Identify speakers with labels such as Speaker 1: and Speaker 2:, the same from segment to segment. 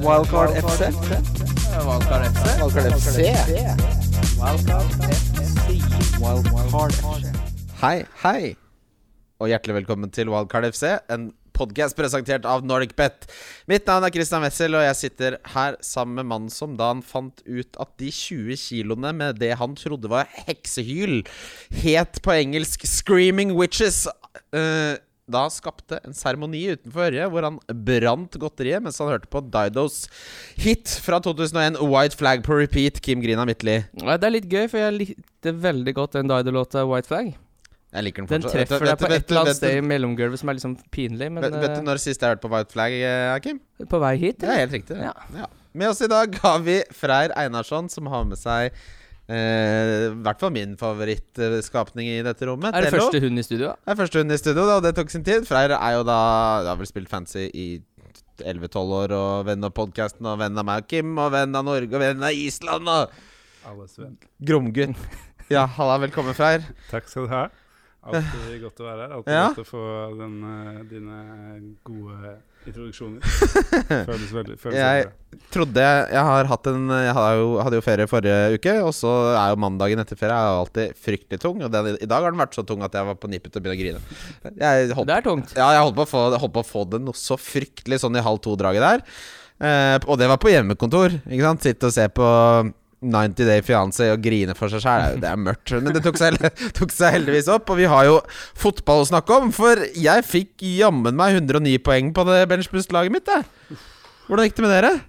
Speaker 1: Wildcard FC.
Speaker 2: Valkar FC.
Speaker 1: Wildcard FC. Wildcard FC.
Speaker 2: Hei, hei, og hjertelig velkommen til Wildcard FC, en podcast presentert av NordicBet. Mitt navn er Christian Wessel, og jeg sitter her sammen med mannen som da han fant ut at de 20 kiloene med det han trodde var heksehyl, het på engelsk 'Screaming Witches'. eh, da skapte en seremoni utenfor Ørje hvor han brant godteriet mens han hørte på Didos hit fra 2001 'White Flag på Repeat', Kim Grina Midtly.
Speaker 3: Nei, Det er litt gøy, for jeg likte veldig godt den Dido-låta White Flag.
Speaker 2: Jeg liker den
Speaker 3: Den
Speaker 2: fortsatt.
Speaker 3: treffer
Speaker 2: Vet
Speaker 3: deg
Speaker 2: du-
Speaker 3: på
Speaker 2: vet
Speaker 3: et
Speaker 2: du-
Speaker 3: eller annet
Speaker 2: vet du-
Speaker 3: sted i mellomgulvet som er liksom pinlig, men
Speaker 2: Vet, vet du
Speaker 3: eh,
Speaker 2: når sist jeg hørte på White Flag, eh, Kim?
Speaker 3: på vei hit
Speaker 2: Det er helt riktig.
Speaker 3: Ja.
Speaker 2: Ja. Med oss i dag har vi Freyr Einarsson, som har med seg eh, i hvert fall min favorittskapning i dette rommet.
Speaker 3: Er det
Speaker 2: Tello.
Speaker 3: første hund i studio?
Speaker 2: Det er første hund i studio, da, og det tok sin tid. Freyr er jo da Jeg har vel spilt fancy i 11-12 år, og venn av podkasten, og venn av meg og Kim, og venn av Norge, og venn av Island, og
Speaker 4: Alles venn.
Speaker 2: Gromgutt. Ja, halla, velkommen, Freyr.
Speaker 4: Takk skal du ha. Alltid godt å være her. Alltid
Speaker 2: Ja.
Speaker 4: godt å få den, eh, dine gode introduksjoner. Føles veldig føles
Speaker 2: Jeg-
Speaker 4: veldig bra.
Speaker 2: Trodde jeg, jeg har hatt en Jeg hadde jo, hadde jo ferie forrige uke, og så er jo mandagen etter ferie er jo alltid fryktelig tung. Og den, i dag har den vært så tung at jeg var på nippet til å begynne å grine. Jeg holdt,
Speaker 3: Det er tungt.
Speaker 2: ja, jeg holdt på å få, holdt på å få det noe så fryktelig sånn i halv to-draget der. Eh, og det var på hjemmekontor. Ikke sant? Sitte og se på 90 Day Fiancé og grine for seg sjæl. Det er mørkt. Men det tok seg, tok seg heldigvis opp. Og vi har jo fotball å snakke om, for jeg fikk jammen meg 109 poeng på det benchboost-laget mitt. Jeg. Hvordan gikk det med dere?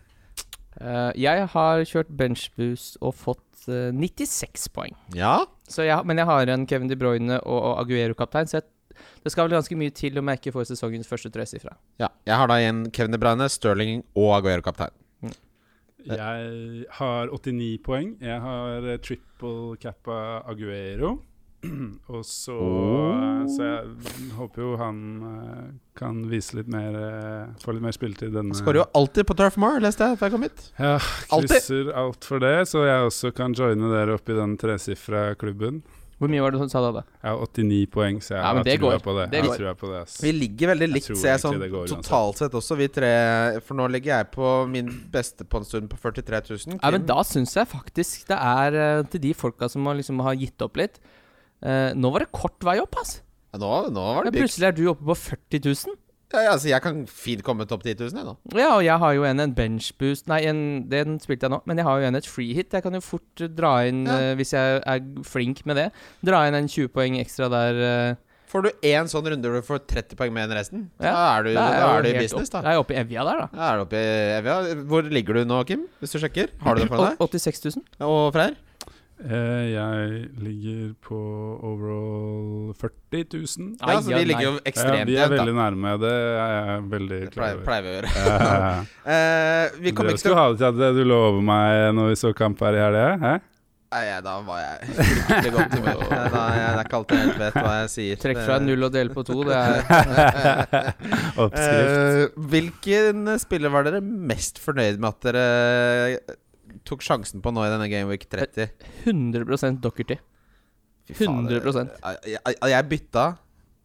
Speaker 3: Eh, jeg har kjørt benchboost og fått eh, 96 poeng.
Speaker 2: Ja,
Speaker 3: Så jeg, men jeg har en Kevin De Bruyne og, og Aguero-kaptein, så jeg, det skal vel ganske mye til om jeg ikke får sesongens første tresifra.
Speaker 2: Ja, jeg har da igjen Kevin De Bruyne, Sterling og Aguero-kaptein.
Speaker 4: Jeg har 89 poeng. Jeg har eh, triple cappa Aguero. Og så eh, Så jeg håper jo han eh, kan vise litt mer eh, Få litt mer spilletid denne
Speaker 2: Han skårer jo alltid på Turf Moor, leste jeg før jeg kom hit.
Speaker 4: Ja,
Speaker 2: Alltid.
Speaker 4: krysser alt for det, så jeg også kan joine dere opp i den tresifra klubben.
Speaker 3: Hvor mye var det du sa du hadde?
Speaker 4: Jeg har 89 poeng, så jeg
Speaker 3: Ja, men
Speaker 4: har
Speaker 3: det
Speaker 4: trua
Speaker 3: går.
Speaker 4: på det.
Speaker 3: Det
Speaker 4: Jeg
Speaker 3: går.
Speaker 4: har trua på det ass.
Speaker 2: Vi ligger veldig likt,
Speaker 4: tror
Speaker 2: ser jeg
Speaker 4: egentlig
Speaker 2: sånn
Speaker 4: det går uansett.
Speaker 2: totalt sett også, vi tre. For nå ligger jeg på min beste på en stund på 43 000.
Speaker 3: Ja, men da syns jeg faktisk det er eh, til de folka som har liksom har gitt opp litt. Eh, nå var det kort vei opp, ass.
Speaker 2: Ja, nå, nå var
Speaker 3: Men
Speaker 2: det big.
Speaker 3: plutselig er du oppe på 40 000.
Speaker 2: Ja, ja, altså, jeg kan fint komme topp 10 000, jeg nå.
Speaker 3: Ja, og jeg har jo en, en benchboost Nei, en, den spilte jeg nå, men jeg har jo en et freehit. Jeg kan jo fort eh, dra inn,
Speaker 2: Ja.
Speaker 3: eh, hvis jeg er flink med det, dra inn en 20 poeng ekstra der. eh.
Speaker 2: Får du én sånn runde hvor du får 30 poeng mer enn resten,
Speaker 3: Ja,
Speaker 2: da er du,
Speaker 3: Da jeg
Speaker 2: da
Speaker 3: jo
Speaker 2: er du i
Speaker 3: helt
Speaker 2: business,
Speaker 3: opp,
Speaker 2: da.
Speaker 3: Da er jeg oppe i evja der, da.
Speaker 2: Da er du oppe i Evja. Hvor ligger du nå, Kim? Hvis du sjekker? Har du det foran deg?
Speaker 3: Å- 86 000.
Speaker 2: Og Freyr?
Speaker 4: Eh, jeg ligger på overall 40 000.
Speaker 2: Ja, altså, vi
Speaker 3: Ai, ja,
Speaker 2: ligger jo
Speaker 3: nei.
Speaker 4: Ja,
Speaker 2: ekstremt
Speaker 4: vi er
Speaker 2: jevnt, da.
Speaker 4: veldig nærme. Det er jeg veldig
Speaker 2: Det
Speaker 4: klar
Speaker 2: pleier,
Speaker 4: over.
Speaker 2: pleier vi å gjøre.
Speaker 4: Eh,
Speaker 2: Eh, vi kommer ikke til
Speaker 4: Dere skulle
Speaker 2: å
Speaker 4: ha det til at det du lover meg når vi så kamp her i helga? Hæ?
Speaker 2: Nei, ja, da var jeg fryktelig godt humør. Nei, da er jeg det er ikke alltid jeg helt vet hva jeg sier.
Speaker 3: Trekk fra null og dele på to. Det er
Speaker 4: Oppskrift.
Speaker 2: Eh, hvilken spiller var dere mest fornøyd med at dere eh, tok sjansen på nå i denne Game Week 30?
Speaker 3: 100 Dockerty.
Speaker 2: Fy faen, det-
Speaker 3: 100%.
Speaker 2: Jeg, jeg, jeg bytta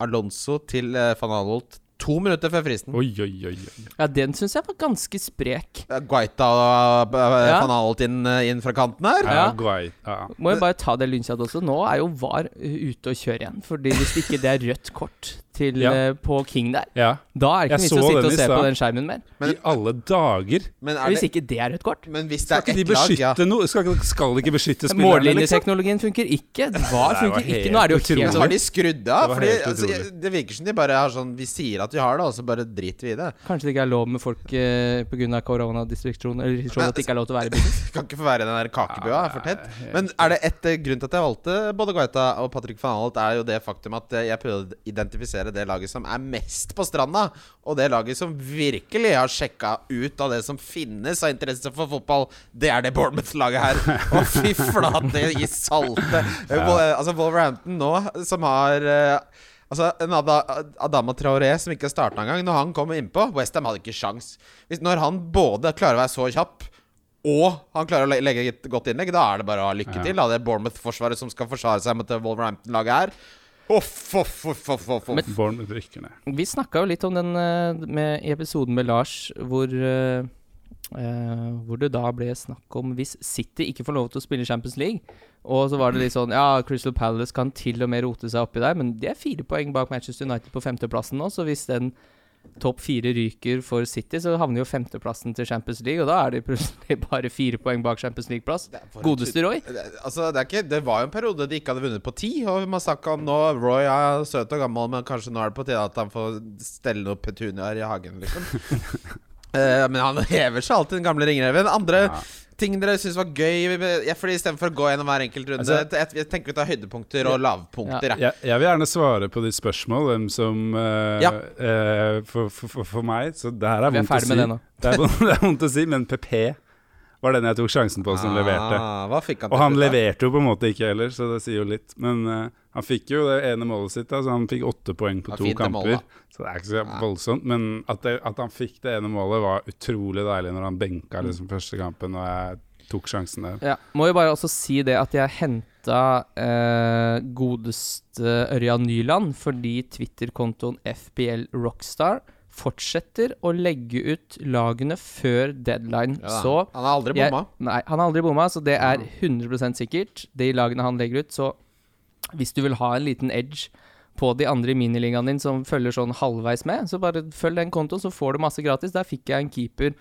Speaker 2: Alonso til eh, van Alholt to minutter før fristen.
Speaker 4: Oi, oi, oi. oi.
Speaker 3: Ja, den syns jeg var ganske sprek.
Speaker 2: Eh, Guaita og eh,
Speaker 3: Ja.
Speaker 2: van Alholt inn, inn fra kanten her.
Speaker 4: Ja,
Speaker 3: Ja.
Speaker 4: guai. Ja.
Speaker 3: Må jo bare ta det lynkjatt også. Nå er jo VAR eh, ute og kjører igjen. Fordi hvis ikke det er rødt kort til,
Speaker 4: Ja.
Speaker 3: eh, på King der,
Speaker 4: ja.
Speaker 3: da er det ikke
Speaker 4: Jeg
Speaker 3: vits å
Speaker 4: så
Speaker 3: sitte og
Speaker 4: den i
Speaker 3: se på
Speaker 4: stad.
Speaker 3: den skjermen mer.
Speaker 2: Men-
Speaker 4: I alle dager!
Speaker 2: Men, er
Speaker 3: Hvis
Speaker 2: det,
Speaker 3: ikke det er rødt kort.
Speaker 2: men hvis det
Speaker 4: Skal
Speaker 2: er
Speaker 4: ikke de
Speaker 2: ett lag ja.
Speaker 4: beskytte noe? Skal, skal de ikke beskytte spillerne? liksom?
Speaker 3: Mållinjeteknologien funker ikke. VAR
Speaker 4: var
Speaker 3: funker
Speaker 4: helt
Speaker 3: ikke. Nå er det jo
Speaker 4: utrolig.
Speaker 2: Men
Speaker 3: helt sånn
Speaker 2: har de skrudd
Speaker 4: Det
Speaker 2: av?
Speaker 4: var
Speaker 2: Fordi,
Speaker 4: helt
Speaker 2: altså,
Speaker 4: utrolig.
Speaker 2: jeg- det virker som de bare har sånn Vi sier at vi har det, og så bare driter vi i det.
Speaker 3: Kanskje det ikke er lov med folk eh, pga. koronadistriksjon eller restriksjon at det ikke er lov til å være i business.
Speaker 2: Kan ikke få være i den der kakebua, er for tett. Men er det ett eh, grunn til at jeg valgte både Guaita og Patrick van Alt, er jo det faktum at eh, jeg prøvde å identifisere det laget som er mest på stranda, og det laget som virkelig har sjekka ut av det som finnes av interesse for fotball, det er det Bournemouth-laget her. Og fy flate i salte! Eh, Wol- eh, Altså Wolverhampton nå, som har eh, Altså, en Ada, Adama Traoré som ikke starta engang, når han kom innpå Westham hadde ikke sjans. Hvis, når han både klarer å være så kjapp og han klarer å le- legge et godt innlegg, da er det bare å ha lykke til. Da. Det er Bournemouth-forsvaret som skal forsvare seg mot det Wolverhampton-laget her. Uff, uff, uff, uff, uff, uff.
Speaker 4: Bournemouth rykker ned.
Speaker 3: Vi snakka jo litt om den eh, med i episoden med Lars hvor eh, Eh, hvor det da ble snakk om hvis City ikke får lov til å spille Champions League. Og så var det litt sånn Ja, Crystal Palace kan til og med rote seg oppi der, men de er fire poeng bak Manchester United på femteplassen nå, så hvis den topp fire ryker for City, så havner jo femteplassen til Champions League, og da er de plutselig bare fire poeng bak Champions League-plass. Godeste Roy.
Speaker 2: Det- Altså, det, er ikke, det var jo en periode de ikke hadde vunnet på ti. Og man snakka om nå Roy er søt og gammel, men kanskje nå er det på tide at han får stelle noen petuniaer i hagen, liksom. Eh, men han hever seg alltid, den gamle ringreven. Andre
Speaker 4: Ja.
Speaker 2: ting dere syns var gøy? Ja, fordi Istedenfor å gå gjennom hver enkelt runde,
Speaker 4: Altså-
Speaker 2: jeg, jeg tenker vi tar høydepunkter og lavpunkter. Ja.
Speaker 4: Jeg, jeg vil gjerne svare på de spørsmål hvem som eh,
Speaker 2: Ja.
Speaker 4: eh, for, for, for, for meg Så det her er
Speaker 3: Vi er
Speaker 4: vondt å
Speaker 3: ferdig
Speaker 4: si.
Speaker 3: med det nå.
Speaker 4: Det er, vondt, det er vondt å si, men PP var den jeg tok sjansen på, som leverte.
Speaker 2: Ah, hva fikk han til
Speaker 4: Og han
Speaker 2: slutt, da?
Speaker 4: leverte jo på en måte ikke heller, så det sier jo litt. Men eh, han fikk jo det ene målet sitt. Altså han fikk åtte poeng på
Speaker 2: Ja,
Speaker 4: to
Speaker 2: fint det
Speaker 4: kamper.
Speaker 2: målet, da.
Speaker 4: så det er ikke så voldsomt. Men at, det, at han fikk det ene målet, var utrolig deilig når han benka liksom, første kampen og jeg tok sjansen der.
Speaker 3: Ja, må jo bare også si det at jeg henta eh, godeste Ørjan Nyland fordi Twitter-kontoen FBL Rockstar fortsetter å legge ut lagene før deadline.
Speaker 2: Ja, da.
Speaker 3: så
Speaker 2: han har aldri
Speaker 3: jeg-
Speaker 2: bomma.
Speaker 3: Nei, han har aldri bomma, så det er 100 sikkert. De lagene han legger ut, så hvis du vil ha en liten edge på de andre i miniligaen din som følger sånn halvveis med, så bare følg den kontoen, så får du masse gratis. Der fikk jeg en keeper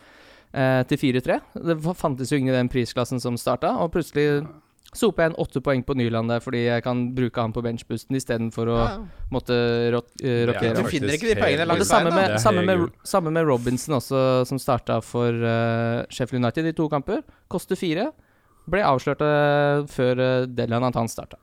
Speaker 3: eh, til 4-3. Det fa- fantes jo ingen i den prisklassen som starta, og plutselig sopa jeg en åtte poeng på Nyland der fordi jeg kan bruke han på benchboosten istedenfor å
Speaker 2: Ja, ja.
Speaker 3: måtte rot eh,
Speaker 4: Det er
Speaker 3: rokere.
Speaker 2: Du
Speaker 3: han.
Speaker 4: faktisk
Speaker 2: finner ikke de
Speaker 4: helt-
Speaker 2: poengene
Speaker 3: Og
Speaker 2: langs
Speaker 3: det
Speaker 2: veien,
Speaker 3: samme
Speaker 2: da.
Speaker 4: Det
Speaker 3: med,
Speaker 4: er
Speaker 3: samme med,
Speaker 4: helt
Speaker 3: samme med Robinson også, som starta for eh, Sheffield United i to kamper. Koster fire. Ble avslørt eh, før uh, deadline at han starta.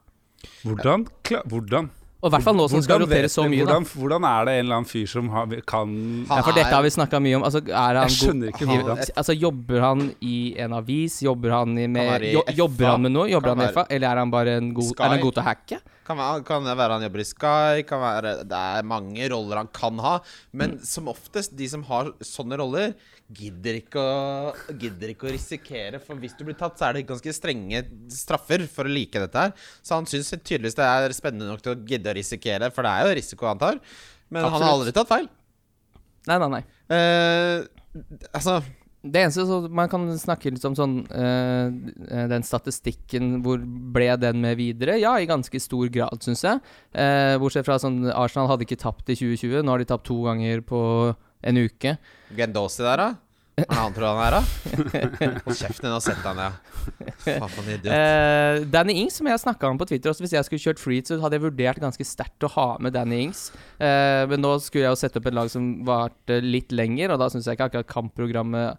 Speaker 4: Hvordan? Kla hvordan?
Speaker 3: Og i hvert fall nå som skal
Speaker 4: Hvordan vet
Speaker 3: rotere så
Speaker 4: vi-
Speaker 3: mye, da.
Speaker 4: hvordan, hvordan er det en eller annen fyr som har, kan
Speaker 2: Han
Speaker 3: Ja, for
Speaker 2: er-
Speaker 3: dette har vi snakka mye om. Altså, er
Speaker 4: Jeg
Speaker 3: han god
Speaker 4: skjønner ikke
Speaker 2: han-
Speaker 4: hvordan.
Speaker 3: Altså, jobber han i en avis? Jobber han i med
Speaker 2: Kan være i
Speaker 3: jo,
Speaker 2: FA.
Speaker 3: Jobber han med noe? Jobber
Speaker 2: Kan
Speaker 3: han i
Speaker 2: være-
Speaker 3: FA? Eller er han bare en god,
Speaker 2: Sky.
Speaker 3: er han god til å hacke?
Speaker 2: Kan være, kan det være han jobber i Sky, kan være, det er mange roller han kan ha. Men
Speaker 3: Mm.
Speaker 2: som oftest, de som har sånne roller, gidder ikke, å, gidder ikke å risikere. For hvis du blir tatt, så er det ganske strenge straffer for å like dette her. Så han syns tydeligvis det er spennende nok til å gidde å risikere, for det er jo risiko han tar. Men han har
Speaker 3: Absolutt.
Speaker 2: aldri tatt feil.
Speaker 3: Nei, nei, nei.
Speaker 2: Eh, altså
Speaker 3: Det eneste så Man kan snakke litt om sånn eh, Den statistikken, hvor ble den med videre? Ja, i ganske stor grad, syns jeg. Eh, bortsett fra sånn Arsenal hadde ikke tapt i 2020. Nå har de tapt to ganger på en uke.
Speaker 2: Gendosi der, da? Hva er det han tror han er, da? Hold kjeften din og sett deg ned. Faen for en idiot.
Speaker 3: Eh, Danny Ings, som jeg snakka om på Twitter også, hvis jeg skulle kjørt free, så hadde jeg vurdert ganske sterkt å ha med Danny Ings. Eh, men nå skulle jeg jo sette opp et lag som varte litt lenger, og da syns jeg ikke akkurat kampprogrammet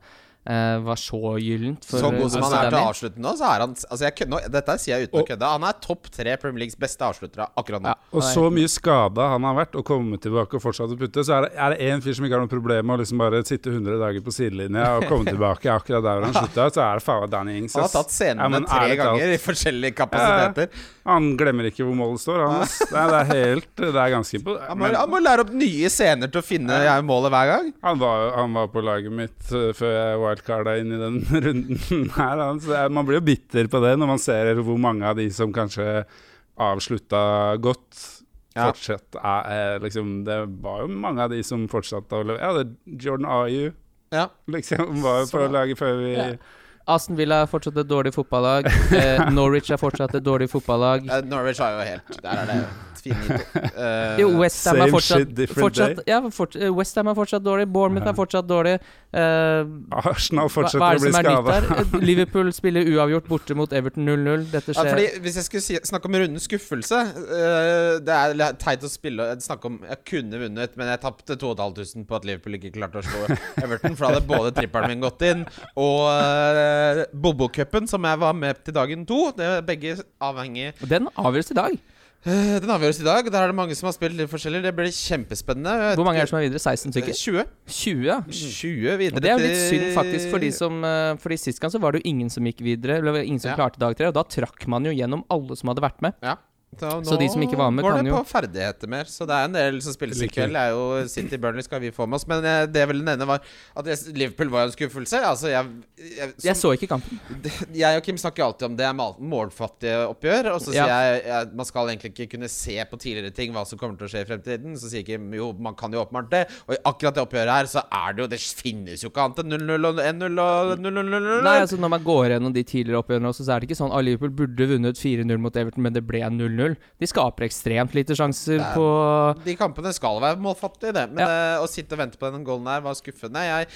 Speaker 3: eh, var så gyllent. for,
Speaker 2: så
Speaker 3: eh,
Speaker 2: god som han
Speaker 3: for
Speaker 2: er til
Speaker 3: Danny.
Speaker 2: å avslutte nå, så er han altså jeg, kødder- nå, Dette sier jeg uten å
Speaker 4: Og-
Speaker 2: kødde. Han er topp tre Premier Leagues beste avsluttere akkurat nå.
Speaker 3: Ja.
Speaker 4: Og så mye skada han har vært, og kommet tilbake og fortsatt å putte, så er det- er det én fyr som ikke har noe problem med å liksom bare sitte 100 dager på sidelinja og komme tilbake akkurat der hvor han slutta, så er det faen meg Danny Ings.
Speaker 2: Han har
Speaker 4: ass.
Speaker 2: tatt scenene
Speaker 4: Ja, men
Speaker 2: tre
Speaker 4: ærlig talt,
Speaker 2: ganger i forskjellige kapasiteter.
Speaker 4: Han glemmer ikke hvor målet står, han. ass. Det er, det er helt Det er ganske imponerende.
Speaker 2: Han, må,
Speaker 4: Men
Speaker 2: han må lære opp nye scener til å finne jeg, målet hver gang.
Speaker 4: Han var, han var på laget mitt eh, før jeg wildcarda inn i den runden her. Han, så jeg, man blir jo bitter på det når man ser hvor mange av de som kanskje avslutta godt,
Speaker 2: Ja.
Speaker 4: fortsatt er, er liksom Det var jo mange av de som fortsatte å leve. Ja, det Jordan Ayu
Speaker 2: Ja.
Speaker 4: liksom var jo på laget før vi
Speaker 3: Ja. Aston Villa er fortsatt et dårlig fotballag. Eh, Norwich er fortsatt et dårlig fotballag.
Speaker 2: Eh, Norwich har jo helt Der er det finito. Eh,
Speaker 3: Jo, Westham er
Speaker 4: Same
Speaker 3: fortsatt,
Speaker 4: shit, different
Speaker 3: fortsatt
Speaker 4: day.
Speaker 3: ja, fort, eh, West Ham er fortsatt dårlig, Bournemouth er fortsatt dårlig. Eh,
Speaker 4: Arsenal
Speaker 3: hva, hva
Speaker 4: fortsetter
Speaker 3: er
Speaker 4: å
Speaker 3: det
Speaker 4: bli
Speaker 3: som er nytt
Speaker 4: skada.
Speaker 3: der? Eh, Liverpool spiller uavgjort borte mot Everton 0-0.
Speaker 2: Ja,
Speaker 3: Dette skjer
Speaker 2: fordi Hvis jeg skulle si, snakke om rundens skuffelse eh, Det er litt teit å spille snakke om Jeg kunne vunnet, men jeg tapte 2500 på at Liverpool ikke klarte å slå Everton. For da hadde både trippelen min gått inn, og uh, Bobo-cupen, som jeg var med til dagen to. Det er begge avhengig
Speaker 3: Og Den avgjøres i dag.
Speaker 2: Eh, Den avgjøres i dag. Der er det mange som har spilt litt forskjellig. Det blir kjempespennende.
Speaker 3: Hvor mange er det som er videre? 16
Speaker 2: Eh,
Speaker 3: stykker?
Speaker 2: 20.
Speaker 3: 20, ja.
Speaker 2: 20 videre
Speaker 3: Og det er jo litt
Speaker 2: til-
Speaker 3: synd, faktisk, for de som eh, Fordi sist gang så var det jo ingen som gikk videre. Eller det var ingen som
Speaker 2: Ja.
Speaker 3: klarte dag tre, og da trakk man jo gjennom alle som hadde vært med.
Speaker 2: Ja.
Speaker 3: Så de som ikke var med
Speaker 2: går
Speaker 3: kan
Speaker 2: det
Speaker 3: jo-
Speaker 2: på ferdigheter mer. Så det er en del som spilles i
Speaker 4: Lykke til.
Speaker 2: kveld. er jo City Burnley skal vi få med oss. Men eh, det jeg ville nevne, var at jeg- Liverpool var jo en skuffelse. Altså, jeg, jeg, som,
Speaker 3: Jeg så ikke kampen.
Speaker 2: det- jeg og Kim snakker alltid om det er mal- målfattige oppgjør. Og så sier jeg at man skal egentlig ikke kunne se på tidligere ting hva som kommer til å skje i fremtiden. Så sier Kim jo, man kan jo åpenbart det. Og i akkurat det oppgjøret her, så er det jo Det finnes jo ikke annet enn 0-0 og 1-0 og 0-0.
Speaker 3: Nei, altså Når man går gjennom de tidligere oppgjørene, også, så er det ikke sånn at Liverpool burde vunnet 4-0 mot Everton, men det ble 0-0. De skaper ekstremt lite sjanser
Speaker 2: er-
Speaker 3: på
Speaker 2: De kampene skal være målfattige, det. Men eh, å sitte og vente på den goalen her var skuffende. Jeg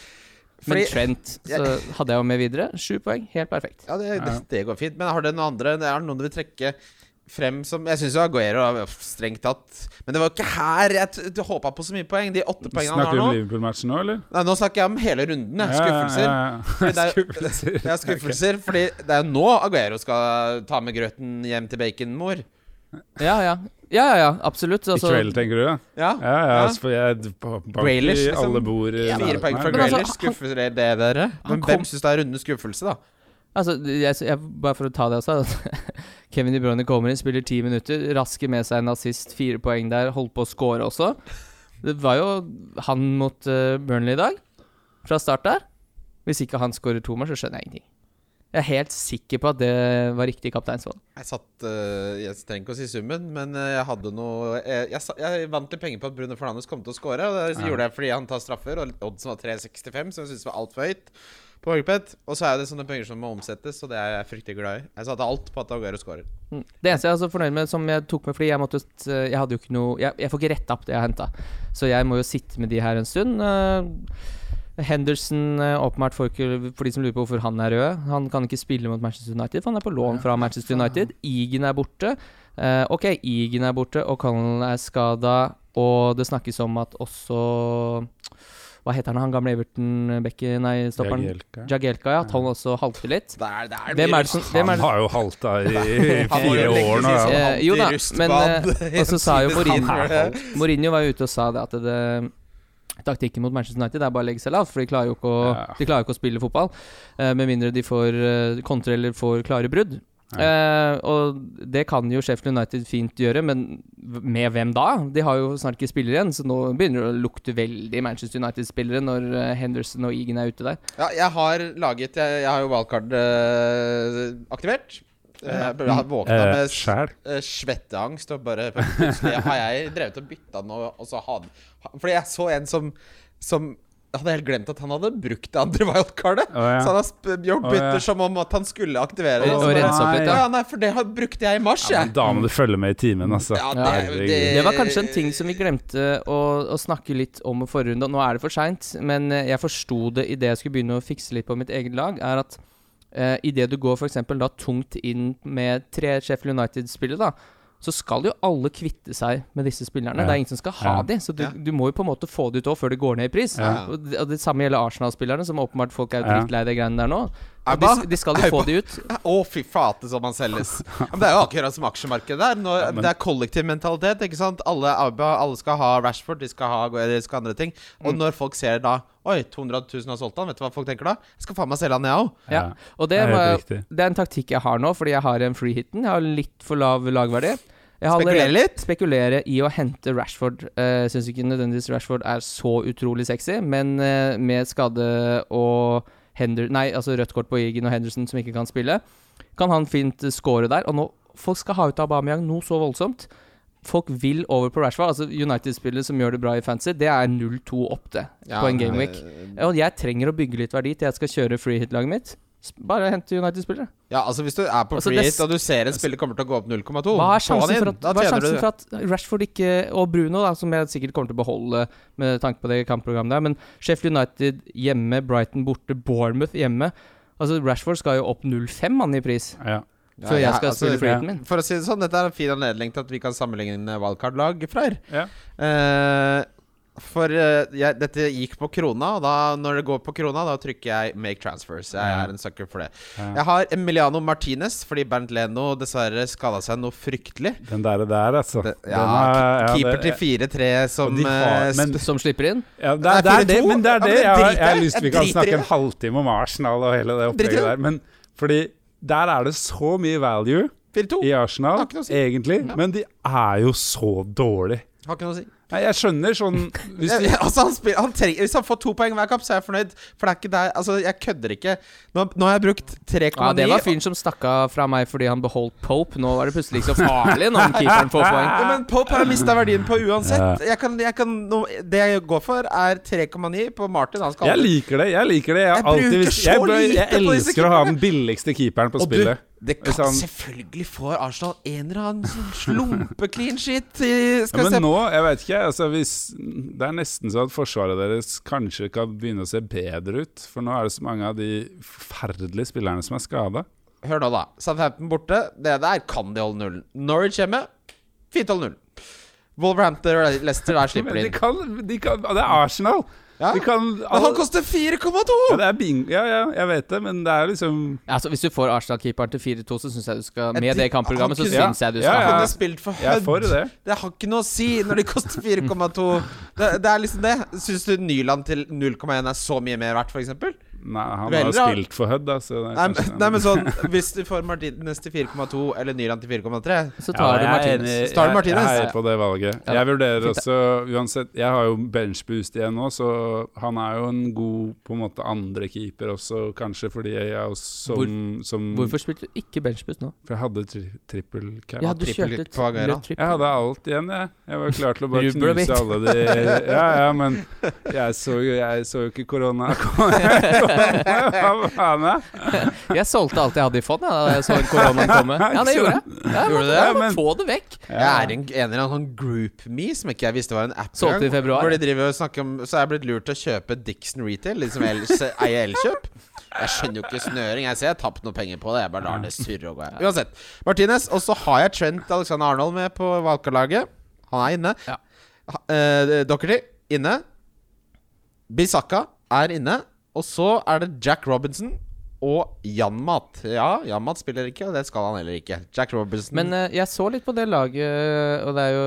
Speaker 3: Men
Speaker 2: fordi-
Speaker 3: Trent så hadde jeg jo med videre. Sju poeng, helt perfekt.
Speaker 2: Ja, det, det, det går fint. Men har dere noen andre? Er det noen du vil trekke frem som Jeg syns jo Aguero er strengt tatt Men det var jo ikke her jeg t- håpa på så mye poeng. De åtte poengene han
Speaker 4: Snakker
Speaker 2: har
Speaker 4: vi om
Speaker 2: nå
Speaker 4: Liverpool-matchen nå, eller?
Speaker 2: Nei, nå snakker jeg om hele runden. jeg. Skuffelser.
Speaker 4: Skuffelser.
Speaker 2: Det er-
Speaker 4: skuffelser.
Speaker 2: Det er skuffelser, fordi det er jo nå Aguero skal ta med grøten hjem til baconmor.
Speaker 3: Ja, ja. Ja, ja, ja, absolutt.
Speaker 4: Ok. I
Speaker 3: Altså,
Speaker 4: kveld, tenker du? Ja,
Speaker 2: Ja.
Speaker 4: ja. ja,
Speaker 2: Ja.
Speaker 4: altså, for jeg på- bank i
Speaker 2: Grealish, liksom.
Speaker 4: alle bord i
Speaker 2: Fire poeng fra
Speaker 3: Men altså,
Speaker 2: Grealish.
Speaker 3: han-
Speaker 2: skuffer det dere? Men
Speaker 3: kom-
Speaker 2: hvem syns det er rundens skuffelse, da?
Speaker 3: altså jeg, jeg, bare for å ta det også. Kevin De Bruyne kommer inn, spiller ti minutter, rasker med seg en assist, fire poeng der, holdt på å score også. Det var jo han mot eh, Burnley i dag, fra start der. Hvis ikke han skårer to mål, så skjønner jeg ingenting. Jeg er helt sikker på at det var riktig kapteinsvalg.
Speaker 2: Jeg satt eh, Jeg trenger ikke å si summen, men eh, jeg hadde noe eh, Jeg, jeg, sa- jeg vant litt penger på at Bruno Fernandes kom til å score. Og det gjorde jeg fordi han tar straffer, og oddsen var 3,65, som jeg syntes var altfor høyt. På Horgpet. Og så er det sånne penger som må omsettes, og det er jeg fryktelig glad i. Jeg satte alt på at Aguero scorer.
Speaker 3: Mm. Det eneste jeg er så fornøyd med, som jeg tok med fordi jeg måtte s- Jeg hadde jo ikke noe Jeg, jeg får ikke retta opp det jeg har henta, så jeg må jo sitte med de her en stund. Eh, Henderson eh, åpenbart for, ikke- for de som lurer på hvorfor han er rød. Han kan ikke spille mot Manchester United, for han er på lån fra Manchester United. Egan er borte. Eh, ok, Egan er borte, og Colin er skada, og det snakkes om at også Hva heter han, han gamle Everton-bekken, nei, stopperen?
Speaker 4: Jagielka.
Speaker 3: Jagielka, ja. At han også halter litt.
Speaker 2: Det er, det er
Speaker 3: Hvem er det som, hvem er
Speaker 4: Han
Speaker 3: det
Speaker 4: har jo halta i fire
Speaker 2: jo
Speaker 4: år nå.
Speaker 2: lenge
Speaker 4: Ja.
Speaker 2: siden.
Speaker 3: Eh, jo da, men
Speaker 2: Antirustbad.
Speaker 3: eh, Og så sa jo
Speaker 2: Han
Speaker 3: Mourinho
Speaker 2: er
Speaker 3: Mourinho var jo ute og sa det at det, taktikken mot Manchester United er bare å legge seg lavt, for de klarer jo ikke å,
Speaker 4: Ja.
Speaker 3: de klarer jo ikke å spille fotball. eh, med mindre de får uh, kontre eller får klare brudd. Eh, og det kan jo Sheffield United fint gjøre, men v- med hvem da? De har jo snart ikke spillere igjen, så nå begynner det å lukte veldig Manchester United-spillere når eh, Henderson og Egan er ute der.
Speaker 2: Ja, jeg har laget Jeg, jeg har jo valgkart aktivert. Jeg ble- jeg våkna
Speaker 4: Eh,
Speaker 2: med s-
Speaker 4: Sjæl.
Speaker 2: eh, svetteangst og bare Plutselig har jeg drevet og bytta den, og, og så hadde Fordi jeg så en som, som hadde helt glemt at han hadde brukt det andre wildcardet.
Speaker 4: Å, ja.
Speaker 2: Så han har sp- gjort
Speaker 4: Å,
Speaker 2: bytter
Speaker 4: ja.
Speaker 2: som om at han skulle aktivere det.
Speaker 3: Og,
Speaker 2: så
Speaker 3: og
Speaker 2: bare,
Speaker 3: rense opp litt,
Speaker 2: ja,
Speaker 3: ja.
Speaker 2: ja, nei, for det har- brukte jeg i mars,
Speaker 4: Ja,
Speaker 2: jeg.
Speaker 4: men da må du følge med i timen, altså.
Speaker 2: Ja,
Speaker 4: Herregud.
Speaker 3: Det var kanskje en ting som vi glemte å, å snakke litt om i forrige runde. og Nå er det for seint, men eh, jeg forsto det idet jeg skulle begynne å fikse litt på mitt eget lag, er at eh, idet du går for eksempel da tungt inn med tre Sheffield United-spillere, da, så skal jo alle kvitte seg med disse spillerne.
Speaker 4: Ja.
Speaker 3: Det er ingen som skal ha
Speaker 4: Ja.
Speaker 3: de, så du,
Speaker 2: Ja.
Speaker 3: du må jo på en måte få det ut òg før det går ned i pris.
Speaker 2: Ja.
Speaker 3: Og, det, og det samme gjelder Arsenal-spillerne, som åpenbart folk er jo
Speaker 4: Ja.
Speaker 3: dritlei de greiene der nå. Og de,
Speaker 2: Abba?
Speaker 3: de skal jo få de ut.
Speaker 2: Å, fy flate som han selges. Ja, Men det er jo akkurat som aksjemarkedet der. Nå,
Speaker 4: men-
Speaker 2: Det er kollektiv mentalitet. ikke sant? Alle, Abba, alle skal ha Rashford, de skal ha Aguero, de skal ha andre ting. Og
Speaker 4: Mm.
Speaker 2: når folk ser da Oi, 200 000 har solgt han. Vet du hva folk tenker da? Jeg skal faen meg selge han, jeg òg.
Speaker 3: Ja.
Speaker 4: Ja.
Speaker 3: Og det,
Speaker 4: Det er
Speaker 3: må
Speaker 4: helt
Speaker 3: jeg,
Speaker 4: riktig.
Speaker 3: det er en taktikk jeg har nå, fordi jeg har en free hitten. Jeg har litt for lav lagverdi. Jeg har
Speaker 2: Spekulere
Speaker 3: allerede-
Speaker 2: litt?
Speaker 3: Spekulere i å hente Rashford. Uh, Syns ikke nødvendigvis Rashford er så utrolig sexy, men eh, med skade og Hender, nei, altså rødt kort på Egan og Henderson som ikke kan spille, kan han fint eh, score der. Og nå, folk skal ha ut Aubameyang noe så voldsomt. Folk vil over på Rashford. Altså United-spillet som gjør det bra i fancy, det er 0-2 opp det på en gameweek. Ja, Og jeg trenger å bygge litt verdi til jeg skal kjøre free hit-laget mitt. S- Bare hente United-spillere.
Speaker 2: Ja, altså Hvis du er på
Speaker 3: Altså,
Speaker 2: free
Speaker 3: det
Speaker 2: hit og du ser en spiller kommer til å gå opp 0,2,
Speaker 3: Hva er
Speaker 2: få han
Speaker 3: sjansen,
Speaker 2: inn.
Speaker 3: for at,
Speaker 2: Da
Speaker 3: hva er
Speaker 2: tjener
Speaker 3: sjansen
Speaker 2: du
Speaker 3: for at Rashford ikke og Bruno, da, som jeg sikkert kommer til å beholde med tanke på det kampprogrammet der, men Sheffield United hjemme, Brighton borte, Bournemouth hjemme Altså Rashford skal jo opp 0,5 mann i pris
Speaker 4: Ja.
Speaker 2: Ja, ja,
Speaker 3: før jeg skal
Speaker 2: altså,
Speaker 3: spille free
Speaker 4: ja.
Speaker 3: hiten min.
Speaker 2: For å si det sånn, dette er en fin anledning til at vi kan sammenligne eh, wildcard-lag, Freyr.
Speaker 4: Ja.
Speaker 2: Eh, for eh, jeg, dette gikk på krona, og da, når det går på krona, da trykker jeg 'make transfers'. Jeg
Speaker 4: Ja.
Speaker 2: er en sucker for det.
Speaker 4: Ja.
Speaker 2: Jeg har Emiliano Martinez fordi Bernt Leno dessverre skada seg noe fryktelig.
Speaker 4: Den der, der altså.
Speaker 2: Det,
Speaker 4: Den
Speaker 2: ja,
Speaker 4: er- ja,
Speaker 2: keeper
Speaker 4: det-
Speaker 2: til 4-3 som
Speaker 4: Og de har-
Speaker 2: eh,
Speaker 4: men-
Speaker 2: sp-
Speaker 3: Som slipper inn.
Speaker 4: Ja, det, er- det
Speaker 2: Nei,
Speaker 4: er det,
Speaker 2: 4-2.
Speaker 4: men det
Speaker 2: Ja,
Speaker 4: er
Speaker 2: men
Speaker 4: det.
Speaker 2: det
Speaker 4: Jeg,
Speaker 2: driter
Speaker 4: har-
Speaker 2: jeg.
Speaker 4: jeg har lyst til vi
Speaker 2: Jeg
Speaker 4: kan
Speaker 2: driter i
Speaker 4: snakke en
Speaker 2: det.
Speaker 4: halvtime om Arsenal og hele det
Speaker 2: Driter i
Speaker 4: opplegget
Speaker 2: det.
Speaker 4: der. Men fordi der er det så mye value
Speaker 2: 4-2.
Speaker 4: i Arsenal,
Speaker 2: Oh, Har ikke noe å si.
Speaker 4: egentlig. Men de er jo så dårlige.
Speaker 2: Har ikke noe å si.
Speaker 4: Nei, jeg skjønner sånn hvis de,
Speaker 2: Ja, altså, han spiller, han trenger, hvis han får to poeng hver kamp, så er jeg fornøyd. For det er ikke der Altså, jeg kødder ikke. Nå, nå har jeg brukt 3,9.
Speaker 3: Ja, Det var fyren som stakk av fra meg fordi han beholdt Pope. Nå var det plutselig ikke så farlig når keeperen får poeng.
Speaker 2: Ja, men Pope har mista verdien på uansett. Jeg kan, jeg kan, nå- det jeg går for, er 3,9 på Martin. Han skal
Speaker 4: Jeg liker det. Jeg liker det Jeg,
Speaker 2: Jeg
Speaker 4: har alltid,
Speaker 2: bruker
Speaker 4: visst- jeg,
Speaker 2: så
Speaker 4: bare- jeg
Speaker 2: lite på disse
Speaker 4: elsker å ha
Speaker 2: keeperne.
Speaker 4: den billigste keeperen på
Speaker 2: Og du,
Speaker 4: spillet.
Speaker 2: det
Speaker 4: Hvis
Speaker 2: kan
Speaker 4: han-
Speaker 2: selvfølgelig får Arsenal en eller annen sånn slumpe-clean shit. i-
Speaker 4: Ja,
Speaker 2: Skal vi
Speaker 4: men
Speaker 2: se
Speaker 4: nå, jeg vet ikke altså hvis, Det er nesten så at forsvaret deres kanskje kan begynne å se bedre ut. For nå er det så mange av de forferdelige spillerne som er skada.
Speaker 2: Hør nå, da. Southampton borte. Det der kan de holde nullen. Norwich hjemme. Fint holde nullen. Wolverhampton og Leicester, der slipper de
Speaker 4: De
Speaker 2: inn.
Speaker 4: kan, de kan, det er Arsenal!
Speaker 2: Ja.
Speaker 4: De kan,
Speaker 2: Men han
Speaker 4: alle,
Speaker 2: koster 4,2!
Speaker 4: ja, det er bing, ja, ja, jeg vet det, men det er liksom
Speaker 3: Altså, Hvis du får Arsenal-keeperen til 4-2, så syns jeg du skal
Speaker 2: Jeg
Speaker 3: Med det
Speaker 2: tenk-
Speaker 3: kampprogrammet, så
Speaker 2: han
Speaker 4: kunne-
Speaker 3: syns jeg du
Speaker 4: Ja,
Speaker 3: skal
Speaker 2: Han
Speaker 4: ja.
Speaker 2: kunne spilt for
Speaker 4: Jeg er for
Speaker 2: Hud.
Speaker 4: det.
Speaker 2: Det har ikke noe å si når de koster 4,2. Det, det er liksom det. Syns du Nyland til 0,1 er så mye mer verdt, f.eks.? Nei,
Speaker 4: Nei, han har
Speaker 2: Veldig
Speaker 4: jo
Speaker 2: bra.
Speaker 4: spilt for Hud, da, så det er
Speaker 2: men-
Speaker 4: kanskje-
Speaker 2: nei, men sånn Hvis du får Martinez til 4,2 eller Nyland til 4,3
Speaker 3: Så
Speaker 4: Ja,
Speaker 3: tar du
Speaker 4: jeg er
Speaker 3: Martinez.
Speaker 4: enig.
Speaker 2: Så tar du
Speaker 4: Jeg-
Speaker 2: Martinez.
Speaker 4: Jeg heier på det valget.
Speaker 3: Ja.
Speaker 4: Jeg vurderer
Speaker 3: Fint,
Speaker 4: også uansett Jeg har jo benchboost igjen nå, så han er jo en god på en måte andre keeper også, kanskje fordi jeg er jo som, som
Speaker 3: Hvorfor spilte du ikke benchboost nå?
Speaker 4: For jeg hadde tri trippel cap.
Speaker 3: Ja, du
Speaker 2: trippel
Speaker 3: kjørte
Speaker 2: på Aguero.
Speaker 3: trippel.
Speaker 4: Jeg hadde alt igjen, jeg. Jeg var klar til å bare
Speaker 3: Rubel og
Speaker 4: knuse
Speaker 3: bit.
Speaker 4: alle de Ja, ja, men jeg så jo, jeg så jo ikke korona. Hva faen, jeg?
Speaker 3: Jeg solgte alt jeg hadde i fond jeg, da jeg så koronaen komme. Ja, det gjorde jeg. Ja,
Speaker 2: Gjorde du det?
Speaker 3: ja,
Speaker 4: Ja, men-
Speaker 3: men få det vekk.
Speaker 2: Jeg er en, en eller annen sånn GroupMe som ikke jeg visste var en app.
Speaker 3: Solgte i
Speaker 2: engang,
Speaker 3: februar.
Speaker 2: Hvor de driver og snakker om Så er jeg blitt lurt til å kjøpe Dixon Retail, de som el- se- eier Elkjøp. Jeg skjønner jo ikke snøring. Jeg ser jeg har tapt noe penger på det. Jeg bare lar det surre og gå. jeg. Uansett. Martinez. Og så har jeg Trent Alexander Arnold med på valgkarlaget. Han er inne.
Speaker 3: Ja.
Speaker 2: Ha- eh, Doherty inne. Bisakka er inne. Og så er det Jack Robinson. Og Janmat. Ja, Janmat spiller ikke, og det skal han heller ikke. Jack Robinson
Speaker 3: Men eh, jeg så litt på det laget, eh, og det er jo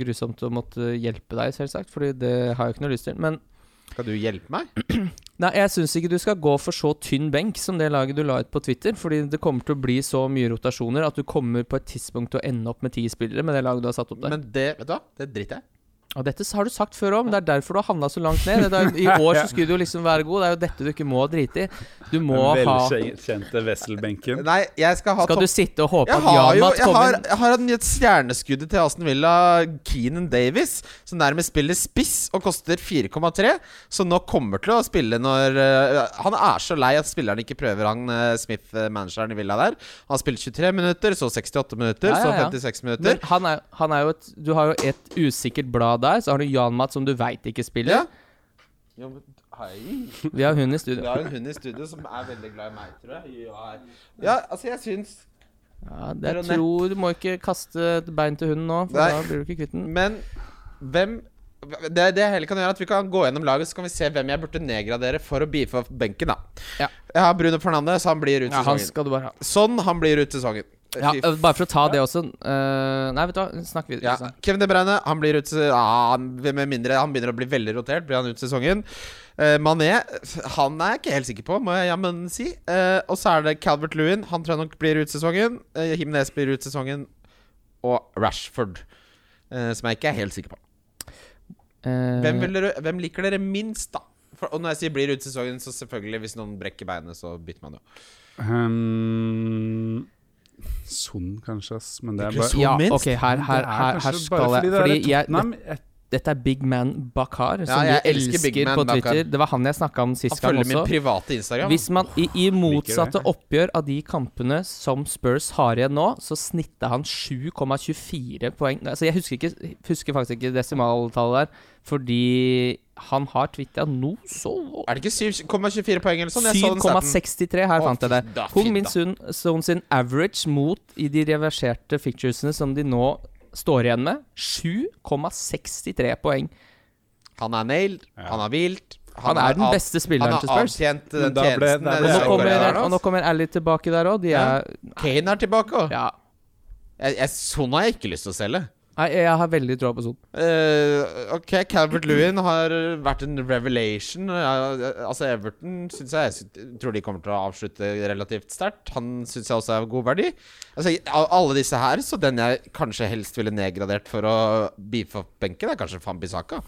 Speaker 3: grusomt å måtte hjelpe deg, selvsagt, Fordi det har jeg ikke noe lyst til. Men
Speaker 2: Skal du hjelpe meg?
Speaker 3: Nei, jeg syns ikke du skal gå for så tynn benk som det laget du la ut på Twitter. Fordi det kommer til å bli så mye rotasjoner at du kommer på et tidspunkt til å ende opp med ti spillere med det laget du har satt opp der.
Speaker 2: Men det, vet du hva, det driter jeg i.
Speaker 3: og dette s- har du sagt før òg, men det er derfor du har havna så langt ned. Det er, I år så skulle du liksom være god, det er jo dette du ikke må drite i. Du må ha
Speaker 4: Velkjente Wesselbenken.
Speaker 2: Nei, jeg skal ha
Speaker 3: Skal du sitte og håpe
Speaker 2: jeg
Speaker 3: at
Speaker 2: har
Speaker 3: Jan
Speaker 2: jo
Speaker 3: Matt
Speaker 2: jeg
Speaker 3: kommer
Speaker 2: har,
Speaker 3: inn?
Speaker 2: jeg har en- et stjerneskudd til Aston Villa, Keenan Davis, som nærmest spiller spiss og koster 4,3, så nå kommer til å spille når eh, Han er så lei at spilleren ikke prøver han eh, Smith, eh, manageren i Villa der. Han har spilt 23 minutter, så 68 minutter,
Speaker 3: Ja, ja, ja.
Speaker 2: så 56
Speaker 3: Men
Speaker 2: minutter.
Speaker 3: han er, han er jo et Du har jo et usikkert blad der, så har du Jan Matt som du veit ikke
Speaker 2: Ja.
Speaker 3: spiller.
Speaker 2: Jo, men, hei.
Speaker 3: Vi har hun i studio.
Speaker 2: Vi har en hund i studio som er veldig glad i meg, tror jeg. Ja, Ja, altså, jeg syns
Speaker 3: Ja, det
Speaker 2: Baronett.
Speaker 3: tror Du må ikke kaste et bein til hunden nå, for
Speaker 2: Nei.
Speaker 3: da blir du ikke kvitt den.
Speaker 2: Men hvem det, det jeg heller kan gjøre er at Vi kan gå gjennom laget Så kan vi se hvem jeg burde nedgradere for å beefe opp benken. da
Speaker 3: Ja.
Speaker 2: Jeg har Bruno Fernandes, han blir ut
Speaker 3: Ja, han
Speaker 2: sesongen.
Speaker 3: skal du bare ha.
Speaker 2: Sånn, han blir ut sesongen.
Speaker 3: Ja,
Speaker 2: Fy
Speaker 3: øh, bare for å ta det også øh, Nei, vet du hva, liksom. snakk videre.
Speaker 2: ja.
Speaker 3: ikke sant?
Speaker 2: Kevin De Bruyne han blir ut ja, han- Med mindre han begynner å bli veldig rotert, blir han ut sesongen. Eh, Mané han er jeg ikke helt sikker på, må jeg jammen si. Eh, og så er det Calvert Lewin. Han tror jeg nok blir ut sesongen. Uh, Himnes blir ut sesongen. Og Rashford, eh, som jeg ikke er helt sikker på.
Speaker 3: Eh,
Speaker 2: Hvem, vil dere, hvem liker dere minst, da? For, og når jeg sier blir ut sesongen, så selvfølgelig hvis noen brekker beinet, så bytter man jo.
Speaker 4: Um, Son, kanskje, ass. Men det er
Speaker 2: Ikke
Speaker 4: bare
Speaker 2: Son
Speaker 3: ja,
Speaker 2: minst?
Speaker 3: ok, her, her, her, her skal jeg Fordi jeg,
Speaker 4: Nei, jeg,
Speaker 3: dette er Big Man Bakar, som
Speaker 2: jeg
Speaker 3: vi
Speaker 2: elsker
Speaker 3: elsker
Speaker 2: Big Man
Speaker 3: på
Speaker 2: Bakar.
Speaker 3: Twitter. Det var han jeg snakka om sist
Speaker 2: Han
Speaker 3: gang
Speaker 2: følger min
Speaker 3: også.
Speaker 2: private Instagram.
Speaker 3: Hvis man i, i motsatte
Speaker 4: det.
Speaker 3: oppgjør av de kampene som Spurs har igjen nå, så snitta han 7,24 poeng. Altså, jeg husker, ikke, husker faktisk ikke desimaltallet der, fordi han har twitta noe så
Speaker 2: er det ikke 7,24 poeng eller sånn? Jeg så den starten.
Speaker 3: 7,63
Speaker 2: Å,
Speaker 3: her fant jeg
Speaker 2: fint
Speaker 3: det.
Speaker 2: da,
Speaker 3: Hung
Speaker 2: fint
Speaker 3: Min
Speaker 2: da.
Speaker 3: Sun Son sin average mot i de reverserte ficturesene som de nå står igjen med, 7,63 poeng.
Speaker 2: Han er nailed, han er vilt.
Speaker 3: Han er den
Speaker 2: av-
Speaker 3: beste spilleren til Spurs.
Speaker 2: Han har avtjent
Speaker 4: Men
Speaker 2: den
Speaker 4: da ble-
Speaker 2: tjenesten. eh,
Speaker 4: da
Speaker 2: det
Speaker 3: Og
Speaker 4: ble-
Speaker 3: nå
Speaker 2: er
Speaker 4: det
Speaker 3: kommer,
Speaker 2: Korea,
Speaker 3: og nå
Speaker 2: altså.
Speaker 3: kommer Ally tilbake der òg. De er
Speaker 2: Kane er tilbake òg.
Speaker 3: Ja.
Speaker 2: Jeg, jeg, sånn har jeg ikke lyst til å selge.
Speaker 3: Nei, jeg har veldig troa på Son.
Speaker 2: Eh, ok, Calvert Lewin har vært en revelation. Ja, altså Everton synes jeg, jeg sy- tror de kommer til å avslutte relativt sterkt. Han syns jeg også er av god verdi. Altså, av alle disse her, så den jeg kanskje helst ville nedgradert for å beefe opp benken, er kanskje Fambisaka.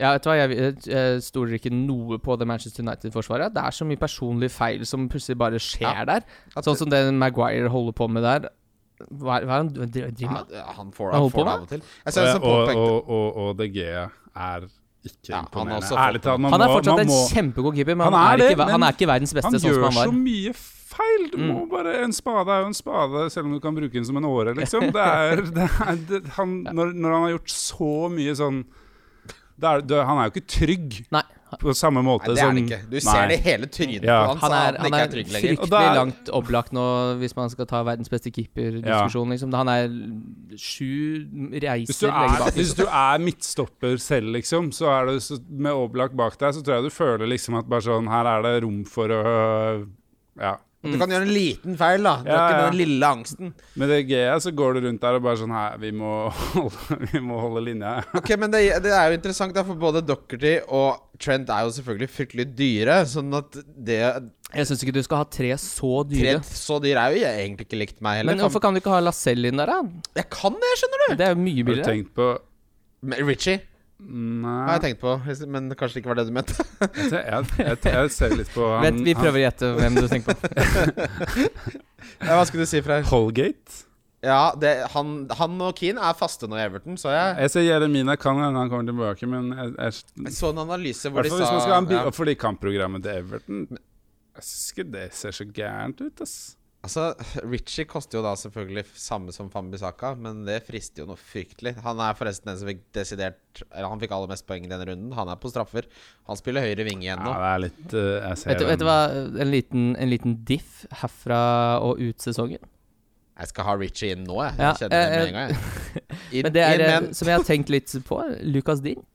Speaker 3: Ja, vet du hva, jeg, jeg, jeg stoler ikke noe på det Manchester United-forsvaret. Det er så mye personlige feil som plutselig bare skjer
Speaker 2: Ja.
Speaker 3: der.
Speaker 2: At-
Speaker 3: Sånn som det Maguire holder på med der. Hva er hva er han dri- driver med?
Speaker 2: Ja, han får,
Speaker 3: Han
Speaker 2: han får
Speaker 3: holder på
Speaker 2: det
Speaker 3: med?
Speaker 2: av og til. Jeg
Speaker 4: Eh, Og,
Speaker 2: synes han
Speaker 4: og,
Speaker 2: påpekte
Speaker 4: og, og, og DG er ikke
Speaker 2: Ja, han er
Speaker 4: imponerende.
Speaker 2: også
Speaker 4: Ærlig talt, man
Speaker 3: Han er
Speaker 4: må,
Speaker 3: fortsatt
Speaker 4: man
Speaker 3: en
Speaker 4: må
Speaker 3: kjempegod keeper, men
Speaker 4: Han
Speaker 3: han,
Speaker 4: er
Speaker 3: er
Speaker 4: det,
Speaker 3: ikke, ver- han
Speaker 4: men
Speaker 3: er ikke verdens beste
Speaker 4: Han
Speaker 3: sånn som
Speaker 4: gjør
Speaker 3: han
Speaker 4: så
Speaker 3: var. Mm.
Speaker 4: mye feil! Du må bare, en spade er jo en spade, selv om du kan bruke den som en åre, liksom. Det er, det er, det, han, når, når han har gjort så mye sånn det er, det, Han er jo ikke trygg
Speaker 3: Nei,
Speaker 4: på samme
Speaker 2: Nei,
Speaker 4: måte
Speaker 2: det er
Speaker 4: som
Speaker 2: han ikke. Du ser
Speaker 4: Nei.
Speaker 2: det i hele trynet
Speaker 4: Ja.
Speaker 2: på han,
Speaker 3: han er,
Speaker 2: så
Speaker 3: han
Speaker 2: ikke
Speaker 3: er
Speaker 2: er trygg lenger.
Speaker 4: Og
Speaker 3: fryktelig
Speaker 4: da er-
Speaker 3: langt opplagt nå, hvis man skal ta verdens beste keeper-diskusjon. Liksom. Han er sju
Speaker 4: Hvis
Speaker 3: reiser
Speaker 4: du,
Speaker 3: lenge
Speaker 4: er,
Speaker 3: bak. liksom.
Speaker 4: hvis du er midtstopper selv, liksom, så er du så, med Oblak bak deg, så tror jeg du føler liksom at bare sånn Her er det rom for å Ja.
Speaker 2: Du kan gjøre en liten feil, da. Du
Speaker 4: Ja,
Speaker 2: har ikke
Speaker 4: ja.
Speaker 2: den lille angsten.
Speaker 4: Med det Gea så går du rundt der og bare sånn Her, vi må holde, vi må holde linja.
Speaker 2: Ok, men det, det er jo interessant, da, for både Dockerty og Trent er jo selvfølgelig fryktelig dyre. Sånn at det
Speaker 3: Jeg syns ikke du skal ha tre så dyre.
Speaker 2: Trent så dyr er jo jeg egentlig ikke likt meg heller.
Speaker 3: Men hvorfor kan du ikke ha Lacelle inn der, da?
Speaker 2: Kan- Jeg kan det, skjønner du!
Speaker 3: Det er jo mye
Speaker 4: Har du
Speaker 3: billigere.
Speaker 4: tenkt på
Speaker 2: Men Richie har
Speaker 4: Nei,
Speaker 2: jeg tenkt på, men kanskje det ikke var det du mente.
Speaker 4: jeg, jeg, jeg, jeg ser litt på han,
Speaker 3: Vent, vi
Speaker 4: han
Speaker 3: prøver å gjette hvem du tenker på.
Speaker 2: Ja, Hva skulle du si, Freyr?
Speaker 4: Holgate.
Speaker 2: Ja, det, han, han og Keane er faste nå i Everton, så jeg.
Speaker 4: Jeg ser Jeremina kan hende han kommer tilbake, men jeg, jeg,
Speaker 2: Jeg så en analyse hvor de sa
Speaker 4: Hvertfall hvis man skal ha en bil,
Speaker 2: ja.
Speaker 4: og Fordi kampprogrammet til Everton Jeg syns ikke det ser så gærent ut, ass.
Speaker 2: Altså, Richie koster jo da selvfølgelig samme som Fambisaka, men det frister jo noe fryktelig. Han er forresten den som fikk desidert Eller han fikk aller mest poeng i denne runden. Han er på straffer. Han spiller høyre ving igjen nå.
Speaker 4: Ja, det er litt eh, Jeg ser
Speaker 3: Vet du, vet du
Speaker 4: den.
Speaker 3: hva, en liten, en liten diff herfra og ut sesongen.
Speaker 2: Jeg skal ha Richie inn nå, jeg.
Speaker 3: Ja,
Speaker 2: jeg kjenner det med
Speaker 3: eh,
Speaker 2: en gang, jeg. Inn-
Speaker 3: Men det er eh,
Speaker 2: inn med en-
Speaker 3: som jeg har tenkt litt på, Lucas Dean.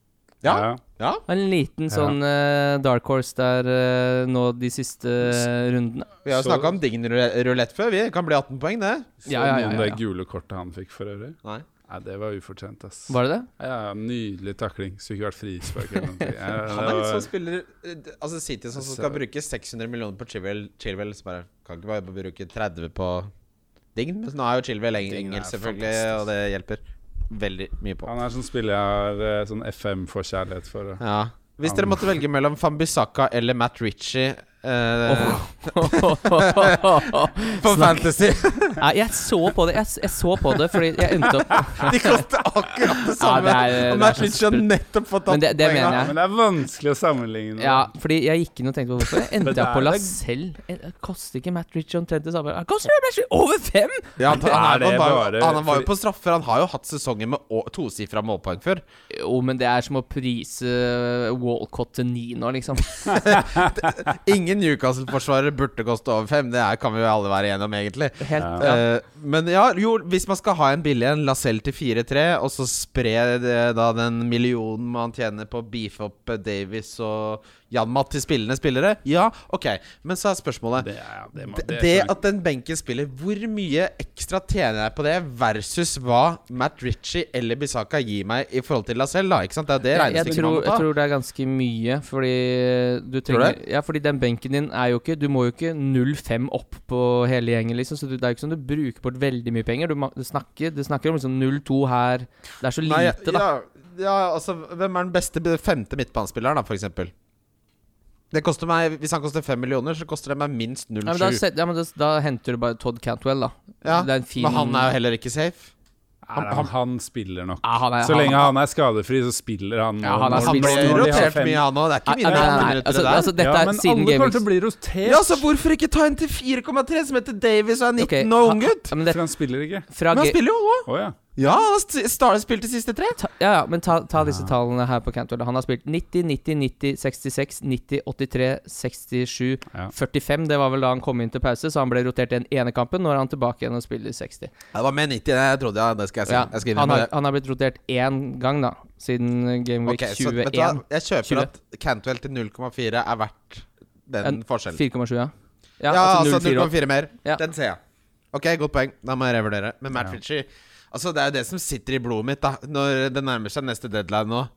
Speaker 2: Ja,
Speaker 4: Ja.
Speaker 2: ja.
Speaker 3: En liten
Speaker 4: Ja.
Speaker 3: sånn eh, dark horse der eh, nå de siste eh, rundene.
Speaker 2: Vi har jo
Speaker 4: Så-
Speaker 2: snakka om dign rulett før. Vi kan bli 18 poeng, det.
Speaker 4: Så
Speaker 3: Ja, ja, ja, ja,
Speaker 4: noen Sånn det
Speaker 3: ja.
Speaker 4: gule kortet han fikk for øvrig.
Speaker 2: Nei.
Speaker 4: Nei, det var ufortjent, ass.
Speaker 3: Var det det?
Speaker 4: Ja, nydelig takling. Skulle ikke vært frispark eller noe. Ja,
Speaker 2: Han
Speaker 4: det
Speaker 2: er litt
Speaker 4: var-
Speaker 2: sånn spiller eh, Altså City som skal bruke 600 millioner på Chilwell, Chilwell så bare kan ikke bare bruke 30 på Dign. Men nå er jo Chilwell eng
Speaker 4: Dign er
Speaker 2: engelsk, selvfølgelig, og det hjelper veldig mye på.
Speaker 4: han er sånn spiller jeg har eh, sånn FM-forkjærlighet for. da.
Speaker 2: Ja. Hvis dere måtte velge mellom Fambisaka eller Matt Ritchie eh, på Fantasy
Speaker 3: Nei, jeg så på det, jeg, s- jeg så på det fordi jeg endte opp
Speaker 2: De koster akkurat det
Speaker 3: Ja,
Speaker 2: samme!
Speaker 3: det er-
Speaker 2: og
Speaker 3: det er
Speaker 2: Matt
Speaker 3: så
Speaker 2: Ritchie har
Speaker 3: sprøtt.
Speaker 2: nettopp fått
Speaker 3: Men det- det mener
Speaker 2: poengene.
Speaker 3: jeg.
Speaker 4: Ja, men det er vanskelig å sammenligne.
Speaker 3: Ja, fordi jeg gikk inn og tenkte på hvorfor. Jeg
Speaker 4: Men
Speaker 3: endte
Speaker 4: det
Speaker 3: opp på
Speaker 4: er det-
Speaker 3: Lacelle. Koster ikke Matt Ritchie omtrent det samme? Ah, Koster det Matt Ritchie over fem?!
Speaker 2: Ja, han,
Speaker 4: Er
Speaker 2: han,
Speaker 4: det
Speaker 2: er- han, var,
Speaker 4: bare-
Speaker 2: jo- han var jo
Speaker 4: fordi-
Speaker 2: på straffer. Han har jo hatt sesonger med å- tosifra målpoeng før.
Speaker 3: Jo, men det er som å prise eh, Walcott til ni nå, liksom.
Speaker 2: Ingen Newcastle-forsvarere burde koste over fem. Det er, kan vi jo alle være enige om, egentlig.
Speaker 3: Helt, ja.
Speaker 2: Eh, men ja, jo, hvis man skal ha en billig en, Lacelle til 4-3, og så spre det, da den millionen man tjener på å beefe opp eh, Davies og Janmat til spillende spillere, ja, ok. Men så er spørsmålet
Speaker 4: Det, er- det, må,
Speaker 2: det,
Speaker 4: det,
Speaker 2: det
Speaker 4: kan-
Speaker 2: at den benken spiller, hvor mye ekstra tjener jeg på det versus hva Matt Ritchie eller Bisaka gir meg i forhold til Lacelle, da? Ikke sant? Det er det
Speaker 3: Jeg, jeg,
Speaker 2: regnestykket man
Speaker 3: tror,
Speaker 2: må ta.
Speaker 3: jeg tror det er ganske mye, fordi du
Speaker 2: Tror du
Speaker 3: trenger Ja, fordi den benken din er jo ikke Du må jo ikke 0,5 opp på hele gjengen, liksom, så du, det er jo ikke sånn du bruker bort veldig mye penger. Du, ma- du, snakker, du snakker om liksom 0,2 her Det er så
Speaker 2: Nei,
Speaker 3: lite, da.
Speaker 2: Ja, ja, altså, hvem er den beste b- femte midtbanespilleren, da, for eksempel? Det koster meg, Hvis han koster fem millioner, så koster det meg minst
Speaker 3: Ja, men da,
Speaker 2: 0,7.
Speaker 3: set, ja, men da, da henter du bare Todd Cantwell, da.
Speaker 2: Ja,
Speaker 3: det er en fin-
Speaker 2: Men han er jo heller ikke safe.
Speaker 4: Nei, nei, han, han spiller nok.
Speaker 3: Ja, Ah, han er-
Speaker 4: så
Speaker 3: han-
Speaker 4: lenge han er skadefri, så spiller han.
Speaker 3: Ja,
Speaker 4: nå.
Speaker 3: han er
Speaker 2: Han
Speaker 4: Når
Speaker 3: spiller-
Speaker 4: de-
Speaker 2: ble
Speaker 4: når de har
Speaker 2: rotert
Speaker 4: fem-
Speaker 2: mye, han òg. Det er ikke
Speaker 3: Nei,
Speaker 2: mine
Speaker 3: nei, nei,
Speaker 2: 15
Speaker 3: nei.
Speaker 2: minutter,
Speaker 3: Altså,
Speaker 2: det der.
Speaker 3: altså, dette
Speaker 4: ja,
Speaker 3: er
Speaker 4: men
Speaker 3: siden
Speaker 4: alle kommer til å
Speaker 3: Gameweeks.
Speaker 4: bli rotert.
Speaker 2: ja, så hvorfor ikke ta en til 4,3 som heter Davies og er 19 og
Speaker 3: Ok, han-
Speaker 2: unggutt?
Speaker 3: Ja, men, det,
Speaker 4: For han spiller ikke.
Speaker 3: fra
Speaker 2: Men han
Speaker 3: ga-
Speaker 2: spiller jo òg!
Speaker 4: Å ja.
Speaker 2: Ja, han har st- sta- spilt de siste tre.
Speaker 3: ta, ja, ja, men ta, ta disse tallene her på Cantwell. Han har spilt 90, 90, 90, 66, 90, 83, 67,
Speaker 4: Ja.
Speaker 3: 45. Det var vel da han kom inn til pause, så han ble rotert i den ene kampen. Nå er han tilbake igjen og spiller 60.
Speaker 2: Ja, det var med 90, jeg trodde ja, det skal jeg si.
Speaker 3: Ja,
Speaker 2: Jeg skal innrømme
Speaker 3: han, har,
Speaker 2: det.
Speaker 3: han har blitt rotert én gang, da, siden Game Week
Speaker 2: Ok, så vet du hva?
Speaker 3: 21.
Speaker 2: Jeg kjøper
Speaker 3: 20.
Speaker 2: at Cantwell til 0,4 er verdt den
Speaker 3: En
Speaker 2: forskjellen.
Speaker 3: 4,7, ja.
Speaker 2: Ja, altså
Speaker 3: 0,4 opp.
Speaker 2: 0,4 mer.
Speaker 3: Ja.
Speaker 2: Den ser jeg. Ok, godt poeng. Da må jeg revurdere. Men Matt
Speaker 4: Ja.
Speaker 2: Ritchie Altså, det er jo det som sitter i blodet mitt, da. Når det nærmer seg neste deadline nå.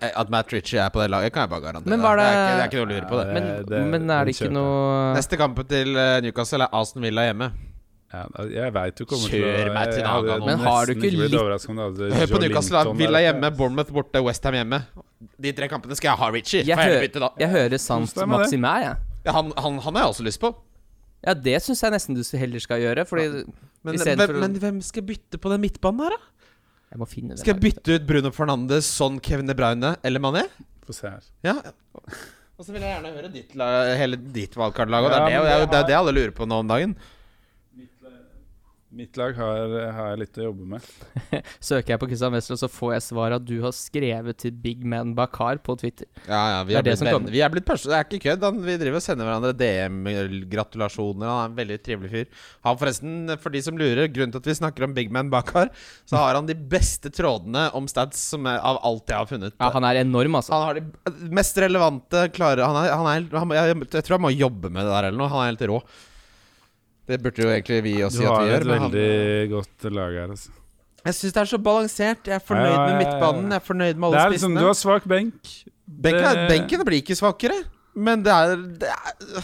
Speaker 2: At Matt Ritchie er på det laget, kan jeg bare garantere.
Speaker 3: Men var
Speaker 2: da. det, er ikke, det er
Speaker 3: det-
Speaker 2: ikke noe å lure på, det.
Speaker 3: Men,
Speaker 4: Eh, det-
Speaker 3: men er
Speaker 4: den
Speaker 3: det ikke
Speaker 4: kjøper
Speaker 3: noe
Speaker 2: Neste kamp til eh, Newcastle er Aston Villa hjemme.
Speaker 4: Ja, da- jeg veit du kommer til å
Speaker 2: Kjør meg til
Speaker 4: jeg hadde
Speaker 2: Nagano.
Speaker 3: Men har du
Speaker 4: nesten
Speaker 3: ikke
Speaker 4: blitt
Speaker 3: litt-
Speaker 4: overrasket om du hadde
Speaker 2: Hør på
Speaker 4: Joe
Speaker 2: Newcastle. da.
Speaker 4: Linton
Speaker 2: Villa
Speaker 4: der.
Speaker 2: hjemme, Bournemouth borte, Westham hjemme. De tre kampene skal jeg ha Ritchie.
Speaker 3: Jeg,
Speaker 2: Får jeg
Speaker 3: hø
Speaker 2: heller bytte da.
Speaker 3: jeg hører sant
Speaker 4: Kos deg med det.
Speaker 3: Maximæ, jeg.
Speaker 2: Ja, han, han, han har jeg også lyst på.
Speaker 3: Ja, det syns jeg nesten du heller skal gjøre. Fordi
Speaker 2: Men,
Speaker 3: I stedet
Speaker 2: hvem,
Speaker 3: for å-
Speaker 2: men hvem skal jeg bytte på den midtbanen her, da?
Speaker 3: Jeg må finne den
Speaker 2: Skal jeg
Speaker 3: her.
Speaker 2: bytte ut Bruno Fernandes, sånn Kevin De Bruyne eller Mané?
Speaker 4: Få se her.
Speaker 2: Ja. Og så vil jeg gjerne høre ditt, la- hele ditt valgkartlag. Og det,
Speaker 4: Ja,
Speaker 2: er det,
Speaker 4: men
Speaker 2: og det, er jo-
Speaker 4: det
Speaker 2: det,
Speaker 4: har-
Speaker 2: er det alle lurer på nå om dagen.
Speaker 4: Mitt lag har, har litt å jobbe med.
Speaker 3: Søker jeg på Christian Wessel, så får jeg svar at du har skrevet til Big Man Bakar på Twitter.
Speaker 2: Ja, ja, vi er,
Speaker 3: Det er det
Speaker 2: blitt
Speaker 3: som
Speaker 2: venner.
Speaker 3: kommer.
Speaker 2: Vi er blitt pers- Det er ikke kødd. Han, vi driver og sender hverandre DM-gratulasjoner. Han er en veldig trivelig fyr. Han forresten, For de som lurer, grunnen til at vi snakker om Big Man bak her, så har han de beste trådene om stats som er, av alt jeg har funnet.
Speaker 3: Ja, han er enorm, altså.
Speaker 2: Han har de mest relevante klare han er, han er, helt- han, jeg, jeg tror jeg må jobbe med det der eller noe. Han er helt rå. Det burde jo egentlig vi også
Speaker 4: Du
Speaker 2: si at
Speaker 4: har
Speaker 2: vi
Speaker 4: et
Speaker 2: gjør. men han-
Speaker 4: veldig godt lag her, altså.
Speaker 2: Jeg syns det er så balansert. Jeg er
Speaker 4: Ja,
Speaker 2: fornøyd
Speaker 4: ja,
Speaker 2: med
Speaker 4: ja, ja.
Speaker 2: midtbanen. Jeg er fornøyd med
Speaker 4: Det
Speaker 2: alle
Speaker 4: er liksom,
Speaker 2: spissene.
Speaker 4: du har svak benk.
Speaker 2: Benken, er,
Speaker 4: Det-
Speaker 2: benken blir ikke svakere. Men det er, det er,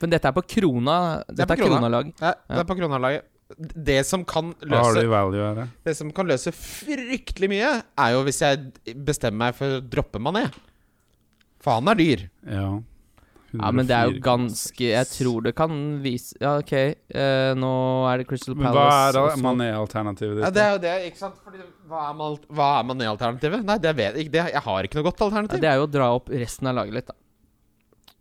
Speaker 3: Men dette er på krona.
Speaker 2: er
Speaker 3: Dette
Speaker 2: på
Speaker 3: er
Speaker 2: krona.
Speaker 3: kronalag.
Speaker 2: ja, det er på kronalaget. Det som kan
Speaker 4: Hva har du
Speaker 2: løse
Speaker 4: i value her? da?
Speaker 2: Det som kan løse fryktelig mye, er jo hvis jeg bestemmer meg for å droppe Mané. For han er dyr.
Speaker 4: Ja.
Speaker 3: Ja, men det er jo
Speaker 4: 104,6.
Speaker 3: ganske Jeg tror det kan vise Ja, OK, eh, nå er det Crystal
Speaker 4: Men hva
Speaker 3: Palace.
Speaker 4: er da
Speaker 3: og så-
Speaker 4: mané-alternativet ditt?
Speaker 2: Ja, det er jo det, ikke sant? Fordi, hva er, mal- hva er Mané-alternativet? Nei, det vet jeg ikke. Det, jeg har ikke noe godt
Speaker 3: ja,
Speaker 2: alternativ.
Speaker 3: det er jo å dra opp resten av laget litt, da.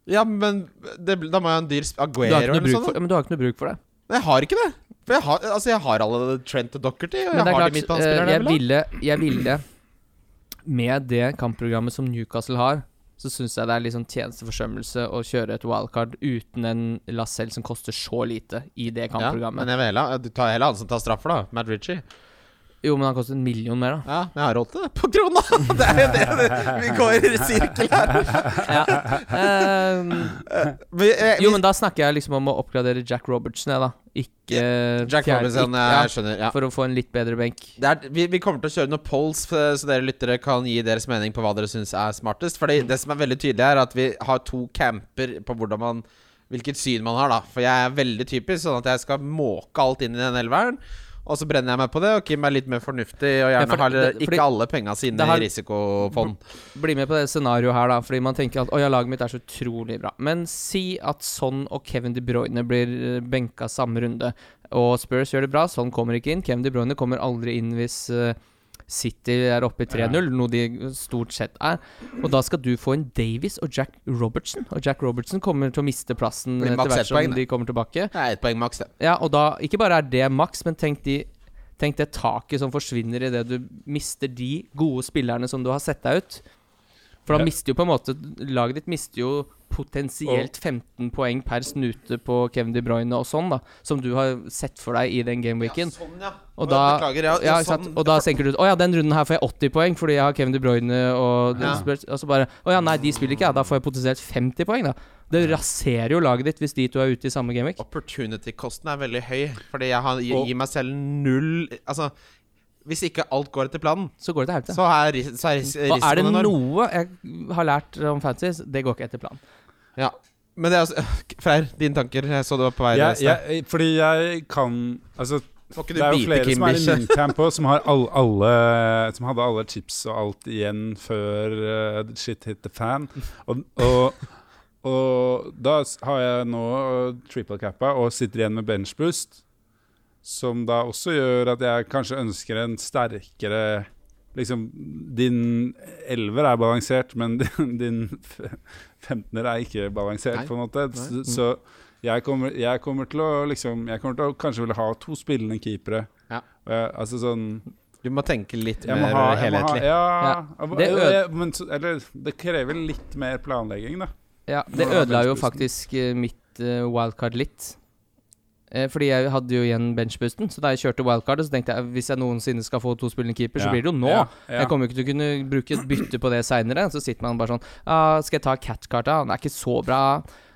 Speaker 2: Ja, men det, bl- da må jeg ha en dyr sp-
Speaker 3: Du har ikke
Speaker 2: Aguero
Speaker 3: noe
Speaker 2: eller noe
Speaker 3: bruk for,
Speaker 2: sånt.
Speaker 3: ja, men du har ikke noe bruk for det.
Speaker 2: Nei, Jeg har ikke det. For jeg har, altså, jeg har alle Trent og Docherty, og
Speaker 3: Men det
Speaker 2: jeg
Speaker 3: er
Speaker 2: har de
Speaker 3: klart, eh,
Speaker 2: midtbanespillerne jeg
Speaker 3: jeg
Speaker 2: vil ha.
Speaker 3: ville, jeg ville Med det kampprogrammet som Newcastle har, så syns jeg det er litt sånn tjenesteforsømmelse å kjøre et wildcard uten en Lacelle som koster så lite i
Speaker 2: Ja, men
Speaker 3: det kampprogrammet.
Speaker 2: jeg vil heller ha Du tar heller han som tar straffer, da. Matt Ritchie.
Speaker 3: Jo, men han koster en million mer, da.
Speaker 2: Ja, men jeg har råd til det. På krona! Det er jo det, det. Vi går i sirkel her.
Speaker 3: Ja. Eh,
Speaker 2: Men jeg-
Speaker 3: jo, men da snakker jeg liksom om å oppgradere Jack Robertson, jeg, da. Ikke
Speaker 2: Jack
Speaker 3: fjerde-
Speaker 2: Robinson,
Speaker 3: ikke- ja,
Speaker 2: jeg skjønner. Ja.
Speaker 3: For å få en litt bedre benk.
Speaker 2: Det er, vi, vi kommer til å kjøre noen polls, f- så dere lyttere kan gi deres mening på hva dere syns er smartest. Fordi det som er veldig tydelig, er at vi har to camper på hvordan man hvilket syn man har. da For jeg er veldig typisk sånn at jeg skal måke alt inn i den elveren. Og så brenner jeg meg på det, og Kim er litt mer fornuftig og gjerne
Speaker 3: Ja, for det-
Speaker 2: har eh,
Speaker 3: det- fordi-
Speaker 2: ikke alle penga
Speaker 3: det
Speaker 2: sine
Speaker 3: har-
Speaker 2: i risikofond.
Speaker 3: Bli med på det scenarioet her, da. Fordi man tenker at 'Å ja, laget mitt er så utrolig bra'. Men si at Son og Kevin De Bruyne blir eh, benka samme runde, og Spurs gjør det bra. Son kommer ikke inn. Kevin De Bruyne kommer aldri inn hvis eh, City er oppe i 3-0, noe de stort sett er. Og da skal du få en Davies og Jack Robertson. Og Jack Robertson kommer til å miste plassen
Speaker 2: Blir
Speaker 3: eh,
Speaker 2: maks
Speaker 3: etter
Speaker 2: ett
Speaker 3: hvert
Speaker 2: poeng,
Speaker 3: som
Speaker 2: det.
Speaker 3: de kommer tilbake.
Speaker 2: Det er ett poeng maks, det.
Speaker 3: Ja, og da Ikke bare er det maks, men tenk, de, tenk det taket som forsvinner idet du mister de gode spillerne som du har sett deg ut. For da
Speaker 4: Ja.
Speaker 3: mister jo på en måte Laget ditt mister jo potensielt 15 poeng per snute på Kevin De Bruyne og sånn, da. Som du har sett for deg i den gameweeken.
Speaker 2: sånn, ja.
Speaker 3: Og da,
Speaker 2: Beklager,
Speaker 3: ja,
Speaker 2: ja. sånn-
Speaker 3: ikke sant? og da tenker du Å ja, den runden her får jeg 80 poeng fordi jeg har Kevin De Bruyne og
Speaker 2: Ja.
Speaker 3: Spurs. Og så bare Å ja, nei, de spiller ikke, ja. Da får jeg potensielt 50 poeng, da. Det raserer jo laget ditt hvis de to er ute i samme gameweek.
Speaker 2: Opportunity-kosten er veldig høy, fordi jeg har, gir,
Speaker 4: Og-
Speaker 2: gir meg selv null Altså, hvis ikke alt går etter planen,
Speaker 3: Så går det til helvete.
Speaker 2: så er, ris så er ris
Speaker 3: Og er det
Speaker 2: risikoen enorm.
Speaker 3: noe jeg har lært om fantasy, det går ikke etter planen.
Speaker 2: Ja. Men det er altså Freyr, dine tanker. Jeg så du var på vei
Speaker 4: Jeg,
Speaker 2: neste.
Speaker 4: jeg, fordi jeg kan Altså,
Speaker 2: Får ikke
Speaker 4: det er
Speaker 2: du bite,
Speaker 4: jo flere
Speaker 2: Kim
Speaker 4: som er i
Speaker 2: Bikkje?
Speaker 4: min camp også, som, har all, alle, som hadde alle chips og alt igjen før eh, shit hit the fan. Og, og, og da s- har jeg nå eh, triple cappa og sitter igjen med bench boost, som da også gjør at jeg kanskje ønsker en sterkere Liksom, din elver er balansert, men din, din f- femtener er ikke
Speaker 2: Nei.
Speaker 4: balansert, på en måte.
Speaker 2: Nei. Mm.
Speaker 4: S- Så jeg kommer, jeg kommer til å liksom Jeg kommer til å kanskje ville ha to spillende keepere.
Speaker 2: Ja.
Speaker 4: Eh, altså sånn
Speaker 2: Du må tenke litt
Speaker 4: Jeg
Speaker 2: mer
Speaker 4: må ha, jeg må ha
Speaker 2: helhetlig.
Speaker 4: Ja,
Speaker 3: Ja,
Speaker 4: eh,
Speaker 3: det øde-
Speaker 4: eh, men, så- eller det krever litt mer planlegging, da.
Speaker 3: Ja, det
Speaker 4: Nå er
Speaker 3: ødela jo
Speaker 4: benchboosten.
Speaker 3: faktisk eh, mitt eh, wildcard litt. Eh, Fordi jeg hadde jo igjen benchboosten, så da jeg kjørte wildcardet, så tenkte jeg hvis jeg noensinne skal få to spillende keeper, så blir det jo nå.
Speaker 4: Ja, ja.
Speaker 3: Jeg kommer jo ikke til å kunne bruke et bytte på det seinere. Så sitter man bare sånn ah, Skal jeg ta Catcarta? Han er ikke så bra.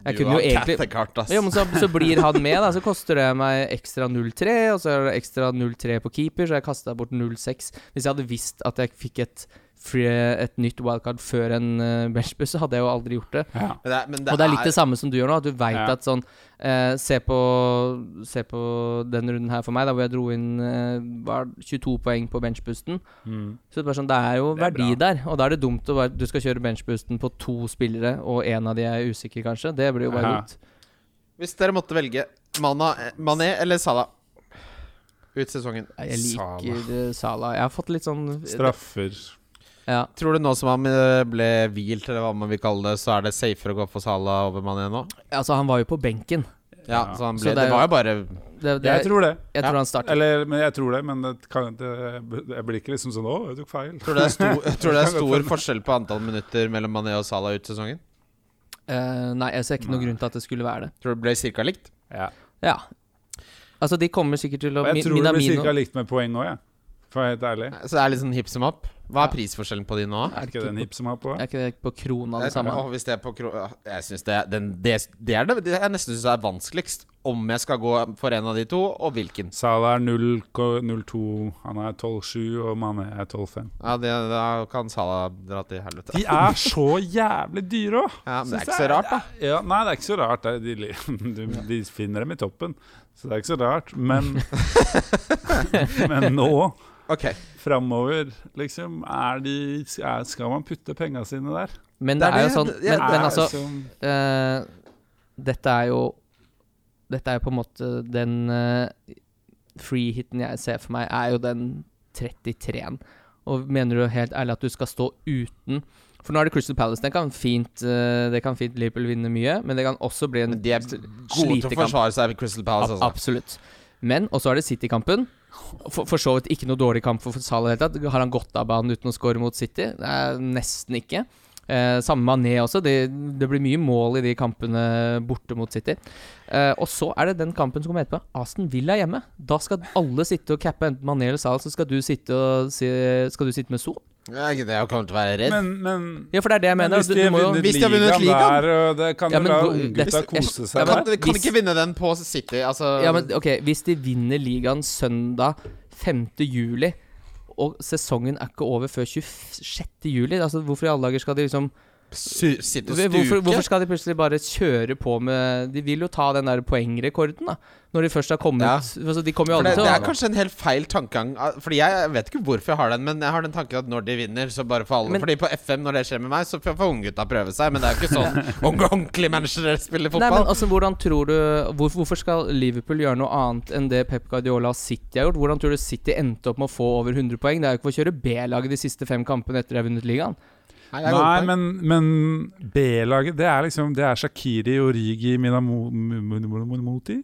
Speaker 3: Jeg kunne jo egentlig
Speaker 2: kattekart, ass.
Speaker 3: ja, men så, så blir han med, da. Så koster det meg ekstra 0-3, og så er det ekstra 0-3 på keeper, så jeg kasta bort 0-6. Hvis jeg hadde visst at jeg fikk et, free, et nytt wildcard før en eh, benchbus, så hadde jeg jo aldri gjort det.
Speaker 4: Ja.
Speaker 2: Men det er, men
Speaker 3: og det er litt det samme som du gjør nå, at du veit
Speaker 4: Ja.
Speaker 3: at sånn eh, se, på, se på den runden her for meg, da hvor jeg dro inn eh, var det 22 poeng på benchboosten.
Speaker 4: Mm.
Speaker 3: Så det er, bare sånn, det er jo
Speaker 4: Det er
Speaker 3: verdi der, og da er det dumt å bare Du skal kjøre benchboosten på to spillere, og én av de er usikker, kanskje. Det blir jo bare
Speaker 4: Ja.
Speaker 3: dumt.
Speaker 2: Hvis dere måtte velge Mana, Mané eller Salah ut sesongen
Speaker 3: Jeg
Speaker 4: Salah.
Speaker 3: liker eh, Salah. Jeg har fått litt sånn
Speaker 4: Straffer.
Speaker 3: Ja.
Speaker 2: Tror du nå som han eh, ble hvilt, eller hva man vil kalle det, så er det safere å gå for Salah over Mané nå?
Speaker 3: Altså, han var jo på benken.
Speaker 2: Ja,
Speaker 4: Ja.
Speaker 2: så han
Speaker 3: Så
Speaker 2: ble,
Speaker 3: det
Speaker 2: det,
Speaker 3: er jo-
Speaker 2: var jo bare
Speaker 3: Det, det,
Speaker 4: Jeg
Speaker 3: jeg tror,
Speaker 4: tror det.
Speaker 2: ja.
Speaker 3: han starter.
Speaker 4: Eller men jeg tror det, men det kan, det, jeg blir ikke liksom sånn Å, jeg tok feil.
Speaker 2: Tror du det er stor, tror du det er stor forskjell på antall minutter mellom Mané og Salah ut sesongen?
Speaker 3: Eh, nei, jeg ser ikke noen grunn til at det skulle være det.
Speaker 2: Tror du det ble cirka likt?
Speaker 4: Ja.
Speaker 3: Ja. Altså, de kommer sikkert til å
Speaker 4: Og jeg
Speaker 3: Mi-
Speaker 4: tror det blir
Speaker 3: Minamino-
Speaker 4: ca. likt med poeng òg, jeg. For å være helt ærlig.
Speaker 2: Så det er litt sånn hip som opp. Hva er prisforskjellen på de nå?
Speaker 4: Er ikke det en hip som har på?
Speaker 3: Er ikke det på krona det
Speaker 2: Jeg-
Speaker 3: samme?
Speaker 2: Åh, hvis det er på kro Åh, Jeg synes det, er- den, det, det er det, det jeg nesten syns er vanskeligst. Om jeg skal gå for en av de to, og hvilken.
Speaker 4: Salah er 0,02, han er 12,7 og Mané er 12,5.
Speaker 2: Ja, det, Da kan Salah dra til helvete.
Speaker 4: De er så jævlig dyre òg!
Speaker 2: Ja, men det er ikke så rart, da.
Speaker 4: Ja, nei, det er ikke så rart. det er- De, li- du- de finner dem i toppen, så det er ikke så rart. Men, men nå,
Speaker 2: Ok,
Speaker 4: framover, liksom, er de, er, skal man putte penga sine der?
Speaker 3: Men det er jo sånn
Speaker 2: Ja,
Speaker 3: Men, men
Speaker 4: Er
Speaker 3: altså
Speaker 4: liksom-
Speaker 3: eh, Dette er jo Dette er jo på en måte den eh, free-hiten jeg ser for meg, er jo den 33-en. Og mener du helt ærlig at du skal stå uten For nå er det Crystal Palace. Den kan fint, eh, det kan fint Liverpool vinne mye, men det kan også bli en
Speaker 2: Men de er gode til å
Speaker 3: slitekamp.
Speaker 2: forsvare seg ved Crystal Palace.
Speaker 3: Ab-
Speaker 2: Altså.
Speaker 3: Absolutt. Men, og så er det City-kampen. For, for så vidt ikke noe dårlig kamp for Salah i det hele tatt. Har han gått av banen uten å score mot City? Nei, nesten ikke. Eh, samme Mané også. Det, det blir mye mål i de kampene borte mot City. Eh, og så er det den kampen som kommer etterpå. Aston Villa hjemme. Da skal alle sitte og cappe enten Mané eller Salah, så skal du sitte, og si, skal du sitte med Sol.
Speaker 2: Ja, ikke det, Jeg kommer til å være redd.
Speaker 4: Men, men
Speaker 3: Ja, for det er det jeg mener.
Speaker 4: hvis
Speaker 3: Du,
Speaker 4: de
Speaker 3: du
Speaker 4: har
Speaker 3: må jo
Speaker 4: vunnet
Speaker 2: Hvis de har vunnet
Speaker 4: ligaen
Speaker 2: ligaen?
Speaker 4: der, og det kan
Speaker 3: Ja,
Speaker 4: jo
Speaker 3: men
Speaker 4: la
Speaker 3: hvor-
Speaker 4: unggutta
Speaker 3: dette- jeg-
Speaker 4: kose
Speaker 2: ja,
Speaker 4: seg
Speaker 2: men,
Speaker 4: med.
Speaker 2: vi kan
Speaker 3: hvis-
Speaker 2: ikke vinne den på City. Altså,
Speaker 3: Ja, men ok, Hvis de vinner ligaen søndag 5. juli, og sesongen er ikke over før 26. juli altså Hvorfor i alle dager skal de liksom
Speaker 2: su- Sitte og stuke.
Speaker 3: hvorfor, hvorfor skal de plutselig bare kjøre på med De vil jo ta den der poengrekorden, da. Når de først har kommet
Speaker 2: Ja.
Speaker 3: altså, De kommer jo
Speaker 2: For det,
Speaker 3: aldri til
Speaker 2: det
Speaker 3: å
Speaker 2: er kanskje en helt feil tankegang. ah, Fordi jeg, jeg vet ikke hvorfor jeg har den, men jeg har den tanken at når de vinner, så bare for alle.
Speaker 3: Men-
Speaker 2: fordi på FM, når det skjer med meg, så får får unggutta prøve seg. Men det er jo ikke sånn unge, ordentlige mennesker spiller
Speaker 3: Nei,
Speaker 2: fotball.
Speaker 3: men altså, hvordan tror du hvor, Hvorfor skal Liverpool gjøre noe annet enn det Pep Guardiola og City har gjort? Hvordan tror du City endte opp med å få over 100 poeng? Det er jo ikke for å kjøre B-laget de siste fem kampene etter de har vunnet ligaen.
Speaker 2: Nei, jeg går
Speaker 4: Nei,
Speaker 2: på det.
Speaker 4: men, men B-laget, det er liksom Det er Shakiri, Origi, Minamo- M- M- M- Moti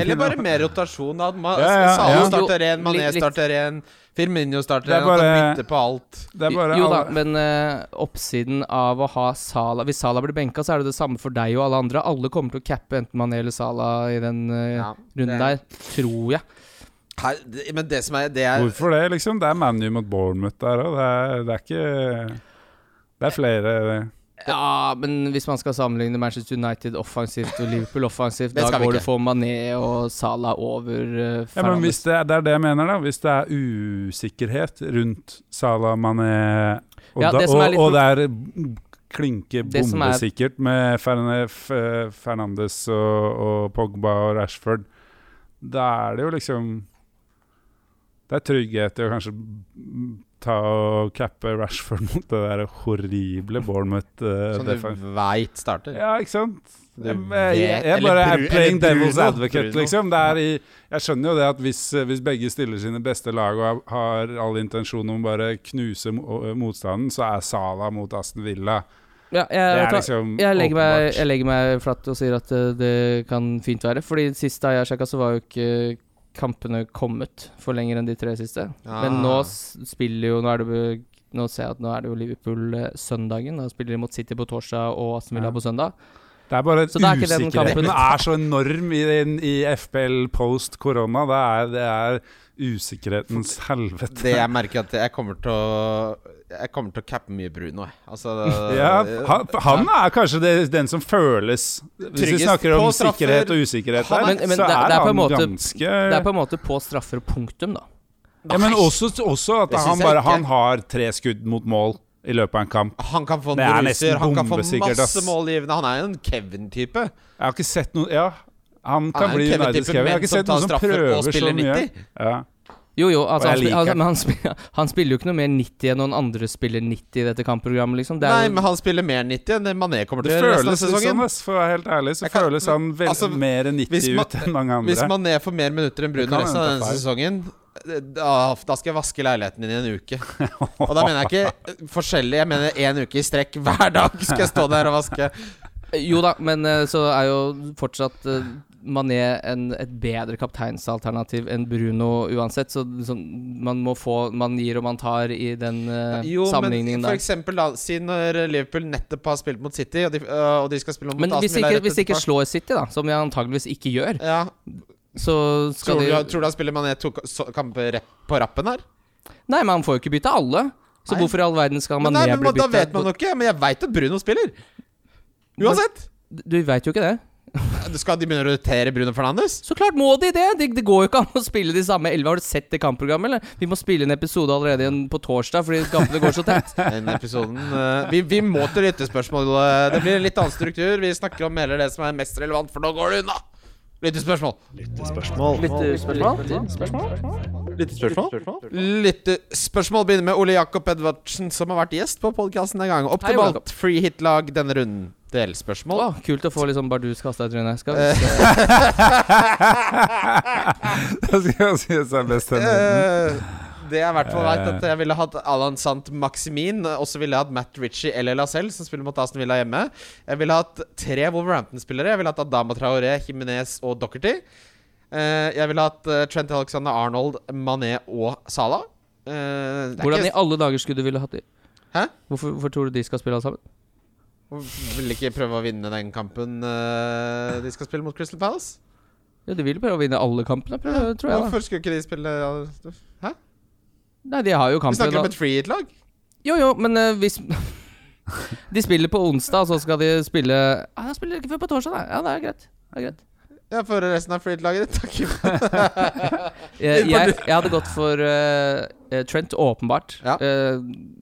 Speaker 2: Eller bare mer rotasjon. Da. Man,
Speaker 4: Ja, ja,
Speaker 2: Salah
Speaker 4: ja.
Speaker 2: starter en, Mané
Speaker 3: Litt- litt-
Speaker 2: starter en, Firmino starter
Speaker 4: Det er
Speaker 2: en. Bare...
Speaker 4: bare-
Speaker 2: Bytte på alt.
Speaker 4: Det er bare
Speaker 3: jo da,
Speaker 4: alle-
Speaker 3: men eh, oppsiden av å ha Sala Hvis Sala blir benka, så er det det samme for deg og alle andre. Alle kommer til å cappe enten Mané eller Sala i den eh,
Speaker 2: Ja,
Speaker 3: runden
Speaker 2: det-
Speaker 3: der, tror jeg.
Speaker 2: Her, det- men det som er Det
Speaker 3: Eh,
Speaker 2: er
Speaker 4: Hvorfor det, liksom? Det er ManU mot Bournemouth der òg. Det, er- det er ikke Det er flere eh,
Speaker 3: Ja, men hvis man skal sammenligne Manchester United offensivt og Liverpool offensivt,
Speaker 2: Det
Speaker 3: da
Speaker 2: skal vi
Speaker 3: går
Speaker 2: ikke.
Speaker 3: det for Mané og Sala over eh,
Speaker 4: ja, men
Speaker 3: Fernandes.
Speaker 4: hvis det, er- det er det jeg mener, da. Hvis det er usikkerhet rundt Salah Mané og,
Speaker 3: Ja,
Speaker 4: da,
Speaker 3: det som er
Speaker 4: og,
Speaker 3: litt-
Speaker 4: og det er klinke
Speaker 3: Det som er-
Speaker 4: bombesikkert med Ferne- F- eh, Fernandes og, og Pogba og Rashford, da er det jo liksom Det er trygghet i å kanskje ta og cappe Rashford mot det der horrible Bournemouth. eh,
Speaker 2: Som
Speaker 4: defense.
Speaker 2: Sånn du veit starter.
Speaker 4: Ja, ikke sant?
Speaker 2: Du
Speaker 4: Jeg,
Speaker 2: vet-
Speaker 4: jeg, jeg bare
Speaker 2: eller
Speaker 4: er
Speaker 2: Bru-
Speaker 4: playing
Speaker 2: eller Bruno.
Speaker 4: devil's advocate,
Speaker 2: Bruno.
Speaker 4: liksom. Det er i, jeg skjønner jo det at hvis, eh, hvis begge stiller sine beste lag og har- har all intensjon om bare knuse mo- eh, motstanden, så er Sala mot Aston Villa.
Speaker 3: ja, jeg, vet
Speaker 4: Det er
Speaker 3: du hva?
Speaker 4: liksom
Speaker 3: Jeg legger, meg,
Speaker 4: åpenbart.
Speaker 3: jeg legger meg flatt og sier at eh, det kan fint være. Fordi sist da jeg sjekka, så var jo ikke kampene kommet for lenger enn de tre siste.
Speaker 2: Ah.
Speaker 3: Men nå s- spiller jo Nå, er det, jo- nå ser jeg at nå er det jo Liverpool eh, søndagen. Da spiller de mot City på torsdag og Aston Villa
Speaker 4: Ja.
Speaker 3: på søndag.
Speaker 4: Det er bare
Speaker 3: Så det er ikke den
Speaker 4: usikkerheten
Speaker 3: kampen.
Speaker 4: er så enorm i, i FPL post korona. Det er, det er usikkerhetens helvete.
Speaker 2: Det jeg merker at jeg kommer til å Jeg kommer til å cappe mye Bruno, jeg. Altså
Speaker 4: Ja, han, han er kanskje det, den som føles Hvis vi
Speaker 2: Tryggest
Speaker 4: snakker om
Speaker 2: på straffer.
Speaker 4: sikkerhet og usikkerhet her,
Speaker 3: Men- men det-
Speaker 4: så
Speaker 3: det
Speaker 4: er,
Speaker 3: er på en
Speaker 4: han
Speaker 3: måte-
Speaker 4: ganske
Speaker 3: Det er på en måte på straffer og punktum, da.
Speaker 4: Ja, men også, også at
Speaker 2: Det
Speaker 4: han
Speaker 2: synes jeg
Speaker 4: bare
Speaker 2: ikke.
Speaker 4: Han har tre skudd mot mål i løpet av en kamp.
Speaker 2: Han kan få en
Speaker 4: Det er
Speaker 2: bruser,
Speaker 4: nesten
Speaker 2: han kan få
Speaker 4: bombesikkert, ass.
Speaker 2: masse målgivende. Han er jo en Kevin-type.
Speaker 4: Jeg har ikke sett noe Ja,
Speaker 2: Han
Speaker 4: han kan
Speaker 2: er
Speaker 4: bli
Speaker 2: en Kevin-type,
Speaker 4: United Skeven. Jeg har
Speaker 2: men
Speaker 4: ikke
Speaker 2: som
Speaker 4: sett
Speaker 2: tar
Speaker 4: noen som
Speaker 2: straffer og
Speaker 4: prøver så
Speaker 2: spiller
Speaker 4: mye.
Speaker 2: 90.
Speaker 4: Ja.
Speaker 3: Jo, jo, altså,
Speaker 4: Og
Speaker 3: han,
Speaker 4: jeg
Speaker 3: spil,
Speaker 4: liker
Speaker 3: altså,
Speaker 4: det.
Speaker 3: men han, spil, han spiller jo ikke noe mer 90 enn noen andre spiller 90 i dette kampprogrammet, liksom. Det
Speaker 2: Nei,
Speaker 3: er
Speaker 2: men
Speaker 3: jo,
Speaker 2: han spiller mer 90 enn det Mané kommer
Speaker 4: Det
Speaker 2: til å gjøre resten av
Speaker 4: føles litt sånn,
Speaker 2: sesongen.
Speaker 4: ass, for å være helt ærlig, så
Speaker 2: Jeg kan-
Speaker 4: føles han vel
Speaker 2: altså,
Speaker 4: mer 90
Speaker 2: hvis man-
Speaker 4: ut enn mange
Speaker 2: Hvis
Speaker 4: andre.
Speaker 2: Mané får mer minutter enn
Speaker 4: Det
Speaker 2: Bruno
Speaker 4: kan
Speaker 2: resten av
Speaker 4: hende
Speaker 2: denne
Speaker 4: det
Speaker 2: sesongen, eh, da, da skal jeg vaske leiligheten din i en uke. Og da mener jeg ikke eh, forskjellig, jeg mener én uke i strekk. Hver dag skal jeg stå der og vaske.
Speaker 3: jo da, men eh, så er jo fortsatt eh, Mané en, et bedre kapteinsalternativ enn Bruno uansett, så liksom, man må få Man gir og man tar i den eh,
Speaker 2: Jo, men
Speaker 3: sammenligningen
Speaker 2: for
Speaker 3: der.
Speaker 2: eksempel da, si når Liverpool nettopp har spilt mot City, og de, øh, og de skal spille mot
Speaker 3: Men
Speaker 2: Aston
Speaker 3: hvis
Speaker 2: Villa
Speaker 3: ikke,
Speaker 2: rett
Speaker 3: hvis ikke
Speaker 2: etterpå.
Speaker 3: slår City, da, som de antageligvis ikke gjør,
Speaker 2: ja,
Speaker 3: så skal
Speaker 2: tror,
Speaker 3: de
Speaker 2: du, tror du han spiller Mané to ka- så- kamper rett på rappen her?
Speaker 3: Nei, men han får jo ikke bytte alle. Så
Speaker 2: Nei.
Speaker 3: hvorfor i all verden skal
Speaker 2: Men
Speaker 3: Mané
Speaker 2: nei, men
Speaker 3: bli
Speaker 2: Da
Speaker 3: bytta?
Speaker 2: vet man jo ikke, men jeg veit at Bruno spiller. Uansett.
Speaker 3: Du veit jo ikke det.
Speaker 2: Du Skal de begynne å rotere Bruno Fernandes?
Speaker 3: Så klart må de det! Det, det går jo ikke an å spille de samme elleve. Har du sett det kampprogrammet, eller? Vi må spille en episode allerede igjen på torsdag fordi kampene går så tett.
Speaker 2: Den episoden øh, vi, vi må til lyttespørsmål. øh, Det blir en litt annen struktur. Vi snakker om heller det som er mest relevant, for nå går det unna! Lyttespørsmål. Lyttespørsmål begynner med Ole Jakob Edvardsen, som har vært gjest på podkasten en gang.
Speaker 3: Hei, Ole Jakob.
Speaker 2: Optimalt free hit-lag denne runden. Delspørsmål.
Speaker 3: Å, kult å få liksom bardus kasta i trynet. Skal
Speaker 2: Eh,
Speaker 3: vi se.
Speaker 4: Det skal jeg synes er best enn
Speaker 2: Eh, det er i hvert fall veit at jeg ville hatt Alan Sant Maximin. Og så ville jeg hatt Matt Ritchie eller Lacelle, som spiller mot Aston Villa hjemme. Jeg ville hatt tre Wolverhampton-spillere. Jeg ville hatt Adama Traoré, Jimenez og Docherty. jeg ville hatt eh, Trent Alexander Arnold, Mané og Salah. Eh, det er
Speaker 3: Hvordan i
Speaker 2: ikke-
Speaker 3: alle dager skulle du ville hatt de?
Speaker 2: Hæ?
Speaker 3: Hvorfor, hvorfor tror du de skal spille alle sammen?
Speaker 2: Vil ikke prøve å vinne den kampen eh, de skal spille mot Crystal Palace?
Speaker 3: Ja, de vil prøve å vinne alle kampene, prøv, tror jeg. da
Speaker 2: Hvorfor skulle ikke de spille ja, Hæ?
Speaker 3: Nei, de har jo
Speaker 2: Vi snakker
Speaker 3: kampene
Speaker 2: om et free hit-lag.
Speaker 3: Jo, jo, men eh, hvis De spiller på onsdag, så skal de spille ah, Jeg spiller ikke før på torsdag, da. Ja, det er greit. Det er greit.
Speaker 2: Ja, for resten av free hit-laget ditt. Takk.
Speaker 3: Jeg, Eh, jeg, jeg hadde gått for eh, eh, Trent, åpenbart.
Speaker 2: Ja.
Speaker 3: Eh,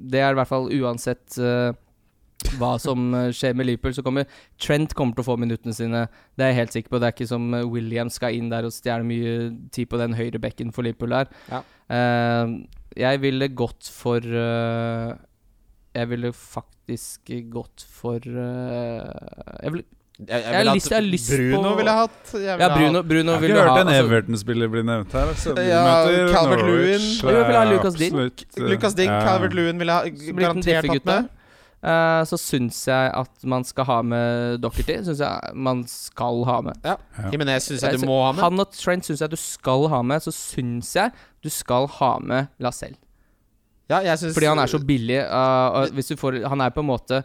Speaker 3: det er i hvert fall uansett eh, hva som eh, skjer med Liverpool, så kommer Trent kommer til å få minuttene sine. Det er jeg helt sikker på. Det er ikke som eh, William skal inn der og stjele mye tid på den høyre bekken for Liverpool der.
Speaker 2: Ja.
Speaker 3: Eh, jeg ville gått for eh, Jeg ville faktisk gått for eh, jeg ville,
Speaker 2: Jeg,
Speaker 3: Jeg har
Speaker 2: ville
Speaker 3: lyst- jeg har lyst
Speaker 2: Bruno
Speaker 3: på-
Speaker 2: ville jeg hatt. Jeg ville
Speaker 3: Ja, Bruno,
Speaker 4: Jeg
Speaker 3: Bruno
Speaker 4: har
Speaker 3: ville
Speaker 4: ikke
Speaker 3: ha
Speaker 4: hørt en
Speaker 3: altså-
Speaker 4: Everton-spiller bli nevnt her. Altså. De
Speaker 2: Ja,
Speaker 4: møter
Speaker 2: Calvert
Speaker 4: Norwich,
Speaker 3: Lewin. Jo, jeg vil ha
Speaker 4: eh,
Speaker 3: Lucas Digne.
Speaker 4: absolutt,
Speaker 2: hatt.
Speaker 4: eh,
Speaker 2: Lucas Dink,
Speaker 4: ja.
Speaker 2: Calvert Lewin ville
Speaker 3: Så
Speaker 2: jeg ha
Speaker 3: blir det den
Speaker 2: garantert hatt
Speaker 3: diffe-gutta.
Speaker 2: med.
Speaker 3: Eh, så syns jeg at man skal ha med Docherty. Syns jeg man skal ha med.
Speaker 4: Ja.
Speaker 2: Jimenez syns jeg du
Speaker 3: Jeg sy-
Speaker 2: må ha med.
Speaker 3: Han og Trent syns jeg du skal ha med. Så syns jeg du skal ha med Lacelle.
Speaker 2: Ja, jeg synes,
Speaker 3: Fordi han er så billig. eh, og hvis du får, han er på en måte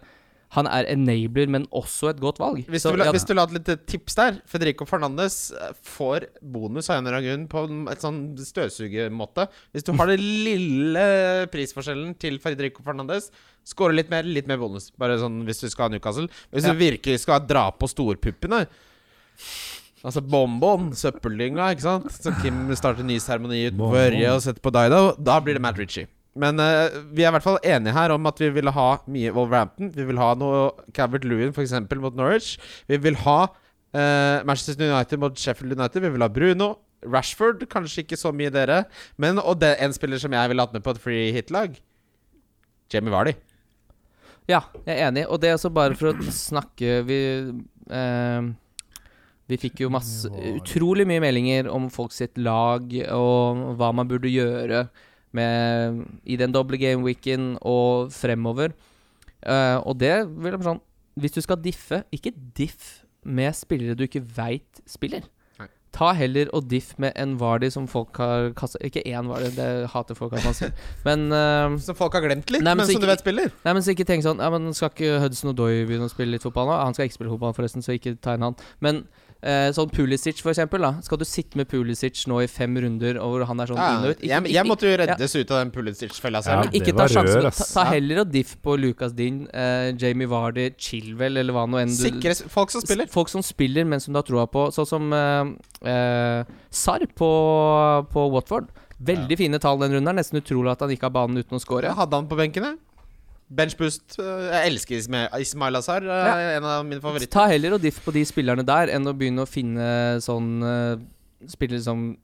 Speaker 3: Han er enabler, men også et godt valg.
Speaker 2: hvis
Speaker 3: Så
Speaker 2: du, vil, ha-
Speaker 3: ja,
Speaker 2: hvis du vil ha et lite tips der Federico Fernandes eh, får bonus av en eller annen grunn på en- et sånn støvsugermåte. Hvis du har den lille prisforskjellen til Federico Fernandes, scorer litt mer, litt mer bonus. Bare sånn hvis du skal ha Newcastle. Hvis du virkelig skal dra på storpuppene Altså bonbon, søppeldynga, ikke sant? Så Kim starter en ny seremoni utenfor
Speaker 4: Bonbon.
Speaker 2: Ørje og setter på Daido. Da blir det Matt Ritchie. Men eh, vi er i hvert fall enige her om at vi ville ha mye Wolverhampton. Vi vil ha noe Cavert Lewin, f.eks., mot Norwich. Vi vil ha eh, Manchester United mot Sheffield United. Vi vil ha Bruno. Rashford, kanskje ikke så mye dere. Men og det, en spiller som jeg ville hatt med på et free hit-lag, Jamie Vardy.
Speaker 3: ja, jeg er enig. Og det er også bare for å snakke Vi eh, vi fikk jo masse, utrolig mye meldinger om folk sitt lag og hva man burde gjøre med, i den doble gameweeken og fremover. Eh, og det vil jeg bare sånn Hvis du skal diffe, ikke diff med spillere du ikke veit spiller.
Speaker 2: Nei.
Speaker 3: Ta heller og diff med en Vardy som folk har kasta Ikke én Vardy, det hater folk at man sier. Men, eh,
Speaker 2: Som folk har glemt litt,
Speaker 3: Nei, men
Speaker 2: men,
Speaker 3: så
Speaker 2: som du
Speaker 3: ikke-
Speaker 2: vet spiller.
Speaker 3: nei, men så ikke tenk sånn Ja, men Skal ikke Hudson og Doy begynne å spille litt fotball nå? Han skal ikke spille fotball, forresten, så ikke tegn han. Men eh, sånn Pulisic, for eksempel. Da. Skal du sitte med Pulisic nå i fem runder, og hvor han er sånn
Speaker 2: Ja,
Speaker 3: inn og ut? Ikke-
Speaker 2: jeg,
Speaker 3: ikke-
Speaker 2: jeg måtte jo reddes ut av den Pulisic-fella selv.
Speaker 4: Ja,
Speaker 3: ikke ta
Speaker 4: det var
Speaker 3: sjansen.
Speaker 4: rør,
Speaker 3: ta,
Speaker 4: ass.
Speaker 3: ta heller og diff på Lucas Din, eh, Jamie Vardy, Chilwell eller hva nå enn du
Speaker 2: Sikre s- folk som spiller.
Speaker 3: Folk som spiller, men som du har troa på. Sånn som eh, eh, Sarr på, på Watford. Veldig fine tall den runden. her. Nesten utrolig at han gikk av banen uten å score.
Speaker 2: Jeg hadde han på benken, jeg. Benchboost. eh, Jeg elsker Isma- Ismail Azar.
Speaker 3: Ja.
Speaker 2: En av mine favoritter.
Speaker 3: Ta heller og diff på de spillerne der, enn å begynne å finne sånn eh, spillere som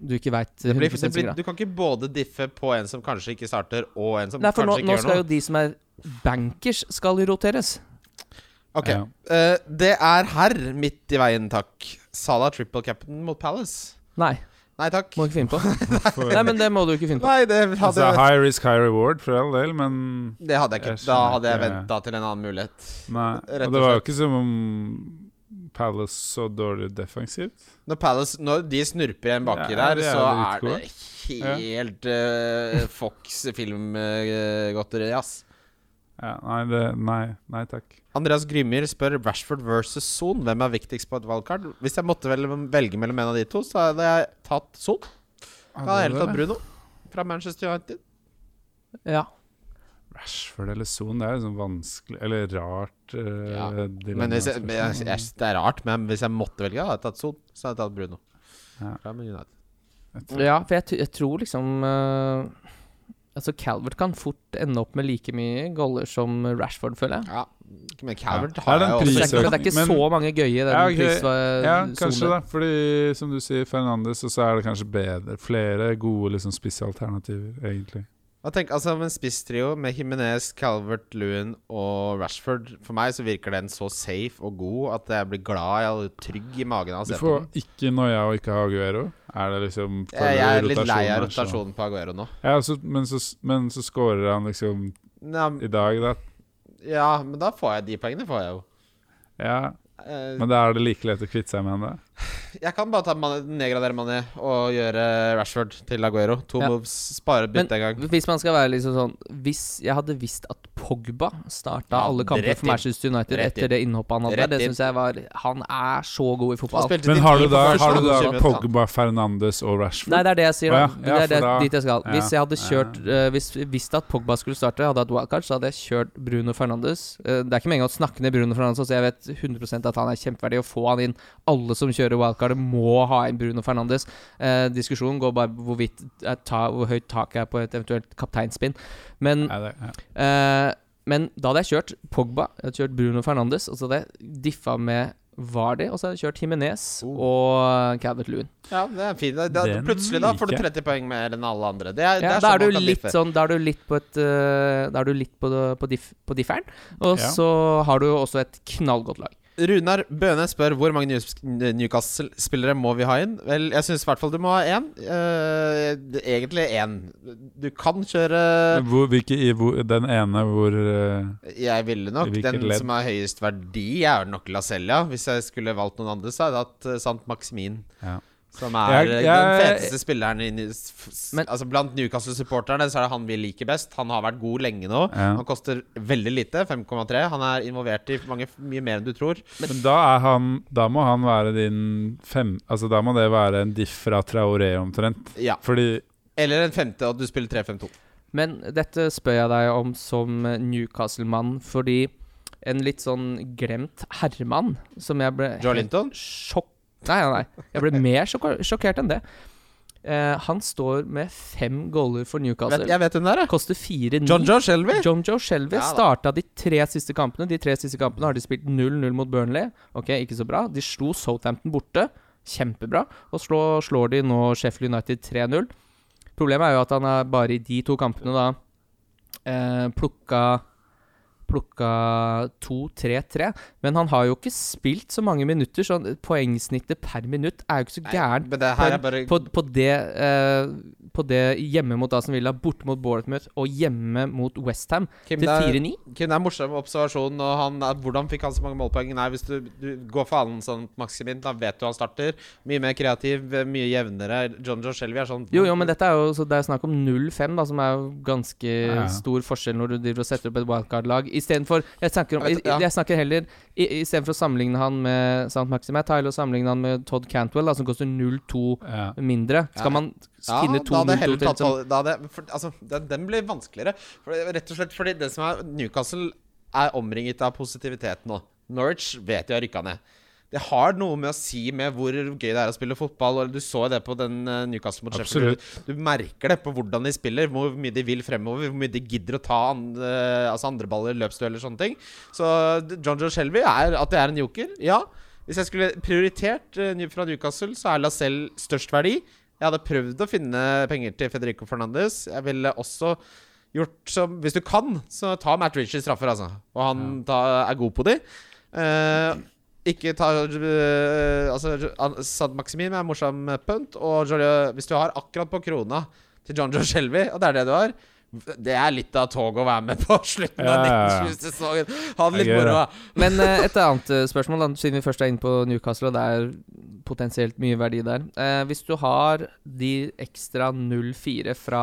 Speaker 3: du ikke veit
Speaker 2: Det blir,
Speaker 3: 100
Speaker 2: det blir,
Speaker 3: sikkert.
Speaker 2: du kan ikke både diffe på en som kanskje ikke starter, og en som
Speaker 3: Nei, for
Speaker 2: kanskje
Speaker 3: nå,
Speaker 2: ikke
Speaker 3: nå
Speaker 2: gjør noe.
Speaker 3: skal jo de som er bankers, skal jo roteres.
Speaker 2: Ok,
Speaker 4: Ja.
Speaker 2: eh, Det er herr midt i veien, takk. Salah triple captain mot Palace.
Speaker 3: Nei,
Speaker 2: Nei takk.
Speaker 3: må du ikke finne på.
Speaker 4: For,
Speaker 3: Nei, men det må du ikke finne på.
Speaker 2: Nei, det
Speaker 4: altså,
Speaker 2: hadde,
Speaker 4: high risk, high reward, for all del, men
Speaker 2: det hadde jeg ikke.
Speaker 4: Jeg skjønner
Speaker 2: Da hadde jeg
Speaker 4: ikke.
Speaker 2: venta til en annen mulighet.
Speaker 4: Nei.
Speaker 2: Rett og
Speaker 4: Og det var jo
Speaker 2: slett.
Speaker 4: ikke som om Palace så dårlig defensivt.
Speaker 2: Når Palace Når de snurper igjen baki
Speaker 4: Ja,
Speaker 2: der,
Speaker 4: det er
Speaker 2: så
Speaker 4: jo
Speaker 2: er det helt eh, Fox filmgodteri, ass.
Speaker 4: Ja, nei, det, nei, nei takk.
Speaker 2: Andreas Grymyr spør Rashford versus Son. Hvem er viktigst på et valgkart? Hvis jeg måtte vel velge mellom en av de to, så hadde jeg tatt Son. Da hadde jeg heller tatt Bruno fra Manchester United.
Speaker 3: Ja.
Speaker 4: Rashford eller Son, det er liksom vanskelig Eller rart eh,
Speaker 2: Ja,
Speaker 4: dilemma,
Speaker 2: Men hvis jeg,
Speaker 4: spørsmål.
Speaker 2: men jeg, jeg, det er rart, men hvis jeg måtte velge, hadde jeg tatt Son. Så hadde jeg tatt Bruno.
Speaker 4: Ja.
Speaker 2: Fra Man United.
Speaker 4: Jeg tror-
Speaker 3: Ja, for jeg, t jeg tror liksom eh, Altså Calvert kan fort ende opp med like mye goller som Rashford, føler jeg.
Speaker 2: Ja. Men Calvert
Speaker 4: Ja.
Speaker 2: har
Speaker 4: Er det en
Speaker 2: jeg også.
Speaker 3: Så det er
Speaker 4: pris-
Speaker 3: ikke, det er ikke
Speaker 4: men-
Speaker 3: så mange gøye i den
Speaker 4: Ja, ok. Ja, kanskje
Speaker 3: prissonen.
Speaker 4: det. Fordi som du sier, Fernandes, og så er det kanskje bedre. Flere gode liksom, spissalternativer, egentlig.
Speaker 2: Jeg tenker, altså, med en spisstrio med Jimenez, Calvert, Lewin og Rashford For meg så virker den så safe og god at jeg blir glad jeg er trygg i magen av å
Speaker 4: Du
Speaker 2: se på
Speaker 4: får
Speaker 2: den.
Speaker 4: ikke noia og ikke ha Aguero. Er det liksom
Speaker 2: Jeg, jeg er litt lei av
Speaker 4: er sånn.
Speaker 2: rotasjonen på Aguero nå.
Speaker 4: Ja, så, men, så, men så scorer han liksom
Speaker 2: Ja,
Speaker 4: i dag, da.
Speaker 2: ja, men da får jeg de poengene, får jeg jo.
Speaker 4: Ja,
Speaker 2: Eh,
Speaker 4: men da er det like lett å kvitte seg med han, da.
Speaker 2: Jeg kan bare ta Mané- nedgradere Mané og gjøre Rashford til Aguero. To
Speaker 3: Ja.
Speaker 2: moves, spare bytte en gang.
Speaker 3: Hvis man skal være liksom sånn Hvis jeg hadde visst at Pogba starta
Speaker 2: Ja,
Speaker 3: alle kamper
Speaker 2: rett
Speaker 3: for Manchester United
Speaker 2: Rett inn.
Speaker 3: etter det innhoppet han hadde
Speaker 2: Rett
Speaker 3: der, det
Speaker 2: inn.
Speaker 3: syns jeg var Han er så god i
Speaker 2: Han
Speaker 3: fotball.
Speaker 2: spilte
Speaker 4: Men
Speaker 2: til
Speaker 4: har
Speaker 2: ti
Speaker 4: du
Speaker 2: på
Speaker 4: da,
Speaker 2: første
Speaker 4: har du
Speaker 2: runde,
Speaker 4: da
Speaker 2: 20 minutter,
Speaker 4: Pogba, Fernandes og Rashford?
Speaker 3: Nei, det er det jeg sier.
Speaker 4: Å ja,
Speaker 3: da.
Speaker 4: ja,
Speaker 3: det er det,
Speaker 4: for da-
Speaker 3: dit jeg skal. Hvis
Speaker 4: ja,
Speaker 3: jeg hadde kjørt eh, Hvis jeg visste at Pogba skulle starte, hadde jeg hatt wildcard, så hadde jeg kjørt Bruno Fernandes. Eh, det er ikke meningen å snakke ned Bruno Fernandes, så jeg vet 100 at han er kjempeverdig å få han inn. Alle som kjører wildcard, må ha inn Bruno Fernandes. Eh, diskusjonen går bare på hvorvidt eh, ta, hvor høyt taket er på et eventuelt kapteinspinn. Men
Speaker 4: Ja, det, ja.
Speaker 3: Eh, men da hadde jeg kjørt Pogba, jeg hadde kjørt Bruno Fernandes, og så hadde jeg diffa med Vardy, og så hadde jeg kjørt Himinez
Speaker 2: Oh.
Speaker 3: og Calvert Lewin.
Speaker 2: Ja, det er fint. Da, da,
Speaker 4: Den
Speaker 2: plutselig da får du
Speaker 4: liker jeg.
Speaker 2: 30 poeng mer enn alle andre. Det er, det
Speaker 3: Ja,
Speaker 2: er
Speaker 3: da
Speaker 2: sånn man
Speaker 3: er du
Speaker 2: kan
Speaker 3: litt
Speaker 2: diffe.
Speaker 3: sånn Da er du litt på et eh, Da er du litt på, det- på, diff, på differen, og
Speaker 4: Ja.
Speaker 3: så har du jo også et knallgodt lag.
Speaker 2: Runar Bøhne spør hvor mange News- Newcastle-spillere må vi ha inn. Vel, jeg syns i hvert fall du må ha én. Eh, det- egentlig én. Du kan kjøre
Speaker 4: Hvor, hvilke, i, hvor, den ene hvor eh,
Speaker 2: Jeg ville nok
Speaker 4: Hvilket
Speaker 2: den
Speaker 4: ledd?
Speaker 2: som har høyest verdi, er nok Lacella. Hvis jeg skulle valgt noen andre, så hadde jeg hatt eh, Sant Maximin.
Speaker 4: Ja.
Speaker 2: Som er
Speaker 4: Jeg-
Speaker 2: eh, den
Speaker 4: jeg-
Speaker 2: feteste spilleren i New- f- s-
Speaker 3: Men-
Speaker 2: Altså Blant Newcastle-supporterne så er det han vi liker best. Han har vært god lenge nå.
Speaker 4: Ja.
Speaker 2: Han koster veldig lite, 5,3. Han er involvert i mange, mye mer enn du tror.
Speaker 4: Men da er han Da må han være din fem Altså da må det være en diff fra Traoré omtrent.
Speaker 2: Ja.
Speaker 4: Fordi
Speaker 2: Eller en femte, og du spiller 3-5-2.
Speaker 3: Men dette spør jeg deg om som Newcastle-mann, fordi en litt sånn glemt herremann som jeg ble
Speaker 2: Joe Linton?
Speaker 3: sjokk... Nei, nei, nei. Jeg ble mer sjokk sjokkert enn det. Eh, han står med fem goller for Newcastle.
Speaker 2: Vet, jeg vet hvem det er, jeg.
Speaker 3: Koster fire ni.
Speaker 2: John Joe Shelby.
Speaker 3: John Joe Shelby
Speaker 2: Ja da.
Speaker 3: starta de tre siste kampene. De tre siste kampene har de spilt 0-0 mot Burnley. Ok, ikke så bra. De slo Southampton borte. Kjempebra. Og slå, slår de nå Sheffield United 3-0. Problemet er jo at han er bare i de to kampene da eh, plukka plukka 2-3-3. Men han har jo ikke spilt så mange minutter, så han- poengsnittet per minutt er jo ikke så gærent
Speaker 2: Men det
Speaker 3: på,
Speaker 2: her
Speaker 3: en-
Speaker 2: er bare
Speaker 3: på, på, det, eh, på det hjemme mot Aston Villa, borte mot Bournemouth og hjemme mot Westham
Speaker 2: Kim,
Speaker 3: til
Speaker 2: det er-
Speaker 3: 4-9.
Speaker 2: Kim, det er en morsom observasjon. Og han, at hvordan fikk han så mange målpoeng? Nei, Hvis du, du går for Allen sånn Maximin, da vet du han starter. Mye mer kreativ, mye jevnere. John Joe Shelby er sånn
Speaker 3: Jo, jo, men dette er jo så det er snakk om 0-5, da, som er jo ganske
Speaker 4: ja.
Speaker 3: stor forskjell når du driver og setter opp et wildcard-lag. Istedenfor Jeg snakker om
Speaker 2: Jeg
Speaker 3: Jeg,
Speaker 2: vet- ja.
Speaker 3: jeg snakker heller Istedenfor å sammenligne han med St. Maxime Tyler og sammenligne han med Todd Cantwell, da, som koster 0-2
Speaker 4: Ja.
Speaker 3: mindre.
Speaker 2: Ja.
Speaker 3: Skal man
Speaker 2: Ja,
Speaker 3: finne
Speaker 2: da
Speaker 3: to
Speaker 2: hadde jeg
Speaker 3: 0-2
Speaker 2: heller
Speaker 3: til liksom?
Speaker 2: tatt
Speaker 3: som
Speaker 2: alle- da hadde jeg- for, altså, den, den blir vanskeligere. For, det- rett og slett fordi det som er Newcastle er omringet av positivitet nå. Norwich vet de har rykka ned. Det har noe med å si med hvor gøy det er å spille fotball. Og du så det på den eh, Newcastle mot Sheffield. Du merker det på hvordan de spiller, hvor mye de vil fremover, hvor mye de gidder å ta an, eh, altså andre baller, løpsdueller og sånne ting. Så d- John Joe Shelby er at det er en joker, ja. Hvis jeg skulle prioritert eh, New- fra Newcastle, så er Lacelle størst verdi. Jeg hadde prøvd å finne penger til Federico Fernandes. Jeg ville også gjort som Hvis du kan, så ta Matt Ritchie straffer, altså. Og han ta, er god på de. Eh, ikke ta eh, Altså, Sad Maximin er morsom punt. Og Jolio, hvis du har akkurat på krona til John Joe Shelby, og det er det du har det er litt av toget å være med på slutten av
Speaker 4: Ja, ja, ja.
Speaker 2: 1920-sesongen. Ha det litt
Speaker 4: Jeg gjør
Speaker 2: moro. da.
Speaker 3: Men eh, et annet eh, spørsmål, da, siden vi først er inne på Newcastle, og det er potensielt mye verdi der. Eh, hvis du har de ekstra 0-4 fra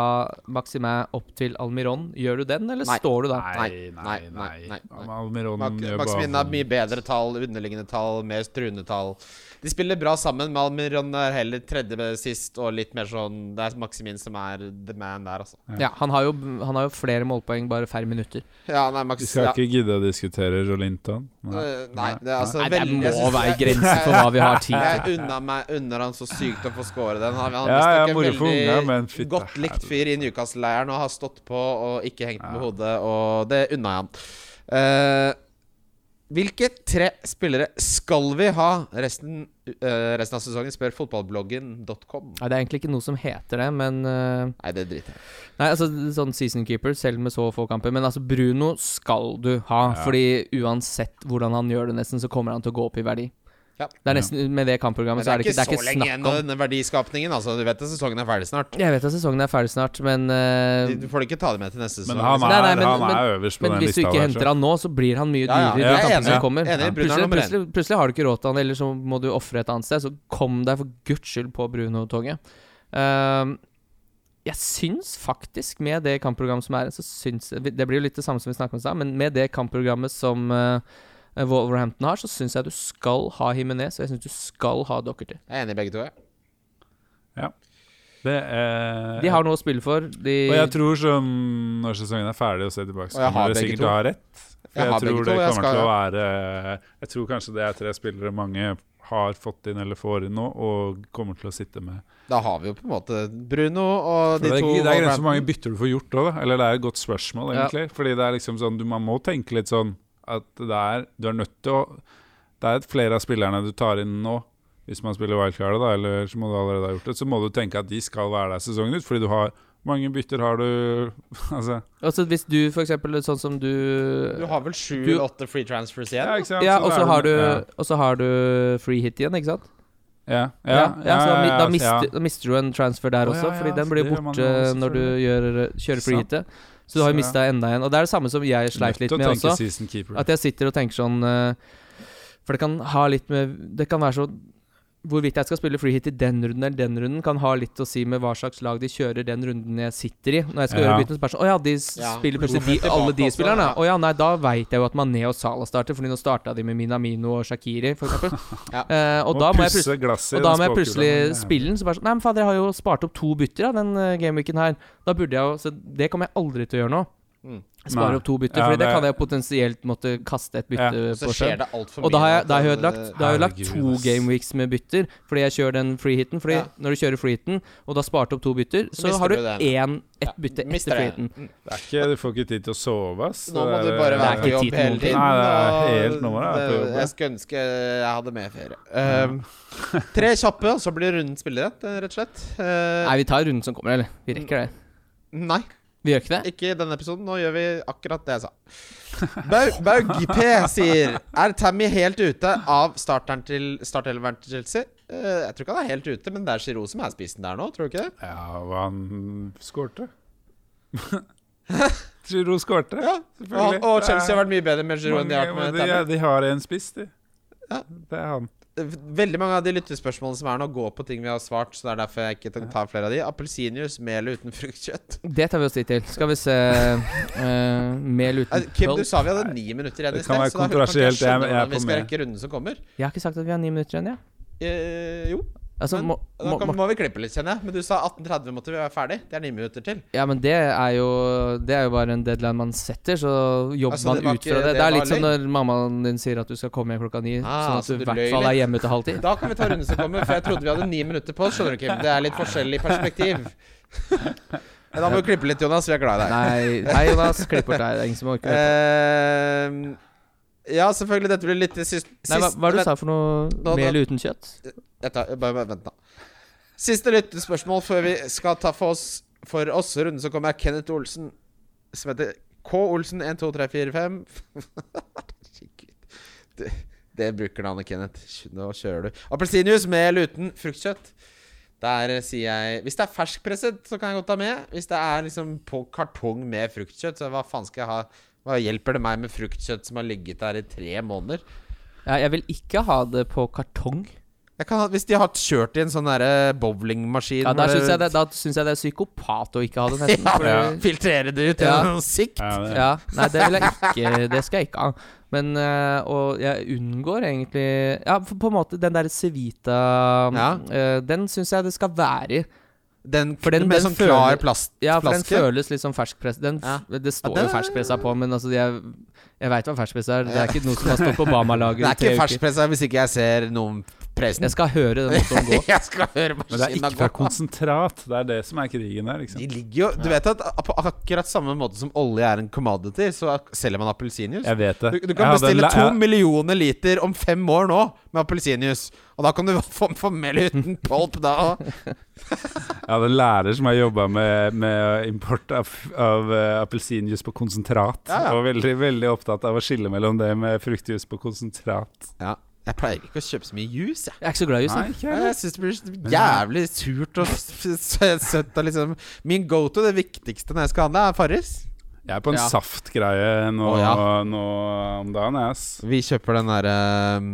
Speaker 3: Maximin opp til Almiron, gjør du den, eller
Speaker 2: Nei.
Speaker 3: står du da?
Speaker 4: Nei, nei,
Speaker 2: Nei, nei,
Speaker 4: nei.
Speaker 2: nei, nei.
Speaker 4: Almiron
Speaker 2: Mak-
Speaker 4: gjør
Speaker 2: Maximin
Speaker 4: Mm, bare-
Speaker 2: har mye bedre tall, underliggende tall, mer truende tall. De spiller bra sammen, men Almiron er heller tredje med sist, og litt mer sånn Det er Maximin som er the man der, altså.
Speaker 4: Ja.
Speaker 3: Ja, han har, jo, han har jo flere målpoeng, bare færre minutter.
Speaker 2: Ja, nei, Max
Speaker 4: Vi skal
Speaker 2: ja.
Speaker 4: ikke gidde å diskutere Jolinton.
Speaker 2: Øh, Nei, det er altså
Speaker 3: Nei, det
Speaker 2: veldig- jeg
Speaker 3: må
Speaker 2: synes-
Speaker 3: være
Speaker 2: jeg-
Speaker 3: grenser for hva vi har tid til.
Speaker 2: Jeg unna meg unner han så sykt å få score den. Han, han er
Speaker 4: Ja,
Speaker 2: visstnok
Speaker 4: ja, moro for
Speaker 2: en
Speaker 4: unga, men fytte
Speaker 2: godt likt fyr i Newcastle-leiren og har stått på og ikke hengt med
Speaker 4: Ja.
Speaker 2: hodet, og det unna jeg han. Eh, hvilke tre spillere skal vi ha resten, eh, resten av sesongen, spør fotballbloggen.com.
Speaker 3: Nei, det er egentlig ikke noe som heter det, men eh,
Speaker 2: Nei, det driter jeg i.
Speaker 3: Nei, altså sånn season keeper, selv med så få kamper. Men altså, Bruno skal du ha.
Speaker 4: Ja.
Speaker 3: Fordi uansett hvordan han gjør det, nesten, så kommer han til å gå opp i verdi.
Speaker 2: Ja.
Speaker 3: Det er nesten, Med det kampprogrammet
Speaker 2: Men
Speaker 3: så er det ikke, det er
Speaker 2: så
Speaker 3: ikke
Speaker 2: lenge igjen
Speaker 3: snakk om
Speaker 2: av denne verdiskapningen. Altså, du vet at sesongen er ferdig snart.
Speaker 3: Jeg vet at sesongen er ferdig snart, men, eh,
Speaker 2: Du får ikke ta det med til neste sesong. liksom.
Speaker 4: Men han er,
Speaker 3: Nei, nei, men-
Speaker 4: han er
Speaker 3: men-
Speaker 4: øverst på
Speaker 3: men
Speaker 4: den
Speaker 3: hvis du
Speaker 4: lista.
Speaker 3: ikke henter han nå, så blir han mye
Speaker 2: Ja, ja,
Speaker 3: dyrere i
Speaker 4: jeg
Speaker 3: de
Speaker 4: er
Speaker 3: kampene
Speaker 2: enig.
Speaker 3: som kommer.
Speaker 2: Enig, Bruno er
Speaker 3: Plutselig,
Speaker 2: nummer én.
Speaker 3: plutselig, plutselig har du ikke råd til han, eller så må du ofre et annet sted. Så kom deg for guds skyld på Bruno-toget. Ehm, jeg syns faktisk, med det kampprogrammet som er, så syns jeg Det blir jo litt det samme som vi snakket om i stad, men med det kampprogrammet som eh, Wolverhampton har, så syns jeg du skal ha Himinez, og jeg syns du skal ha Dockerty.
Speaker 2: Jeg er enig i begge to. jeg.
Speaker 4: Det er,
Speaker 3: De har noe å spille for. De,
Speaker 4: Og jeg tror som når sesongen er ferdig og ser
Speaker 2: Og
Speaker 4: tilbake, så
Speaker 2: jeg har
Speaker 4: kommer dere
Speaker 2: begge
Speaker 4: sikkert
Speaker 2: to.
Speaker 4: til å ha rett. For
Speaker 2: Jeg
Speaker 4: jeg,
Speaker 2: har begge
Speaker 4: tror
Speaker 2: to,
Speaker 4: det
Speaker 2: og jeg
Speaker 4: kommer
Speaker 2: skal-
Speaker 4: til å være Jeg tror kanskje det er tre spillere mange har fått inn eller får inn nå, og kommer til å sitte med.
Speaker 2: Da har vi jo på en måte Bruno og
Speaker 4: For
Speaker 2: de
Speaker 4: det, er,
Speaker 2: to
Speaker 4: ikke- det er grenser
Speaker 2: Wolverhampton.
Speaker 4: for hvor mange bytter du får gjort òg, da. Eller det er et godt spørsmål,
Speaker 3: Ja.
Speaker 4: egentlig. Fordi det er liksom sånn du, Man må tenke litt sånn at det er Du er nødt til å Det er flere av spillerne du tar inn nå, hvis man spiller wildcard, da, eller så må du allerede ha gjort det, så må du tenke at de skal være der sesongen ut, fordi du har mange bytter har du Altså
Speaker 3: altså, hvis du, for eksempel, sånn som du
Speaker 2: Du har vel sju
Speaker 3: Du-
Speaker 2: eller åtte free transfers igjen?
Speaker 4: Ja, ikke sant?
Speaker 3: ja,
Speaker 4: da
Speaker 3: og så
Speaker 4: er
Speaker 3: har, du,
Speaker 4: Ja,
Speaker 3: og så har du free hit igjen, ikke sant?
Speaker 4: ja,
Speaker 3: Ja, ja, så da, mi- da,
Speaker 4: ja,
Speaker 3: mister,
Speaker 4: ja.
Speaker 3: da mister du en transfer der
Speaker 4: Å,
Speaker 3: også,
Speaker 4: ja, ja,
Speaker 3: fordi den
Speaker 4: for
Speaker 3: blir
Speaker 4: det gjør man
Speaker 3: borte
Speaker 4: jo også,
Speaker 3: når du gjør, eh, kjører free
Speaker 4: Sant.
Speaker 3: hitet. Så du har
Speaker 4: Så,
Speaker 3: jo mista enda en. Og det er det samme som jeg sleit
Speaker 4: Nødt
Speaker 3: litt
Speaker 4: til å
Speaker 3: med
Speaker 4: tenke
Speaker 3: også.
Speaker 4: season keeper.
Speaker 3: At jeg sitter og tenker sånn eh, For det kan ha litt med Det kan være så Hvorvidt jeg skal spille free hit i den runden eller den runden, kan ha litt å si med hva slags lag de kjører den runden jeg sitter i. Når jeg skal
Speaker 4: Ja.
Speaker 3: gjøre byttene, så bare sånn Å ja, de s-
Speaker 2: Ja.
Speaker 3: spiller
Speaker 2: Hvorfor
Speaker 3: plutselig de,
Speaker 2: tilbake
Speaker 3: alle de
Speaker 2: også,
Speaker 3: spillerne.
Speaker 2: ja.
Speaker 3: Å ja, nei, da veit jeg jo at Mané og Salah starter, Fordi nå starta de med Minamino og Shakiri, for eksempel.
Speaker 2: Ja.
Speaker 3: Eh, og da må jeg plutselig
Speaker 4: pusse glasset i
Speaker 3: og da må
Speaker 4: den
Speaker 3: jeg
Speaker 4: spåkula,
Speaker 3: plutselig
Speaker 4: men det er-
Speaker 3: spille den. Så bare sånn Nei, men fader, jeg har jo spart opp to bytter av den eh, gameweeken her. Da burde jeg jo Så det kommer jeg aldri til å gjøre nå.
Speaker 2: Mm.
Speaker 3: Spare
Speaker 4: Nei.
Speaker 3: opp to bytter,
Speaker 4: Ja,
Speaker 3: Fordi det,
Speaker 4: det-
Speaker 3: kan jeg potensielt måtte kaste et bytte
Speaker 4: Ja.
Speaker 2: Og Så
Speaker 3: på
Speaker 2: skjer
Speaker 3: sjøl.
Speaker 2: det altfor mye. eh,
Speaker 3: Og da har jeg,
Speaker 2: nå,
Speaker 3: da har jeg
Speaker 2: så
Speaker 3: ødelagt,
Speaker 2: det-
Speaker 3: da har jeg ødelagt
Speaker 4: Herregud,
Speaker 3: to
Speaker 4: ass.
Speaker 3: gameweeks med bytter fordi jeg kjører den freehiten. Fordi
Speaker 2: Ja.
Speaker 3: når du kjører freehiten, og da sparte opp to bytter,
Speaker 2: Så
Speaker 3: så,
Speaker 2: mister
Speaker 3: har
Speaker 2: du
Speaker 3: du
Speaker 2: det.
Speaker 3: én, ett
Speaker 2: Ja,
Speaker 3: bytte
Speaker 2: mister
Speaker 3: etter
Speaker 2: det. Mm.
Speaker 3: freehiten.
Speaker 4: Det er ikke, Du får ikke tid til å sove, ass.
Speaker 2: Nå må
Speaker 4: Det
Speaker 2: du
Speaker 4: er-
Speaker 2: bare være
Speaker 3: ikke
Speaker 2: på jobb
Speaker 3: tid til
Speaker 2: hele tiden.
Speaker 3: noen ting.
Speaker 4: Nei, det Mm. er
Speaker 2: og
Speaker 4: helt normal, jeg er på jobb,
Speaker 2: det-
Speaker 4: ja.
Speaker 2: Jeg skulle ønske jeg hadde mer ferie. Ehm, tre kjappe, og så blir runden spillerett, eh, rett og slett. Eh,
Speaker 3: Nei, vi tar runden som kommer, eller? Vi rekker det.
Speaker 2: nei.
Speaker 3: Vi gjør ikke det?
Speaker 2: Ikke i denne episoden. Nå gjør vi akkurat det jeg sa. Bau- Baug P sier Er Tammy helt ute av starteren til startelveren til Chelsea? Eh, jeg tror ikke han er helt ute, men det er Giroud som er spissen der nå, tror du ikke det?
Speaker 4: Ja, og han skårte. Giro skårte,
Speaker 2: Ja, og,
Speaker 4: selvfølgelig.
Speaker 2: og Chelsea har vært mye bedre med Giroud enn de har vært
Speaker 4: Mange-
Speaker 2: med
Speaker 4: de,
Speaker 2: Tammy.
Speaker 4: de har en spiss, de.
Speaker 2: Ja.
Speaker 4: Det er han.
Speaker 2: Veldig mange av de lyttespørsmålene som er nå, går på ting vi har svart, så det er derfor jeg ikke tar flere av de. Appelsinjuice, mel uten fruktkjøtt.
Speaker 3: Det tar vi oss tid til. Skal vi se eh,
Speaker 2: Nei,
Speaker 3: Mel uten
Speaker 2: Kim, du
Speaker 3: pølse.
Speaker 2: sa vi hadde ni minutter igjen i
Speaker 4: Det
Speaker 2: sted,
Speaker 4: kan være
Speaker 2: så da kan ikke jeg
Speaker 4: kontroversielt. Jeg-
Speaker 2: skjønne
Speaker 4: jeg er
Speaker 2: hvordan vi
Speaker 4: på
Speaker 2: skal
Speaker 4: med.
Speaker 2: rekke runden som kommer.
Speaker 3: Jeg har ikke sagt at vi har ni minutter igjen, ja.
Speaker 2: Eh, jo,
Speaker 3: Altså,
Speaker 2: Men
Speaker 3: må,
Speaker 2: da
Speaker 3: må,
Speaker 2: kan,
Speaker 3: må,
Speaker 2: må vi klippe litt, kjenner jeg. Men du sa 18.30 måtte vi være ferdig. Det er ni minutter til.
Speaker 3: ja, men det er jo Det er jo bare en deadline man setter, så jobber
Speaker 2: Altså, det var
Speaker 3: man ut
Speaker 2: ikke-
Speaker 3: fra det.
Speaker 2: det
Speaker 3: Det er
Speaker 2: var
Speaker 3: litt som
Speaker 2: løgn?
Speaker 3: når mammaen din sier at du skal komme hjem klokka ni,
Speaker 2: Ah,
Speaker 3: sånn at
Speaker 2: så
Speaker 3: du
Speaker 2: du
Speaker 3: i hvert
Speaker 2: løy
Speaker 3: fall er
Speaker 2: litt.
Speaker 3: hjemme til halv ti.
Speaker 2: Da kan vi ta runden som kommer, for jeg trodde vi hadde ni minutter på oss. Skjønner du, Kim? Det er litt forskjell i perspektiv. Men Da må vi klippe litt, Jonas. Vi er glad i deg.
Speaker 3: Nei, nei Jonas, klipp bort deg. Det er ingen som orker det.
Speaker 2: Eh, ja, selvfølgelig. Dette blir litt sist...
Speaker 3: Nei, hva, hva er det du
Speaker 2: sist-
Speaker 3: sa for noe?
Speaker 2: da-
Speaker 3: Mel uten kjøtt?
Speaker 2: Vent da, bare, bare vent, da. Siste lyttespørsmål før vi skal ta for oss, for oss runden som kommer, er Kenneth Olsen, som heter K. Olsen 12345. Herregud. Det, det bruker navnet Kenneth. Nå kjører du. Appelsinjuice med eller uten fruktkjøtt. Der sier jeg Hvis det er ferskpresset, så kan jeg godt ta med. Hvis det er liksom på kartong med fruktkjøtt, så hva faen skal jeg ha? Hva hjelper det meg med fruktkjøtt som har ligget der i tre måneder?
Speaker 3: Ja, jeg vil ikke ha det på kartong.
Speaker 2: Jeg kan ha, hvis de har kjørt i en sånn derre bowlingmaskin
Speaker 3: Ja, Da
Speaker 2: hvor det-
Speaker 3: syns jeg, det- da synes jeg det er psykopat å ikke ha det, nesten. for
Speaker 2: ja.
Speaker 3: det-
Speaker 2: Filtrere det ut
Speaker 3: Ja.
Speaker 2: ja. sikt.
Speaker 4: Ja, det,
Speaker 3: Ja, nei, det vil jeg ikke Det skal jeg ikke ha. Men eh, Og jeg unngår egentlig Ja, for, på en måte, den derre Civita
Speaker 2: Ja.
Speaker 3: eh, Den syns jeg det skal være i.
Speaker 2: Den,
Speaker 3: For den-
Speaker 2: med
Speaker 3: den
Speaker 2: sånn klar
Speaker 3: føler-
Speaker 2: plast,
Speaker 3: Ja, for den
Speaker 2: flaske.
Speaker 3: føles litt som ferskpress. Den, f- Det står
Speaker 2: Ja,
Speaker 3: jo
Speaker 2: det-
Speaker 3: ferskpressa på, men altså jeg, jeg veit hva ferskpress er. Det er ikke noe som har stått på Bama-laget
Speaker 2: Det
Speaker 3: i
Speaker 2: er ikke
Speaker 3: tre uker.
Speaker 2: ferskpressa hvis ikke jeg ser noen presen.
Speaker 3: Jeg skal høre den motoren gå.
Speaker 2: Jeg skal høre
Speaker 4: Men det er
Speaker 2: maskina
Speaker 4: ikke
Speaker 2: gå.
Speaker 4: fra konsentrat. Det er det som er krigen her. Liksom.
Speaker 2: De ligger jo Du vet at på akkurat samme måte som olje er en commodity, så selger man appelsinjuice.
Speaker 4: Jeg vet det.
Speaker 2: Du, du
Speaker 4: Jeg
Speaker 2: kan
Speaker 4: hadde en
Speaker 2: bestille
Speaker 4: la-
Speaker 2: to
Speaker 4: jeg-
Speaker 2: millioner liter om fem år nå med appelsinjuice. Og da kan du få, få mel uten polp da òg.
Speaker 4: Jeg hadde en lærer som har jobba med, med import av, av eh, appelsinjuice på konsentrat.
Speaker 2: Ja, ja.
Speaker 4: Og veldig, veldig opptatt av å skille mellom det med fruktjuice på konsentrat.
Speaker 2: Ja. Jeg pleier ikke å kjøpe så mye juice, jeg.
Speaker 3: Jeg er ikke så glad i jus, jeg.
Speaker 4: Nei, ikke
Speaker 2: Ja,
Speaker 4: jeg.
Speaker 2: Jeg syns det blir jævlig surt og s- s- søtt. Og liksom. Min go to, det viktigste når jeg skal handle, er Farris.
Speaker 4: Jeg er på en
Speaker 3: Ja.
Speaker 4: saftgreie nå,
Speaker 2: Å, ja.
Speaker 4: nå om dagen, ass.
Speaker 2: Vi kjøper den derre um,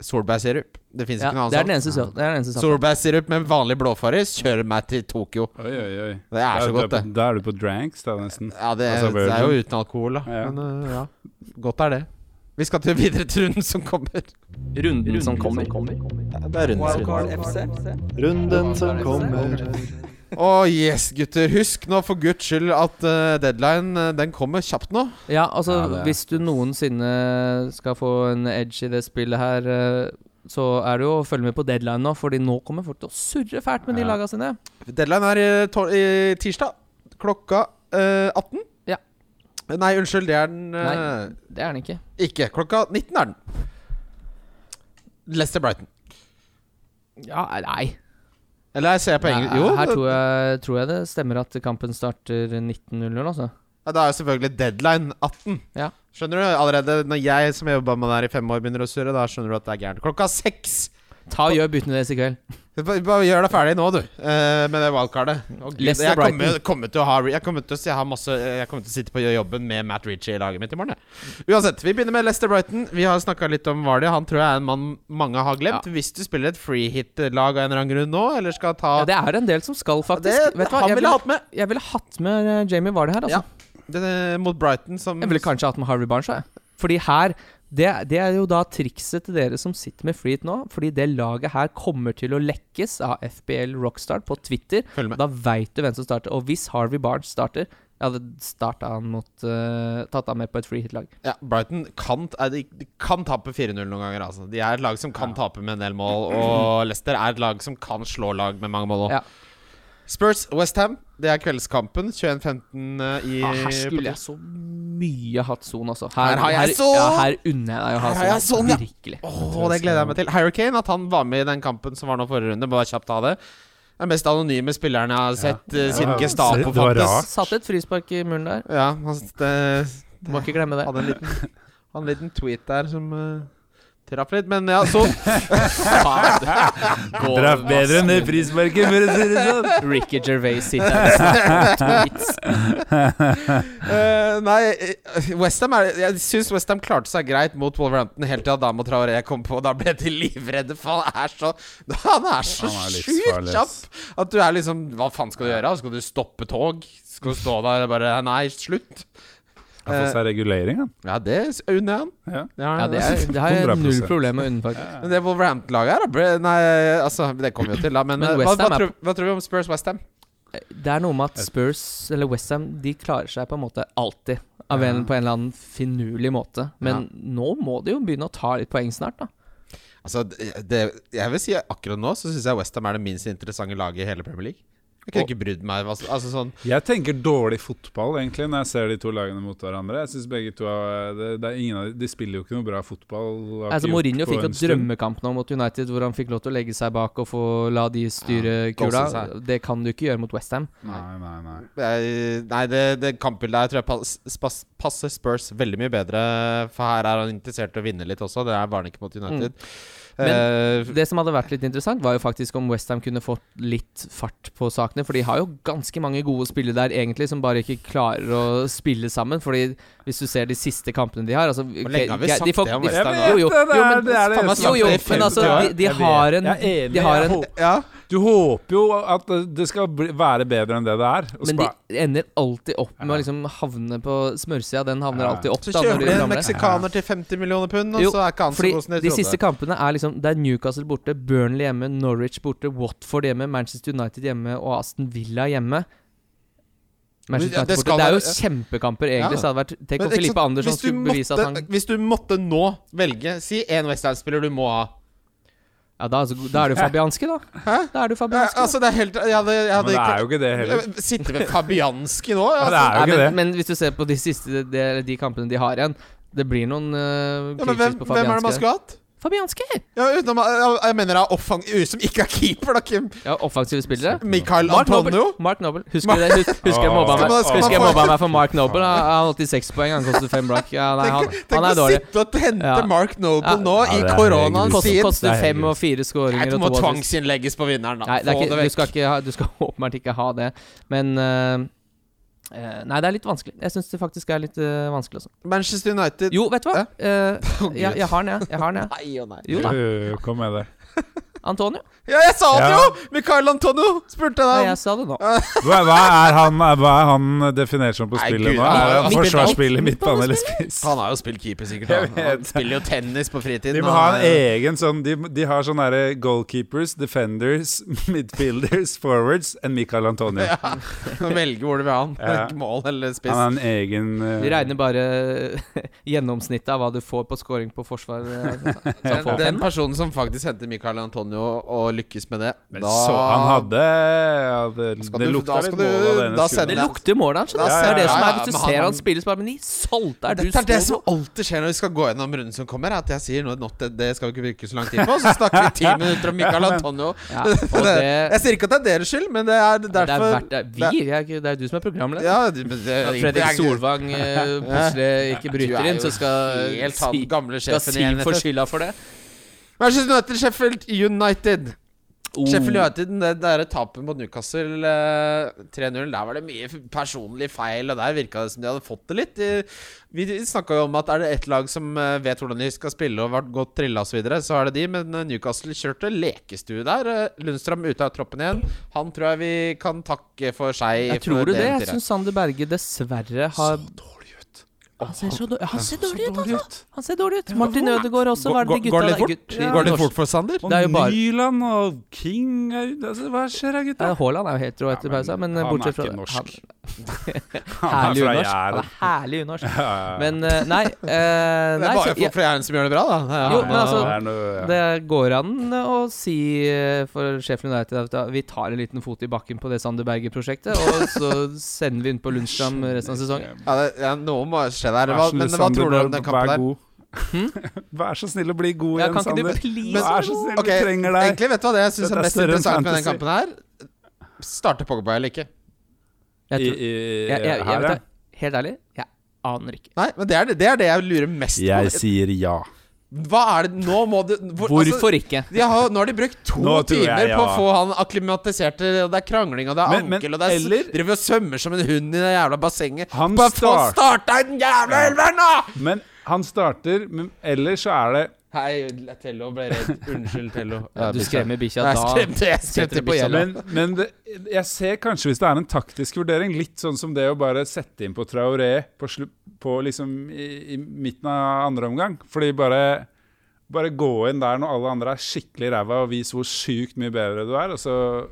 Speaker 2: solbærsirup. Det fins
Speaker 3: Ja,
Speaker 2: ikke noe
Speaker 3: det er den
Speaker 2: annet.
Speaker 3: eneste, sø- det er den eneste
Speaker 2: sånt.
Speaker 3: saken.
Speaker 2: Solbærsirup med vanlig blåfarris kjører meg til Tokyo.
Speaker 4: Oi, oi, oi.
Speaker 2: Det er
Speaker 4: Da-
Speaker 2: så godt,
Speaker 4: da-
Speaker 2: det.
Speaker 4: Da er du på dranks, da, nesten.
Speaker 2: Ja, det,
Speaker 4: Altså,
Speaker 2: det er jo
Speaker 4: virgin.
Speaker 2: uten alkohol, da.
Speaker 4: Ja.
Speaker 2: Men uh, ja, godt er det. Vi skal til videre til runden som kommer.
Speaker 3: Runden som kommer.
Speaker 2: Ja, Det er rundens runde.
Speaker 1: Wildcard FC.
Speaker 5: Runden som kommer.
Speaker 2: Å yes, gutter. Husk nå for guds skyld at uh, deadline uh, den kommer kjapt nå.
Speaker 3: Ja, altså
Speaker 4: Ja, det er-
Speaker 3: hvis du noensinne skal få en edge i det spillet her, eh, så er det jo å følge med på deadline nå, fordi nå kommer folk til å surre fælt med de
Speaker 4: Ja.
Speaker 3: laga sine.
Speaker 2: Deadline er eh, i to- i tirsdag klokka eh, 18.
Speaker 3: Ja.
Speaker 2: Nei, unnskyld, det er den eh,
Speaker 3: Nei. Det er den ikke.
Speaker 2: ikke. Klokka 19 er den. Leicester Brighton.
Speaker 3: Ja, nei.
Speaker 2: Eller ser jeg på engelsk?
Speaker 3: Nei, eh,
Speaker 2: Jo,
Speaker 3: her
Speaker 2: det-
Speaker 3: tror jeg, tror jeg det stemmer at kampen starter 19.00, altså.
Speaker 2: ja, det er jo selvfølgelig deadline 18.
Speaker 3: Ja.
Speaker 2: Skjønner du? Allerede når jeg som har jobba med det her i fem år, begynner å surre, da skjønner du at det er gærent. Klokka seks!
Speaker 3: Ta og gjør byttene deres i kveld.
Speaker 2: Bare bare gjør deg ferdig nå, du, eh, med det wildcardet. Å, Gud,
Speaker 3: Leicester
Speaker 2: Jeg kommer,
Speaker 3: Brighton.
Speaker 2: kommer til å ha Jeg kommer til å, si- jeg har masse, jeg kommer til å sitte på jobben med Matt Ritchie i laget mitt i morgen. jeg. Uansett, vi begynner med Leicester Brighton. Vi har snakka litt om Vardy. Han tror jeg er en mann mange har glemt. Hvis du spiller et freehit-lag av en eller annen grunn nå, eller skal ta
Speaker 3: Ja, det er en del som skal, faktisk.
Speaker 2: Det-
Speaker 3: Vet du hva?
Speaker 2: han
Speaker 3: Jeg
Speaker 2: ville
Speaker 3: ville,
Speaker 2: hatt med
Speaker 3: jeg ville hatt med eh, Jamie Vardy her, altså.
Speaker 2: det- mot Brighton som
Speaker 3: Jeg ville kanskje hatt med Harvey Barnes, jeg. Fordi her det, det er jo da trikset til dere som sitter med Freet nå. Fordi det laget her kommer til å lekkes av FBL Rockstar på Twitter.
Speaker 2: Følg med.
Speaker 3: Da veit du hvem som starter. Og hvis Harvey Barnes starter Jeg hadde startet han mot eh, Tatt han med på et free hit-lag.
Speaker 2: Ja, Brighton kan, eh, de, de kan tape 4-0 noen ganger. Altså. De er et lag som kan tape med en del mål, og Leicester er et lag som kan slå lag med mange mål òg.
Speaker 3: Ja.
Speaker 2: Spurs Westham, det er kveldskampen. 21-15 i
Speaker 3: Ah, her skulle jeg så mye hatt Son, altså. Her,
Speaker 2: Her har jeg Son!
Speaker 3: Ja, her unner jeg deg å ha
Speaker 2: Her har jeg Son, ja.
Speaker 3: Virkelig.
Speaker 2: Åh, det gleder jeg meg til. Hurricane, at han var med i den kampen som var nå forrige runde. Bare kjapt ta det. Den mest anonyme spilleren jeg har sett eh, siden
Speaker 4: Ja,
Speaker 2: Gestapo
Speaker 4: det var
Speaker 2: fantes.
Speaker 4: rart.
Speaker 3: Satte et frispark i muren der.
Speaker 2: Ja, han eh,
Speaker 3: Må ikke glemme det.
Speaker 2: hadde en liten, hadde en liten tweet der som eh, traff litt. Men ja, så
Speaker 4: Traff bedre enn det frisparket, for å si det sånn.
Speaker 3: Ricky Gervais sitter her og snakker om tweets.
Speaker 2: Eh, nei, eh, West Ham er, jeg syns Westham klarte seg greit mot Wolverhampton helt til Adamo Traoré kom på. Da ble de livredde, for han er så Han er så
Speaker 4: Han er
Speaker 2: sjukt
Speaker 4: livsfarlig,
Speaker 2: kjapp!
Speaker 4: ass.
Speaker 2: At du er liksom Hva faen skal du gjøre? Skal du stoppe tog? Skal du stå der og bare Nei, slutt.
Speaker 4: Han får seg regulering, han.
Speaker 2: Ja, det s- unner jeg han.
Speaker 4: Ja.
Speaker 2: Det har
Speaker 3: Ja,
Speaker 2: han.
Speaker 3: det, er, det har jeg
Speaker 4: 100%.
Speaker 3: null problem med å unne, faktisk.
Speaker 2: Men det Wolverhampton-laget her da ble, Nei, altså, det kommer vi jo til, da. Men,
Speaker 3: Men
Speaker 2: eh, hva,
Speaker 3: West Ham
Speaker 2: hva,
Speaker 3: er
Speaker 2: tror, hva tror vi om Spurs Westham?
Speaker 3: Det er noe med at Spurs, eller Westham, de klarer seg på en måte alltid. Av en, på en eller annen finurlig måte. Men nå må de jo begynne å ta litt poeng snart, da.
Speaker 2: Altså, det, det- jeg vil si akkurat nå så syns jeg Westham er det minst interessante laget i hele Premier League. Jeg kunne
Speaker 3: Og-
Speaker 2: ikke brydd meg. Altså, altså sånn
Speaker 4: Jeg tenker dårlig fotball, egentlig, når jeg ser de to lagene mot hverandre. Jeg synes begge to er, det, det er ingen av de, de spiller jo ikke noe bra fotball. har ikke
Speaker 3: Altså,
Speaker 4: gjort
Speaker 3: Mourinho
Speaker 4: på
Speaker 3: fikk jo
Speaker 4: en stund.
Speaker 3: drømmekamp nå mot United, hvor han fikk lov til å legge seg bak og få la de styre kula.
Speaker 2: Goals aside.
Speaker 3: Det kan du ikke gjøre mot Westham.
Speaker 4: Nei, nei, nei.
Speaker 2: Jeg- Nei, det, det kampbildet her tror jeg pass, pass, passer Spurs veldig mye bedre. For her er han interessert i å vinne litt også. Det er bare ikke mot United.
Speaker 3: Mm.
Speaker 2: Eh,
Speaker 3: Det som hadde vært litt interessant, var jo faktisk om Westham kunne fått litt fart på sakene. For de har jo ganske mange gode spillere der, egentlig, som bare ikke klarer å spille sammen. Fordi hvis du ser de siste kampene de har altså,
Speaker 2: Hvor lenge har vi
Speaker 3: Ge-
Speaker 2: sagt
Speaker 3: de får-
Speaker 2: det om
Speaker 3: de-
Speaker 2: West Ham nå?
Speaker 3: Jo, jo,
Speaker 4: Det er-
Speaker 3: jo, men,
Speaker 4: det er det
Speaker 3: faen meg
Speaker 4: jeg har
Speaker 3: jo, jo,
Speaker 2: sagt i
Speaker 3: men altså,
Speaker 2: 50 år.
Speaker 3: de, de har en
Speaker 4: Jeg er enig.
Speaker 3: De har
Speaker 4: jeg
Speaker 3: en
Speaker 4: håper-
Speaker 2: ja.
Speaker 4: du håper jo at det- det skal bli, være bedre enn det det er. og
Speaker 3: men
Speaker 4: spa-
Speaker 3: de ender alltid opp med å
Speaker 4: Ja.
Speaker 3: liksom havne på smørsida. Den havner
Speaker 4: Ja.
Speaker 3: alltid opp.
Speaker 2: Så
Speaker 3: da, når
Speaker 2: kjøper
Speaker 3: de
Speaker 2: de en
Speaker 3: ramler.
Speaker 2: meksikaner til 50 millioner pund, og
Speaker 3: Jo,
Speaker 2: så er ikke han så
Speaker 3: Fordi
Speaker 2: god som de
Speaker 3: De
Speaker 2: trodde.
Speaker 3: siste kampene er liksom Det er Newcastle borte, Burnley hjemme, Norwich borte, Watford hjemme, Manchester United hjemme og Aston Villa hjemme. Manchester
Speaker 2: ja,
Speaker 3: United
Speaker 2: det
Speaker 3: borte.
Speaker 2: skal
Speaker 3: Det er jo
Speaker 2: være-
Speaker 3: kjempekamper, egentlig.
Speaker 2: Ja.
Speaker 3: Så det hadde vært Tenk
Speaker 2: Men
Speaker 3: om
Speaker 2: ikke
Speaker 3: Filippe
Speaker 2: sant,
Speaker 3: Andersson
Speaker 2: hvis du
Speaker 3: skulle bevise at
Speaker 2: måtte-
Speaker 3: han
Speaker 2: Hvis du måtte nå velge Si én Westham-spiller du må ha.
Speaker 3: Ja, da, er så god- da er du fabianski, da. Da er du
Speaker 2: Ja,
Speaker 3: fabianski. da.
Speaker 2: altså, det er helt Jeg hadde, jeg
Speaker 4: men
Speaker 2: hadde
Speaker 4: det er
Speaker 2: ikke Eh,
Speaker 4: jo ikke det heller.
Speaker 2: Sitte ved Fabianski nå?
Speaker 4: Ja,
Speaker 2: Altså.
Speaker 4: det er
Speaker 3: Nei,
Speaker 4: jo ikke det.
Speaker 3: men, men hvis du ser på de siste de, eller de kampene de har igjen Det blir noen uh,
Speaker 2: Altså, Ja, men hvem,
Speaker 3: på
Speaker 2: hvem er det man
Speaker 3: Fabianski.
Speaker 2: skulle hatt?
Speaker 3: Fabianski!
Speaker 2: Ja, utenom, jeg, jeg mener det er offang... Som ikke er keeper, da, Kim.
Speaker 3: Ja, offensive spillere.
Speaker 2: Mikael
Speaker 3: Mark
Speaker 2: Antonio.
Speaker 3: Noble. Mark Noble. Husker du det? Hus- Husker jeg mobba meg,
Speaker 4: Skal
Speaker 2: man- skal man
Speaker 3: husker jeg
Speaker 2: få-
Speaker 3: mobba meg for Mark Noble? Han han har 86 poeng, han koster fem blakk. Ja, nei, han,
Speaker 2: Tenk
Speaker 3: han
Speaker 2: å
Speaker 3: er dårlig.
Speaker 2: sitte og hente
Speaker 3: Ja.
Speaker 2: Mark Noble
Speaker 3: Ja.
Speaker 2: nå
Speaker 4: Ja,
Speaker 2: i
Speaker 4: det er
Speaker 2: koronaen
Speaker 4: helt
Speaker 3: Kost,
Speaker 2: sin.
Speaker 3: koster
Speaker 4: Nei,
Speaker 3: fem
Speaker 4: herregud.
Speaker 3: og fire
Speaker 2: Nei,
Speaker 3: skåringer
Speaker 2: du
Speaker 3: og
Speaker 2: må
Speaker 3: to assist.
Speaker 2: tvangsinnlegges på vinneren, da.
Speaker 3: Nei, det er
Speaker 2: Få
Speaker 3: ikke,
Speaker 2: det
Speaker 3: du
Speaker 2: vekk.
Speaker 3: skal, ikke ha, du skal åpenbart ikke ha det. Men eh, eh, Nei, det er litt vanskelig. Jeg syns det faktisk er litt eh, vanskelig også.
Speaker 2: Manchester United
Speaker 3: Jo, vet du hva? Eh,
Speaker 2: Å,
Speaker 3: jeg,
Speaker 2: Gud.
Speaker 3: jeg har den, jeg. jeg har den, jeg.
Speaker 2: Nei og nei.
Speaker 3: Jo da.
Speaker 4: Øh, Kom med det.
Speaker 3: Antonio.
Speaker 2: Ja, jeg sa det
Speaker 4: Ja.
Speaker 2: jo! Mikael Antonio spurte deg
Speaker 3: Nei, jeg
Speaker 2: om.
Speaker 3: sa det nå.
Speaker 4: Hva, hva, er han, hva er han definert som på
Speaker 2: Nei,
Speaker 4: spillet
Speaker 2: Gud,
Speaker 4: nå?
Speaker 2: han-
Speaker 4: Er
Speaker 2: han
Speaker 4: han
Speaker 2: spiller
Speaker 4: forsvarsspiller, midtbane eller spiss?
Speaker 2: Han har jo spilt keeper, sikkert.
Speaker 4: Jeg
Speaker 2: Han, han
Speaker 4: vet.
Speaker 2: spiller jo tennis på fritiden.
Speaker 4: De må
Speaker 2: Han
Speaker 4: ha en
Speaker 2: er-
Speaker 3: e-
Speaker 4: egen sånn De, de har sånn derre goalkeepers, defenders, midfielders, forwards and Michael Antonio.
Speaker 2: Ja. Velge hvor du vil ha han.
Speaker 4: Ja.
Speaker 2: Ikke mål eller spiss.
Speaker 4: Han har en egen eh,
Speaker 3: Vi regner bare eh, gjennomsnittet av hva du får på scoring på forsvar. eh, Så
Speaker 2: Den, den
Speaker 3: får fem.
Speaker 2: personen som faktisk henter Michael Antonio og lykkes med det,
Speaker 4: Men så han hadde ja, det,
Speaker 2: skal
Speaker 4: det
Speaker 2: du-
Speaker 4: lukta
Speaker 2: da
Speaker 4: litt
Speaker 2: skal
Speaker 4: mål
Speaker 2: du-
Speaker 4: av det ene
Speaker 2: da
Speaker 4: skuddet.
Speaker 2: sender
Speaker 3: Det lukter mål der, skjønner du.
Speaker 2: Ja,
Speaker 3: Det er det
Speaker 2: ja,
Speaker 3: som
Speaker 2: ja,
Speaker 3: er Hvis du
Speaker 2: men han-
Speaker 3: ser han spiller, så bare Men i salte er du
Speaker 2: Dette er det
Speaker 3: så
Speaker 2: som alltid skjer når vi skal gå gjennom runden som kommer. At jeg sier noe not, det- det skal vi ikke bruke så lang tid på. Så snakker vi ti minutter om Michael Antonio.
Speaker 3: Ja, og det,
Speaker 2: Jeg sier ikke at det er deres skyld, men det er
Speaker 3: det er
Speaker 2: derfor
Speaker 3: verdt det. Vi? vi er ikke, det er du som er programleder.
Speaker 2: Ja, du- men det,
Speaker 3: Når Fredrik Solvang eh, plutselig ikke
Speaker 2: Du er
Speaker 3: bryter inn,
Speaker 2: jo
Speaker 3: så skal eh,
Speaker 2: helt han
Speaker 3: si-
Speaker 2: gamle
Speaker 3: skal
Speaker 2: sjefen i
Speaker 3: Siv få
Speaker 2: NFF.
Speaker 3: skylda for det.
Speaker 2: Manchester United, Sheffield United.
Speaker 3: Oh.
Speaker 2: Sheffield United, det der tapet mot Newcastle eh, 3-0, der var det mye f- personlig feil, og der virka det som de hadde fått det litt. Eh, Vi snakka jo om at er det ett lag som eh, vet hvordan de skal spille og vært godt trilla osv., så, videre, så er det de, men eh, Newcastle kjørte lekestue der. Eh, Lundstrøm ute av troppen igjen. Han tror jeg vi kan takke for seg.
Speaker 3: Jeg
Speaker 2: for
Speaker 3: tror du det. Jeg
Speaker 2: eventyret.
Speaker 3: syns Sander Berge dessverre har Han ser så dårlig, han ser dårlig ut, altså! Han ser dårrlig ut. Martin Ødegaard også. Hva er det de
Speaker 2: Går- går- går
Speaker 3: gutta
Speaker 2: litt fort?
Speaker 3: gutt-
Speaker 2: Går det fort for Sander?
Speaker 4: Og
Speaker 3: Det er jo bare-
Speaker 4: Nyland og King er ute. altså, Hva skjer da,
Speaker 3: Ja,
Speaker 4: gutta?
Speaker 3: Haaland er jo helt rå etter pausa, men eh,
Speaker 4: han er
Speaker 3: bortsett fra
Speaker 4: ikke norsk.
Speaker 3: Han, herlig
Speaker 4: Han er fra
Speaker 3: unorsk. Han
Speaker 4: Jæren.
Speaker 3: er herlig unorsk.
Speaker 4: Ja, ja, ja.
Speaker 3: Men eh, nei, eh,
Speaker 2: Det
Speaker 3: nei
Speaker 2: er bare
Speaker 3: så, ja,
Speaker 2: folk fra Jæren som gjør det bra, da. Ja.
Speaker 3: Jo, men altså,
Speaker 4: det er noe- ja.
Speaker 3: det går an å si eh, for Sheffield United at da- vi tar en liten fot i bakken på det Sander Berger-prosjektet, og så sender vi inn på Lundstrand resten av sesongen.
Speaker 2: Ja, det, ja, noe må skje der.
Speaker 4: Vær
Speaker 2: Hva,
Speaker 4: så snill,
Speaker 2: men hva
Speaker 4: Sander,
Speaker 2: tror du om
Speaker 4: vær-
Speaker 2: den kampen
Speaker 4: vær
Speaker 2: der?
Speaker 4: god. Vær så snill å bli god
Speaker 3: Ja,
Speaker 4: igjen,
Speaker 3: kan ikke du
Speaker 4: Sander.
Speaker 3: please
Speaker 4: Vær
Speaker 3: være
Speaker 4: så
Speaker 3: god?
Speaker 4: snill,
Speaker 2: Ok,
Speaker 4: vi trenger deg.
Speaker 2: Egentlig vet du hva det jeg syns
Speaker 4: Dette
Speaker 2: er
Speaker 4: er
Speaker 2: mest
Speaker 4: større enn
Speaker 2: interessant med den
Speaker 4: fantasy.
Speaker 2: kampen her? starte Pogba eller ikke.
Speaker 3: Jeg
Speaker 4: I,
Speaker 3: tror, jeg,
Speaker 4: i,
Speaker 3: jeg, jeg,
Speaker 4: her,
Speaker 3: vet
Speaker 4: ja.
Speaker 3: det, helt ærlig, jeg aner ikke.
Speaker 2: Nei, men det er det, det, er det jeg lurer mest
Speaker 4: Jeg
Speaker 2: på.
Speaker 4: sier ja.
Speaker 2: Hva er det Nå må du hvor- altså,
Speaker 3: Hvorfor ikke?
Speaker 2: de har, nå har de brukt to
Speaker 4: Nå tror jeg,
Speaker 2: timer på å
Speaker 4: ja.
Speaker 2: få han akklimatisert, og det er krangling, og det er
Speaker 4: Men- men
Speaker 2: ankel, og det er s-
Speaker 4: eller-
Speaker 2: driver og svømmer som en hund i det jævla bassenget.
Speaker 4: Han
Speaker 2: Bare få
Speaker 4: start-
Speaker 2: starta den jævla
Speaker 4: Ja.
Speaker 2: elveren, da!
Speaker 4: Men han starter, men ellers så er det
Speaker 2: Hei, Tello ble redd. Unnskyld, Tello.
Speaker 3: Du skremmer bikkja
Speaker 2: Jeg
Speaker 3: da.
Speaker 2: skremte, jeg skremte
Speaker 3: setter du
Speaker 2: på
Speaker 3: bikkja
Speaker 2: gjelda.
Speaker 4: Men, men det, jeg ser kanskje hvis det er en taktisk vurdering, litt sånn som det å bare sette inn på Traoré på, slu, på liksom i, i midten av andre omgang. Fordi bare, bare gå inn der når alle andre er skikkelig ræva og vis hvor sjukt mye bedre du er, og så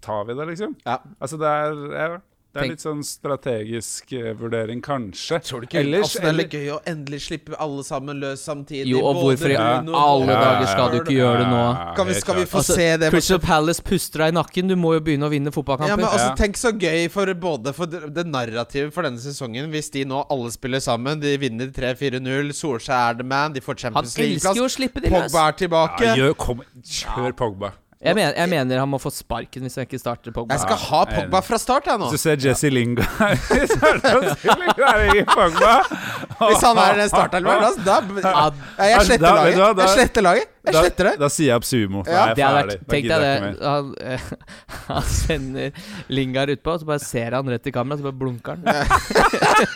Speaker 4: tar vi det, liksom.
Speaker 2: Ja.
Speaker 4: Altså det er, ja, det
Speaker 3: Tenk-
Speaker 4: er litt sånn strategisk eh, vurdering, kanskje.
Speaker 2: Tror du ikke altså, Det er litt gøy å endelig slippe alle sammen løs samtidig.
Speaker 3: Jo, og
Speaker 2: både
Speaker 3: hvorfor i
Speaker 2: Bruno
Speaker 3: alle
Speaker 2: og-
Speaker 3: dager skal du ikke gjøre det nå?
Speaker 2: Kan vi, skal vi få
Speaker 3: Altså,
Speaker 2: se det? på-
Speaker 3: Crystal Palace puster deg i nakken, du må jo begynne å vinne
Speaker 2: Ja, men
Speaker 3: fotballkamper.
Speaker 2: altså,
Speaker 4: Ja.
Speaker 2: Tenk så gøy for både for det det narrativet for denne sesongen hvis de nå alle spiller sammen. De vinner 3-4-0. Solskjær er the man. De får
Speaker 3: Han
Speaker 2: Champions
Speaker 3: elsker jo å
Speaker 2: League-plass.
Speaker 3: slippe de løs.
Speaker 2: Pogba er tilbake.
Speaker 4: ja, gjør, kom, Kjør Pogba.
Speaker 3: Jeg mener, jeg mener han må få sparken hvis han ikke starter Pogba.
Speaker 2: Jeg skal ha Pogba fra start, jeg nå.
Speaker 4: Hvis du ser Jesse Lingard så er det jo selvfølgelig der i Pogba.
Speaker 2: Hvis han er startelver, da, da
Speaker 3: Ja,
Speaker 2: Nei, Jeg
Speaker 4: Altså,
Speaker 2: sletter
Speaker 4: da-
Speaker 2: laget.
Speaker 4: da- da-
Speaker 2: Jeg sletter laget. Jeg
Speaker 4: Da,
Speaker 2: sletter det.
Speaker 4: da sier jeg opp sumo. Da
Speaker 2: Ja.
Speaker 4: er
Speaker 3: det
Speaker 4: jeg
Speaker 3: hadde
Speaker 4: ferdig.
Speaker 3: vært,
Speaker 4: Da
Speaker 3: tenk deg
Speaker 4: gidder jeg
Speaker 3: det.
Speaker 4: ikke mer.
Speaker 3: Han, eh, han sender Lingard utpå, og så bare ser han rett i kamera, så bare blunker han.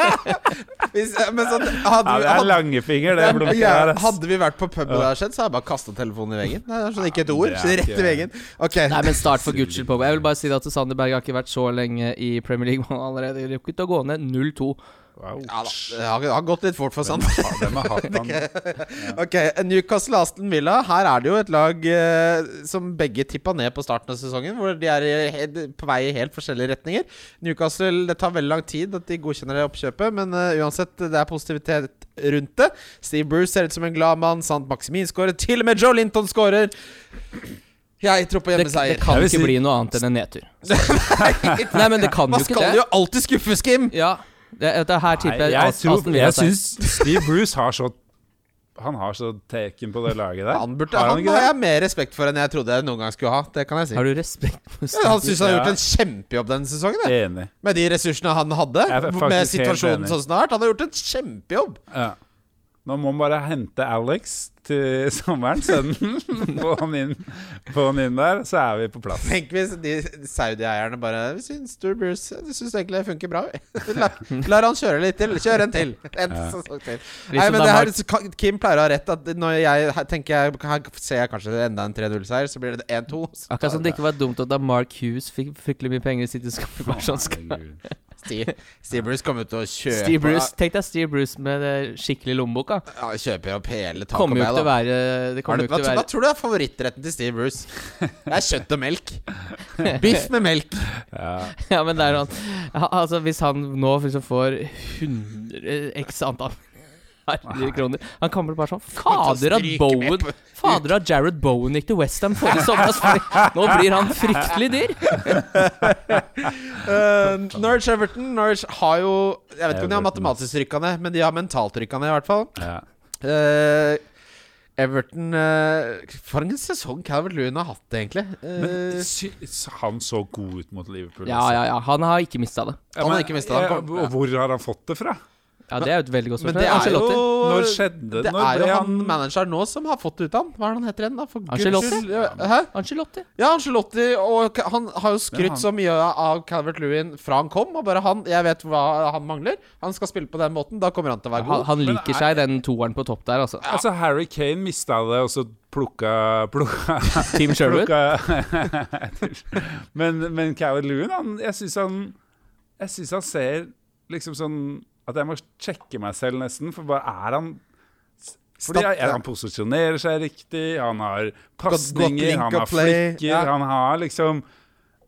Speaker 2: Hvis, men sånn, hadde,
Speaker 4: Ja,
Speaker 2: vi-
Speaker 4: det er
Speaker 2: hadde,
Speaker 4: langfinger, det blunket
Speaker 2: ja,
Speaker 4: der. ass.
Speaker 2: hadde vi vært på pub og det hadde skjedd, så hadde jeg bare kasta telefonen i veggen. Nei, det er sånn, ikke et ord.
Speaker 4: det
Speaker 2: Så
Speaker 4: er
Speaker 2: rett i
Speaker 4: ikke-
Speaker 2: veggen. Ok.
Speaker 3: Nei, men start for Gucci på. Jeg vil bare si det at Sander Berg har ikke vært så lenge i Premier League. Han har allerede rukket å gå ned 0-2.
Speaker 4: Wow.
Speaker 2: Ja da. Det har, det har gått litt fort for sant.
Speaker 4: Ja, Hvem har hatt han?
Speaker 2: Ok, Newcastle Aston Villa. Her er det jo et lag eh, som begge tippa ned på starten av sesongen, hvor de er i, he- på vei i helt forskjellige retninger. Newcastle Det tar veldig lang tid at de godkjenner det oppkjøpet, men eh, uansett, det er positivitet rundt det. Steve Bruce ser ut som en glad mann. Sant Maximin skårer. Til og med Joe Linton skårer! Jeg tror på
Speaker 3: Det, det
Speaker 2: hjemmeseier.
Speaker 3: kan
Speaker 4: Jeg
Speaker 3: ikke
Speaker 4: vil si-
Speaker 3: bli noe annet enn en nedtur. Nei, men det kan jo
Speaker 2: Man
Speaker 3: ikke
Speaker 2: skal
Speaker 3: det.
Speaker 2: jo alltid skuffes, Kim!
Speaker 3: Ja, det, det her
Speaker 4: Nei,
Speaker 3: tipper jeg,
Speaker 4: jeg
Speaker 3: As-
Speaker 4: tror-
Speaker 3: Aston Villa altså.
Speaker 4: Jeg
Speaker 3: seier.
Speaker 4: syns Steve Bruce har så Han har så teken på det laget der.
Speaker 2: Han, burde,
Speaker 4: Har
Speaker 2: han,
Speaker 4: han ikke
Speaker 2: har
Speaker 4: det?
Speaker 2: jeg mer respekt for enn jeg trodde jeg noen gang skulle ha. Det kan jeg si.
Speaker 3: Har du respekt for
Speaker 2: Ja, Han syns han har
Speaker 4: Ja.
Speaker 2: gjort en kjempejobb denne sesongen. jeg.
Speaker 4: Enig.
Speaker 2: Med de ressursene han hadde,
Speaker 4: Jeg er faktisk
Speaker 2: med
Speaker 4: helt
Speaker 2: situasjonen
Speaker 4: enig.
Speaker 2: sånn snart. Han har gjort en kjempejobb.
Speaker 4: Ja. Nå må han bare hente Alex til sommeren, sønnen. Få han inn, få han inn der, så er vi på plass.
Speaker 2: Tenk hvis de saudi-eierne bare Vi syns Stuart Bruce Vi syns egentlig det funker bra. vi. La, lar han kjøre litt til. Kjør en til. En sesong til.
Speaker 3: Liksom
Speaker 2: Nei, men det her,
Speaker 3: Danmark.
Speaker 2: så- Kim pleier å ha rett. At når jeg her tenker jeg, her ser jeg kanskje enda en 3-0-seier, så blir det 1-2. så
Speaker 3: Akkurat som det ikke var dumt at da Mark Hughes fikk fryktelig mye penger i City Sky. Bare sånn skal-
Speaker 4: Herregud.
Speaker 2: Steve, Steve Bruce kommer til å kjøpe
Speaker 3: Steve Bruce, Tenk deg Steve Bruce med det skikkelig lommeboka.
Speaker 2: Ja, kjøper opp hele taket.
Speaker 3: Kommer jo ikke til å være Det
Speaker 2: Har
Speaker 3: kommer
Speaker 2: du-
Speaker 3: jo
Speaker 2: hva,
Speaker 3: ikke til å
Speaker 2: hva
Speaker 3: være
Speaker 2: tror du er favorittretten til Steve Bruce? Det er kjøtt og melk. Biff med melk.
Speaker 4: Ja.
Speaker 3: Ja, men det er noe Ja, Altså, hvis han nå liksom får 100 x antall herlige kroner Han kommer til å bare sånn Fader at
Speaker 2: stryke med
Speaker 3: Bowen
Speaker 2: på-
Speaker 3: Fader at Jared Bowen gikk til Westham forrige sommer! ass, fordi Nå blir han fryktelig dyr!
Speaker 2: Eh, Norwich Everton Norwich har jo Jeg vet ikke om de har
Speaker 4: Everton.
Speaker 2: matematisk rykka ned, men de har mentalt rykka ned, i hvert fall.
Speaker 4: Ja.
Speaker 2: Eh, Everton eh, For en sesong Calvert Lewin har hatt, egentlig. Eh,
Speaker 4: Men sy- s- han så god ut mot Liverpool.
Speaker 3: Ja,
Speaker 4: altså.
Speaker 3: ja, ja. Han har ikke mista det.
Speaker 2: Han har ikke mistet
Speaker 4: ja,
Speaker 2: han kom-
Speaker 4: og Hvor har han fått det fra?
Speaker 3: Ja, Det er jo et veldig godt
Speaker 2: men det
Speaker 3: spørsmål.
Speaker 2: er jo
Speaker 3: Ancelotti.
Speaker 4: Når skjedde
Speaker 2: Det
Speaker 4: Når
Speaker 2: er jo han manageren nå som har fått det ut av han. Hva er det han heter igjen, da? For guds
Speaker 3: Ancelotti?
Speaker 2: skyld. Ja, Hæ?
Speaker 3: Ancelotti.
Speaker 2: Ja, Angelotti. Og k- han har jo
Speaker 4: Ja,
Speaker 2: skrytt
Speaker 4: han.
Speaker 2: så mye av Calvert Lewin fra han kom. Og bare han Jeg vet hva han mangler. Han skal spille på den måten. Da kommer han til å være
Speaker 3: Han,
Speaker 2: god.
Speaker 3: han
Speaker 4: Men
Speaker 3: liker
Speaker 4: er-
Speaker 3: seg den toeren på topp der, altså.
Speaker 4: Altså, Harry Kane mista det, og så plukka Plukka,
Speaker 3: Team Sherwood.
Speaker 4: plukka Men, men Coward Lewin, han, jeg syns han Jeg synes han ser liksom sånn At jeg må sjekke meg selv, nesten. For bare er han fordi
Speaker 2: Stat-
Speaker 4: jeg, Han posisjonerer seg riktig, han har pasninger,
Speaker 2: link
Speaker 4: han
Speaker 2: og
Speaker 4: har
Speaker 2: play,
Speaker 4: flikker,
Speaker 2: ja.
Speaker 4: han har liksom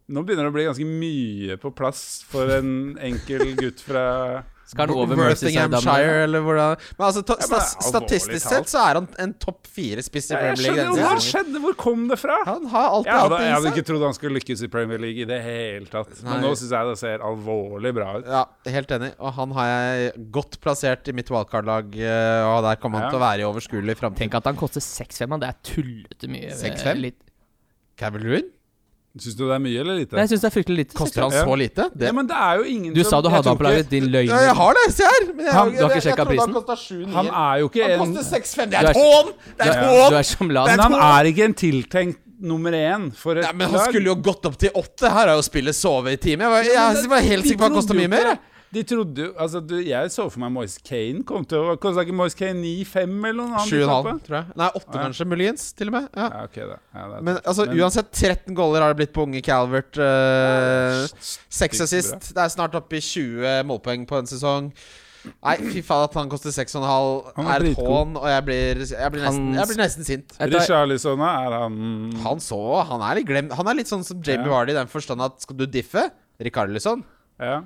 Speaker 4: Nå begynner det å bli ganske mye på plass for en enkel gutt fra
Speaker 3: Skal han over
Speaker 2: Worthinghamshire,
Speaker 3: Merseyside-dammen?
Speaker 2: eller hvordan Men altså, ta,
Speaker 4: men det er
Speaker 2: stas- statistisk
Speaker 4: alvorlig talt.
Speaker 2: sett så er han en topp fire-spiss i
Speaker 4: Ja,
Speaker 2: Premier
Speaker 4: Jeg
Speaker 2: League.
Speaker 4: skjønner jo
Speaker 2: denne
Speaker 4: hva
Speaker 2: sesongen.
Speaker 4: skjedde, hvor kom det fra?
Speaker 2: Han har alltid
Speaker 4: Jeg hadde,
Speaker 2: hatt
Speaker 4: jeg hadde
Speaker 2: det i
Speaker 4: ikke
Speaker 2: seg.
Speaker 4: trodd han skulle lykkes i Premier League i det hele tatt. Men
Speaker 2: Nei.
Speaker 4: nå syns jeg det ser alvorlig bra ut.
Speaker 2: Ja, helt enig. Og han har jeg godt plassert i mitt wildcard-lag. eh, Og der kommer han
Speaker 4: Ja.
Speaker 2: til å være i overskuelig framtid.
Speaker 3: Tenk at han koster 6-5, han. Det er tullete mye. eh,
Speaker 2: 6-5?
Speaker 3: Litt.
Speaker 2: Calvert Lewin?
Speaker 4: Syns du det er mye eller lite?
Speaker 3: Nei, jeg syns det er fryktelig lite.
Speaker 2: Koster han
Speaker 4: Ja.
Speaker 2: så lite?
Speaker 4: ja,
Speaker 2: Det,
Speaker 4: men det er jo ingen
Speaker 3: Du
Speaker 4: som-
Speaker 3: sa du
Speaker 4: jeg
Speaker 3: hadde
Speaker 4: tror
Speaker 3: han på laget,
Speaker 4: ikke-
Speaker 3: din løgn.
Speaker 2: ja, jeg har det, se her! Men jeg,
Speaker 3: Han- du har ikke
Speaker 2: jeg- jeg
Speaker 3: sjekket
Speaker 2: trodde
Speaker 3: prisen?
Speaker 2: Han kosta 7,9.
Speaker 4: Han er jo ikke
Speaker 2: Han
Speaker 4: en
Speaker 2: koster 6,5. Det
Speaker 3: Du
Speaker 2: er
Speaker 3: er-
Speaker 2: et hån! Det er et
Speaker 4: Ja.
Speaker 3: Du
Speaker 2: hån!
Speaker 3: er som lav.
Speaker 4: Men han er ikke en tiltenkt nummer én for et
Speaker 2: Nei, men han skulle jo gått opp til 8. Her er jo spillet sove i time. Jeg var, jeg, var helt sikker på at han kosta mye mer. jeg.
Speaker 4: De trodde jo Altså, du, jeg så for meg Moise Kane kom til å Kosta ikke Moise Kane 9-5 eller noe? annet
Speaker 2: 7,5,
Speaker 4: utapet?
Speaker 2: tror jeg. Nei, 8
Speaker 4: Ja.
Speaker 2: kanskje, muligens, til og med. Ja.
Speaker 4: Ja, ok, det. Ja, det er
Speaker 2: Men
Speaker 4: tøft.
Speaker 2: altså, uansett, 13 goller har det blitt på unge Calvert. eh, Seks
Speaker 4: Sykt bra.
Speaker 2: assist. Det er snart oppe i 20 målpoeng på en sesong. Nei, fy faen at han koster 6,5
Speaker 4: Han er
Speaker 2: er et
Speaker 4: dritgod.
Speaker 2: hån, og jeg blir, jeg blir, nesten,
Speaker 3: Han-
Speaker 2: jeg blir nesten sint.
Speaker 3: Jeg tar-
Speaker 4: Richarlison er han
Speaker 2: Han så, han er litt glemt. Han er litt sånn som Jamie
Speaker 4: Ja.
Speaker 2: Vardy i den forstand at skal du diffe? Rikarlison.
Speaker 4: Ja.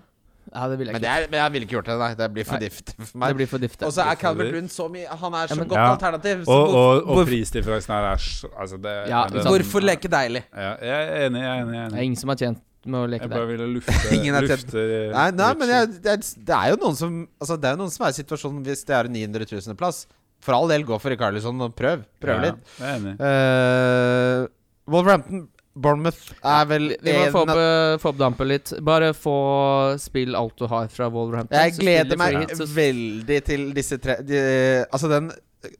Speaker 3: Ja, det vil jeg
Speaker 2: Men,
Speaker 3: ikke.
Speaker 2: det er, men jeg ville ikke gjort det, nei. Det blir for
Speaker 3: Nei.
Speaker 2: difft for
Speaker 3: Det
Speaker 2: meg.
Speaker 3: blir for difft.
Speaker 2: Og
Speaker 3: det.
Speaker 2: så er
Speaker 4: for
Speaker 2: Calvert
Speaker 4: dyrt.
Speaker 2: Lund så mye Han er så
Speaker 3: Ja, men-
Speaker 2: godt
Speaker 4: Ja.
Speaker 2: alternativ. Så
Speaker 4: Og, og, og
Speaker 2: hvorfor-
Speaker 4: prisdifferansen her er s- Altså, det
Speaker 3: Ja,
Speaker 4: det-
Speaker 3: ikke sant.
Speaker 2: hvorfor leke deilig?
Speaker 4: Ja, jeg er enig, jeg er enig. Jeg er
Speaker 3: Det
Speaker 4: enig.
Speaker 3: er ingen som har tjent med å leke
Speaker 4: Jeg
Speaker 3: der.
Speaker 4: bare ville lufte,
Speaker 2: Ingen er tjent.
Speaker 4: lufte
Speaker 2: Nei, nei men
Speaker 4: Richard.
Speaker 2: jeg, det, er, det er jo noen som Altså Det er jo noen som er i situasjonen hvis det er en 900 000-plass. For all del, gå for Rikarlison og prøv. Prøv litt.
Speaker 4: Ja, jeg er enig.
Speaker 2: Eh, Wolverhampton Bournemouth er vel
Speaker 3: Vi må
Speaker 2: en av-
Speaker 3: få opp, eh, få opp dampen litt. Bare få spill alt du har fra Wolverhampton.
Speaker 2: Jeg
Speaker 3: så spiller
Speaker 2: gleder
Speaker 3: du
Speaker 2: meg
Speaker 3: free hit, så-
Speaker 2: veldig til disse tre de, Altså den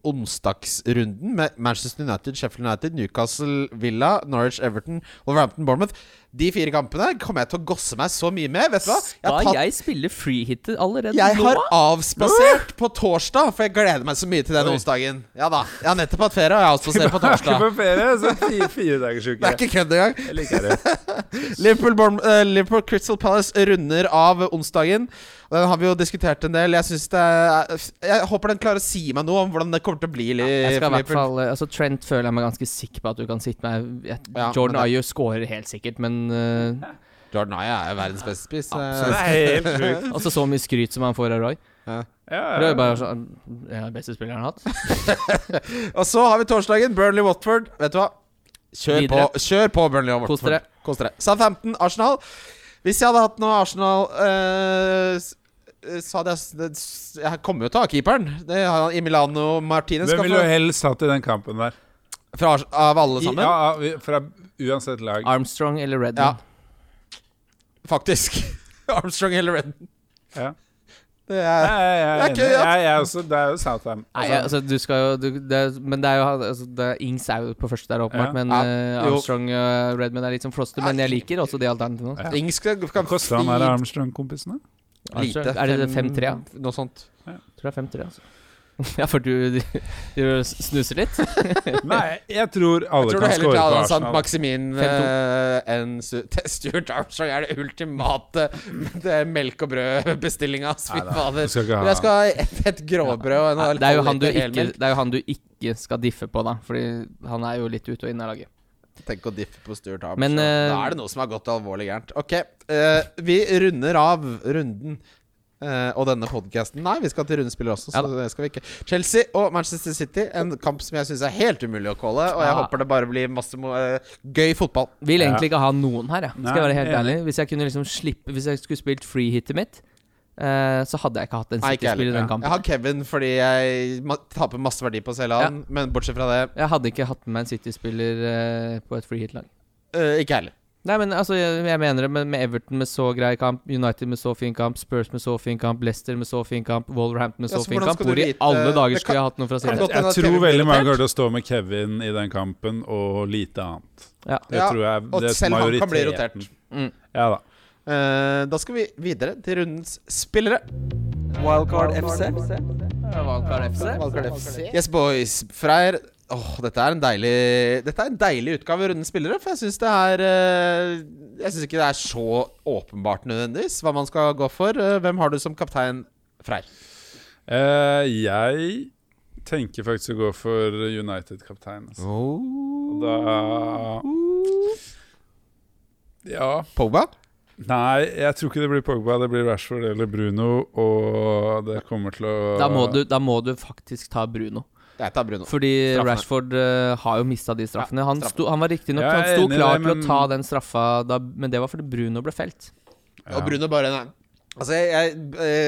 Speaker 2: onsdagsrunden med Manchester United, Sheffield United, Newcastle, Villa, Norwich, Everton, Wolverhampton, Bournemouth. De fire kampene kommer jeg til å gosse meg så mye med. Vet du hva? Jeg har,
Speaker 3: Skal
Speaker 2: tatt,
Speaker 3: jeg spille freehitter allerede
Speaker 2: jeg
Speaker 3: nå?
Speaker 2: har avspasert på torsdag, for jeg gleder meg så mye til den
Speaker 4: Oi.
Speaker 2: onsdagen. Ja da. Jeg har nettopp hatt ferie, og jeg har avspasert på
Speaker 4: Jeg er ikke
Speaker 2: torsdag.
Speaker 4: på ferie, så fire, fire dagers uke.
Speaker 2: Det er ikke kødd engang.
Speaker 4: Jeg liker det.
Speaker 2: Liverpool, Bourne- eh, Liverpool Crystal Palace runder av onsdagen. Og Den har vi jo diskutert en del. Jeg, synes det er, jeg håper den klarer å si meg noe om hvordan det kommer til å bli. Li-
Speaker 3: Jeg skal i
Speaker 2: for
Speaker 3: hvert fall eh, Altså Trent føler jeg meg ganske sikker på at du kan sitte med. Jeg-
Speaker 2: Ja,
Speaker 3: Jordan
Speaker 2: men det-
Speaker 3: Ayew scorer helt sikkert, men eh,
Speaker 2: Jordan Ayew er jo verdens beste spiss. eh. så-
Speaker 4: Det er helt sjukt.
Speaker 3: Altså så mye skryt som han får av Roy.
Speaker 4: Ja,
Speaker 3: Roy er bare sånn Ja, beste spilleren han har hatt.
Speaker 2: Og så har vi torsdagen. Burnley-Watford. Vet du hva? Kjør på,
Speaker 3: Videre.
Speaker 2: kjør på Burnley og
Speaker 3: Kos
Speaker 2: Watford.
Speaker 3: dere.
Speaker 2: Kos dere. Southampton, Arsenal. Hvis jeg hadde hatt noe Arsenal eh, s- eh, så hadde jeg s- det- s- Jeg kommer jo til å ha keeperen. Det har han- Emiliano Martinez.
Speaker 4: Hvem
Speaker 2: skal
Speaker 4: ville du
Speaker 2: få-
Speaker 4: helst hatt i den kampen der?
Speaker 2: Fra, Ars- av alle
Speaker 4: I,
Speaker 2: sammen?
Speaker 4: ja, ja, fra uansett lag.
Speaker 3: Armstrong eller
Speaker 2: Ja.
Speaker 3: Redman.
Speaker 2: Faktisk. Armstrong eller Redden.
Speaker 4: Ja.
Speaker 2: Det
Speaker 4: Nei,
Speaker 2: er Det
Speaker 4: jeg, er enig.
Speaker 2: er ikke-
Speaker 4: jeg, jeg er også, det er jo Southam.
Speaker 3: Nei, altså du skal jo du, det, er- Men det er jo altså, det er Ings er jo på første der, åpenbart.
Speaker 4: Ja.
Speaker 3: Men
Speaker 2: Ja,
Speaker 3: eh,
Speaker 2: jo.
Speaker 3: Armstrong og Redman er litt som floster. Men jeg liker også de alternativene.
Speaker 4: Ja.
Speaker 2: Ings skal
Speaker 4: Hva
Speaker 2: kan
Speaker 4: koster han der Armstrong-kompisen? da?
Speaker 2: Lite.
Speaker 3: Er det det 5-3, ja?
Speaker 2: Noe sånt.
Speaker 3: Tror det er 5-3, altså. ja, for du, du, du snuser litt?
Speaker 4: Nei, jeg tror
Speaker 2: Jeg tror
Speaker 4: alle
Speaker 2: du
Speaker 4: kan
Speaker 2: heller
Speaker 4: score
Speaker 2: til
Speaker 4: på
Speaker 2: Alan Sant
Speaker 4: Arsenal.
Speaker 2: Maximin eh, enn Su- Te- Stuart Armstrong. er det ultimate det er melk og brød-bestillinga. Fy
Speaker 4: Nei, nei,
Speaker 2: fader.
Speaker 4: du skal ikke ha
Speaker 2: Men Jeg skal ha et, et gråbrød og en
Speaker 3: Nei, det, er jo han du
Speaker 2: halvliter
Speaker 3: ikke,
Speaker 2: helmelk.
Speaker 3: det er jo han du ikke skal diffe på, da. Fordi han er jo litt ute og inn av laget.
Speaker 2: Tenk å diffe på Stuart Armstrong.
Speaker 3: Men, eh,
Speaker 2: da er det noe som har gått alvorlig gærent. Ok, eh, vi runder av runden. eh, og denne podcasten Nei, vi skal til rundespiller også.
Speaker 3: Ja
Speaker 2: Så det skal vi ikke Chelsea og Manchester City, en kamp som jeg syns er helt umulig å calle. Og jeg
Speaker 3: Ja.
Speaker 2: håper det bare blir masse mo eh, gøy fotball.
Speaker 3: Vil
Speaker 4: Ja.
Speaker 3: egentlig ikke ha noen her, jeg. Skal jeg
Speaker 4: Nei,
Speaker 3: være helt
Speaker 4: jeg er
Speaker 3: ærlig. Hvis jeg kunne liksom slippe Hvis jeg skulle spilt freehitet mitt, eh, så hadde jeg ikke hatt en
Speaker 2: Nei, ikke jeg
Speaker 3: City-spill i
Speaker 2: heller.
Speaker 3: den
Speaker 2: Jeg
Speaker 3: kampen.
Speaker 2: har Kevin fordi jeg ma taper masse verdi på å selge han, men bortsett fra det
Speaker 3: Jeg hadde ikke hatt med meg en City-spiller eh, på et freehit-lag.
Speaker 2: øh, ikke heller.
Speaker 3: Nei, men altså, jeg, jeg mener det, men med Everton med så grei kamp, United med så fin kamp, Spurs med så fin kamp, Leicester med så fin kamp, Wolverhampton med
Speaker 2: Ja,
Speaker 3: så
Speaker 2: så
Speaker 3: fin
Speaker 2: hvordan
Speaker 3: kamp.
Speaker 2: skal
Speaker 3: Hvor
Speaker 2: du
Speaker 3: i
Speaker 2: vite-
Speaker 3: alle dager
Speaker 2: det kan-
Speaker 3: skulle jeg hatt noe fra
Speaker 2: kan godt
Speaker 3: City?
Speaker 2: hende
Speaker 4: Jeg, jeg
Speaker 2: at Kevin
Speaker 4: tror
Speaker 2: blir
Speaker 4: veldig mange
Speaker 2: irritert.
Speaker 4: kommer til å stå med Kevin i den kampen, og lite annet.
Speaker 3: Ja.
Speaker 4: Det
Speaker 2: Ja,
Speaker 4: tror jeg
Speaker 2: Og
Speaker 4: det er
Speaker 2: selv han kan bli
Speaker 4: majoriteten.
Speaker 2: rotert. Mm.
Speaker 4: Ja da.
Speaker 2: Eh, da skal vi videre til rundens spillere.
Speaker 1: Wildcard FC.
Speaker 2: Yes, boys. Freyr Åh, dette er en deilig Dette er en deilig utgave av rundens spillere, for jeg syns det er eh, Jeg syns ikke det er så åpenbart nødvendigvis hva man skal gå for. Eh, hvem har du som kaptein, Freyr?
Speaker 4: Eh, jeg tenker faktisk å gå for United-kapteinen. Altså.
Speaker 2: Oh.
Speaker 4: Og Da Ja.
Speaker 2: Pogba?
Speaker 4: Nei, jeg tror ikke det blir Pogba. Det blir Rashford eller Bruno, og det kommer til å
Speaker 3: Da må, du, da må du faktisk ta Bruno.
Speaker 2: Jeg tar Bruno.
Speaker 3: Fordi
Speaker 2: Straffene.
Speaker 3: Rashford eh, har jo mista de straffene. Han,
Speaker 2: straffen.
Speaker 3: sto, han var riktignok
Speaker 4: Jeg er
Speaker 3: Han sto
Speaker 4: enig i
Speaker 3: klar
Speaker 4: det,
Speaker 3: til
Speaker 4: men-
Speaker 3: å ta den straffa, da, men det var fordi Bruno ble felt.
Speaker 4: Ja.
Speaker 2: Og Bruno bare nei. Altså, jeg, jeg,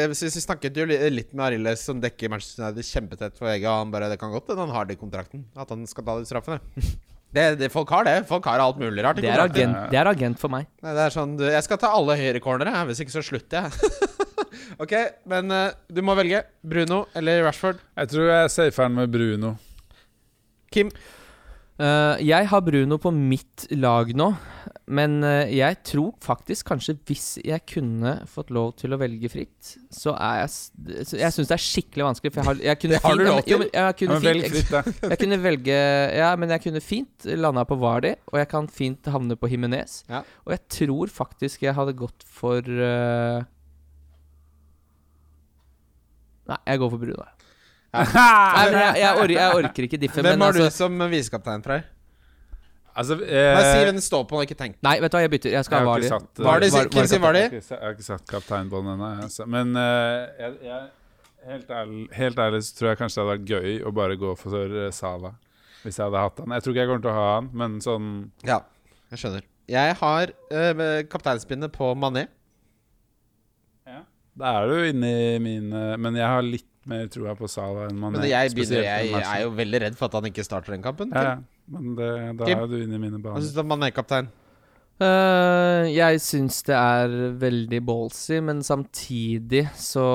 Speaker 2: eh, synes vi snakket jo li- litt med Arildes, som dekker Manchester United kjempetett for VG, og han bare Det kan godt hende han har det i kontrakten, at han skal ta de straffene. Det, det, folk har det. Folk har alt mulig rart. i
Speaker 3: Det er,
Speaker 2: kontrakter.
Speaker 3: agent, det er agent for meg.
Speaker 2: Nei, det er sånn, du, Jeg skal ta alle høyrecornere, jeg, hvis ikke så slutter jeg. ok, men eh, du må velge. Bruno eller Rashford.
Speaker 4: Jeg tror jeg safer den med Bruno.
Speaker 2: Kim.
Speaker 3: Eh, jeg har Bruno på mitt lag nå, men eh, jeg tror faktisk kanskje hvis jeg kunne fått lov til å velge fritt, så er jeg s- så Jeg syns det er skikkelig vanskelig, for jeg har, jeg kunne
Speaker 2: Det har
Speaker 3: fint-
Speaker 2: du lov til.
Speaker 3: Jo, men jeg
Speaker 4: Ja,
Speaker 3: kunne
Speaker 4: men
Speaker 3: fint,
Speaker 4: velg fritt, da.
Speaker 3: Jeg kunne velge Ja, men jeg kunne fint landa på Vardi, og jeg kan fint havne på Himinez.
Speaker 2: Ja.
Speaker 3: Og jeg tror faktisk jeg hadde gått for eh, Nei, jeg går for Bruno. jeg. Nei, men jeg, jeg, orker, jeg orker ikke diffe,
Speaker 2: Hvem
Speaker 3: men
Speaker 2: har
Speaker 3: altså
Speaker 2: du som eh, visekaptein, Frey?
Speaker 4: Altså,
Speaker 2: Nei, si
Speaker 4: eh,
Speaker 2: hvem det står på når jeg ikke tenker.
Speaker 3: Nei, vet du hva, jeg bytter. Jeg
Speaker 4: jeg
Speaker 3: skal ha
Speaker 4: har
Speaker 3: Vardi.
Speaker 4: ikke satt eh,
Speaker 2: Var det,
Speaker 3: var-
Speaker 2: Kim sier var det?
Speaker 4: Jeg har ikke sa- jeg har ikke satt kapteinbånd ennå. jeg, Altså. Men eh, jeg, jeg, helt, ærlig, helt ærlig så tror jeg kanskje det hadde vært gøy å bare gå for eh, Salah. Hvis jeg hadde hatt han. Jeg tror ikke jeg kommer til å ha han, men sånn
Speaker 2: Ja, jeg skjønner. Jeg har uh, kapteinspinnet på Mané.
Speaker 4: Da er du inne i mine Men jeg har litt mer trua på Salah enn man
Speaker 2: Men jeg, begynner, jeg, jeg er jo veldig redd for at han ikke starter den kampen.
Speaker 4: ja,
Speaker 2: Kim.
Speaker 4: ja. Men det, da
Speaker 2: Kim.
Speaker 4: er du inne i mine
Speaker 2: Hva
Speaker 4: baner.
Speaker 2: syns du om Mané-kaptein?
Speaker 3: Eh, jeg syns det er veldig ballsy, men samtidig så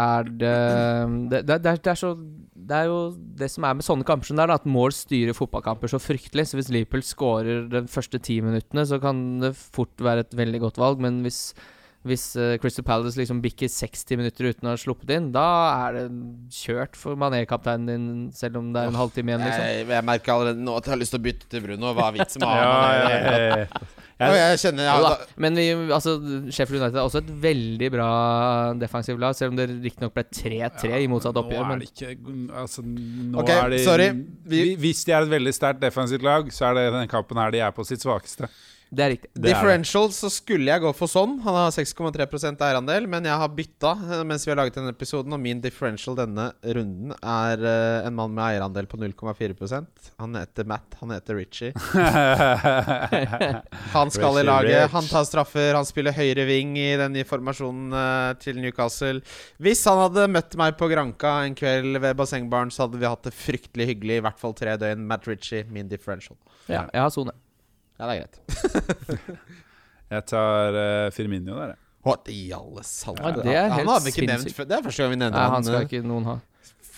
Speaker 3: er det det, det, det, er, det er så Det er jo det som er med sånne kamper som det er, da, at mål styrer fotballkamper så fryktelig. Så hvis Liverpool scorer de første ti minuttene, så kan det fort være et veldig godt valg. Men hvis, hvis eh, Crystal Palace liksom bikker 60 minutter uten å ha sluppet inn, da er det kjørt for mané-kapteinen din, selv om det er en halvtime igjen, liksom.
Speaker 2: Jeg, jeg merker allerede nå at jeg har lyst til å bytte til Bruno. Hva er vitsen med å
Speaker 4: Ja,
Speaker 2: ha Mané?
Speaker 4: ja, ja, ja.
Speaker 2: Ja, jeg kjenner ja,
Speaker 3: Jo da,
Speaker 2: da-
Speaker 3: men vi, altså, Sheffield United er også et veldig bra defensivt lag, selv om det riktignok ble 3-3 i motsatt oppgjør.
Speaker 4: Nå er
Speaker 3: Men
Speaker 4: det ikke altså, nå
Speaker 2: Ok,
Speaker 4: er de,
Speaker 2: sorry.
Speaker 4: Vi,
Speaker 2: Vi-
Speaker 4: hvis de er et veldig sterkt defensivt lag, så er det den kampen her de er på sitt svakeste.
Speaker 3: det er riktig.
Speaker 4: Det er det.
Speaker 2: Differential så skulle jeg gå for sånn. Han har 6,3 eierandel, men jeg har bytta eh, mens vi har laget denne episoden, og min differential denne runden er eh, en mann med eierandel på 0,4 Han heter Matt, han heter Richie. Han skal i
Speaker 4: Richie
Speaker 2: laget,
Speaker 4: Rich.
Speaker 2: han tar straffer, han spiller høyre ving i den nye formasjonen eh, til Newcastle. Hvis han hadde møtt meg på Granka en kveld ved bassengbaren, så hadde vi hatt det fryktelig hyggelig i hvert fall tre døgn. Matt Ritchie, min differential.
Speaker 3: Ja, jeg har sone.
Speaker 2: Ja, det er greit.
Speaker 4: Jeg tar eh, Firmino der, jeg.
Speaker 2: What i alle salte
Speaker 3: Ja, det er
Speaker 2: Han
Speaker 3: helt
Speaker 2: har vi ikke nevnt
Speaker 3: sinnssykt.
Speaker 2: før. Det er første gang vi nevner
Speaker 3: Nei, han skal
Speaker 2: eh,
Speaker 3: ikke noen ha.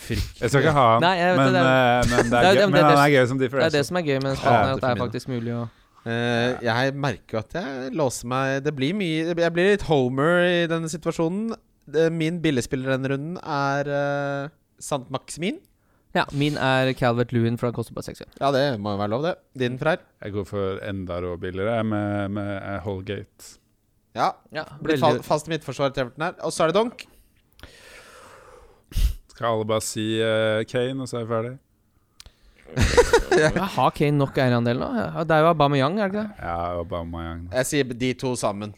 Speaker 2: Frykt.
Speaker 4: Jeg skal ikke ha han,
Speaker 3: Nei, jeg vet
Speaker 4: men,
Speaker 3: det, det
Speaker 4: eh, men, det
Speaker 3: Det er-
Speaker 4: er
Speaker 3: det
Speaker 4: gøy,
Speaker 3: er-
Speaker 4: men han
Speaker 3: det
Speaker 4: er gøy som
Speaker 3: Det er det
Speaker 4: differential.
Speaker 3: som er gøy med den
Speaker 2: Ja,
Speaker 3: spalten, her, at det er
Speaker 2: definitivt.
Speaker 3: faktisk mulig å
Speaker 2: Eh, jeg merker jo at jeg låser meg Det blir mye Jeg blir litt homer i denne situasjonen. Det- Min billigspiller denne runden er eh, Sant Maximin.
Speaker 3: Ja, min er Calvert Lewin, for han koster bare 6
Speaker 2: Ja, det må jo være lov, det.
Speaker 3: Mm.
Speaker 2: Din Freyr.
Speaker 4: Jeg går for enda råbilligere jeg, med, med eh, Holgate.
Speaker 2: Ja.
Speaker 3: Ja,
Speaker 2: Blir fa fast midtforsvarer til Everton her. Og så er det Donk.
Speaker 4: Skal alle bare si eh, Kane, og så er vi ferdig?
Speaker 3: Jeg har Kane nok eierandel nå? Ja, Det er jo Aubameyang, er det ikke det?
Speaker 4: Ja, Aubameyang.
Speaker 2: Jeg sier de to sammen.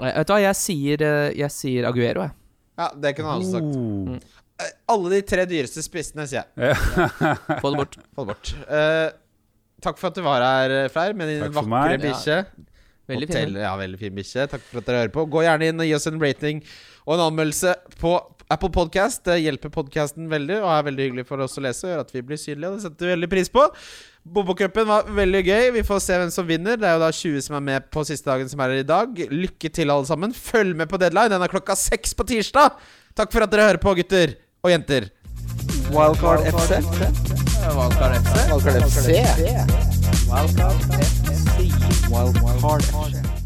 Speaker 3: Nei, Vet du hva, jeg sier, eh, jeg sier Aguero, jeg.
Speaker 2: Ja, det kunne han også sagt.
Speaker 3: Mm.
Speaker 4: Oh.
Speaker 2: Eh, Alle de tre dyreste spissene, sier jeg.
Speaker 3: Få det bort.
Speaker 2: Få det bort. Eh, takk for at du var her, Freyr, med din
Speaker 4: Takk for
Speaker 2: vakre
Speaker 4: meg.
Speaker 2: bikkje.
Speaker 3: Veldig
Speaker 2: Hotell-
Speaker 3: fin.
Speaker 2: Ja, veldig fin bikkje. Takk for at dere hører på. Gå gjerne inn og gi oss en rating og en anmeldelse på Apple Podcast. Det hjelper podkasten veldig og er veldig hyggelig for oss å lese. og Gjør at vi blir synlige, og det setter vi veldig pris på. Bobokupen var veldig gøy. Vi får se hvem som vinner. Det er jo da 20 som er med på siste dagen som er her i dag. Lykke til, alle sammen. Følg med på deadline. Den er klokka seks på tirsdag. Takk for at dere hører på, gutter og jenter.
Speaker 1: Wildcard FC.
Speaker 2: Valgkart FC.
Speaker 1: Wildcard FC.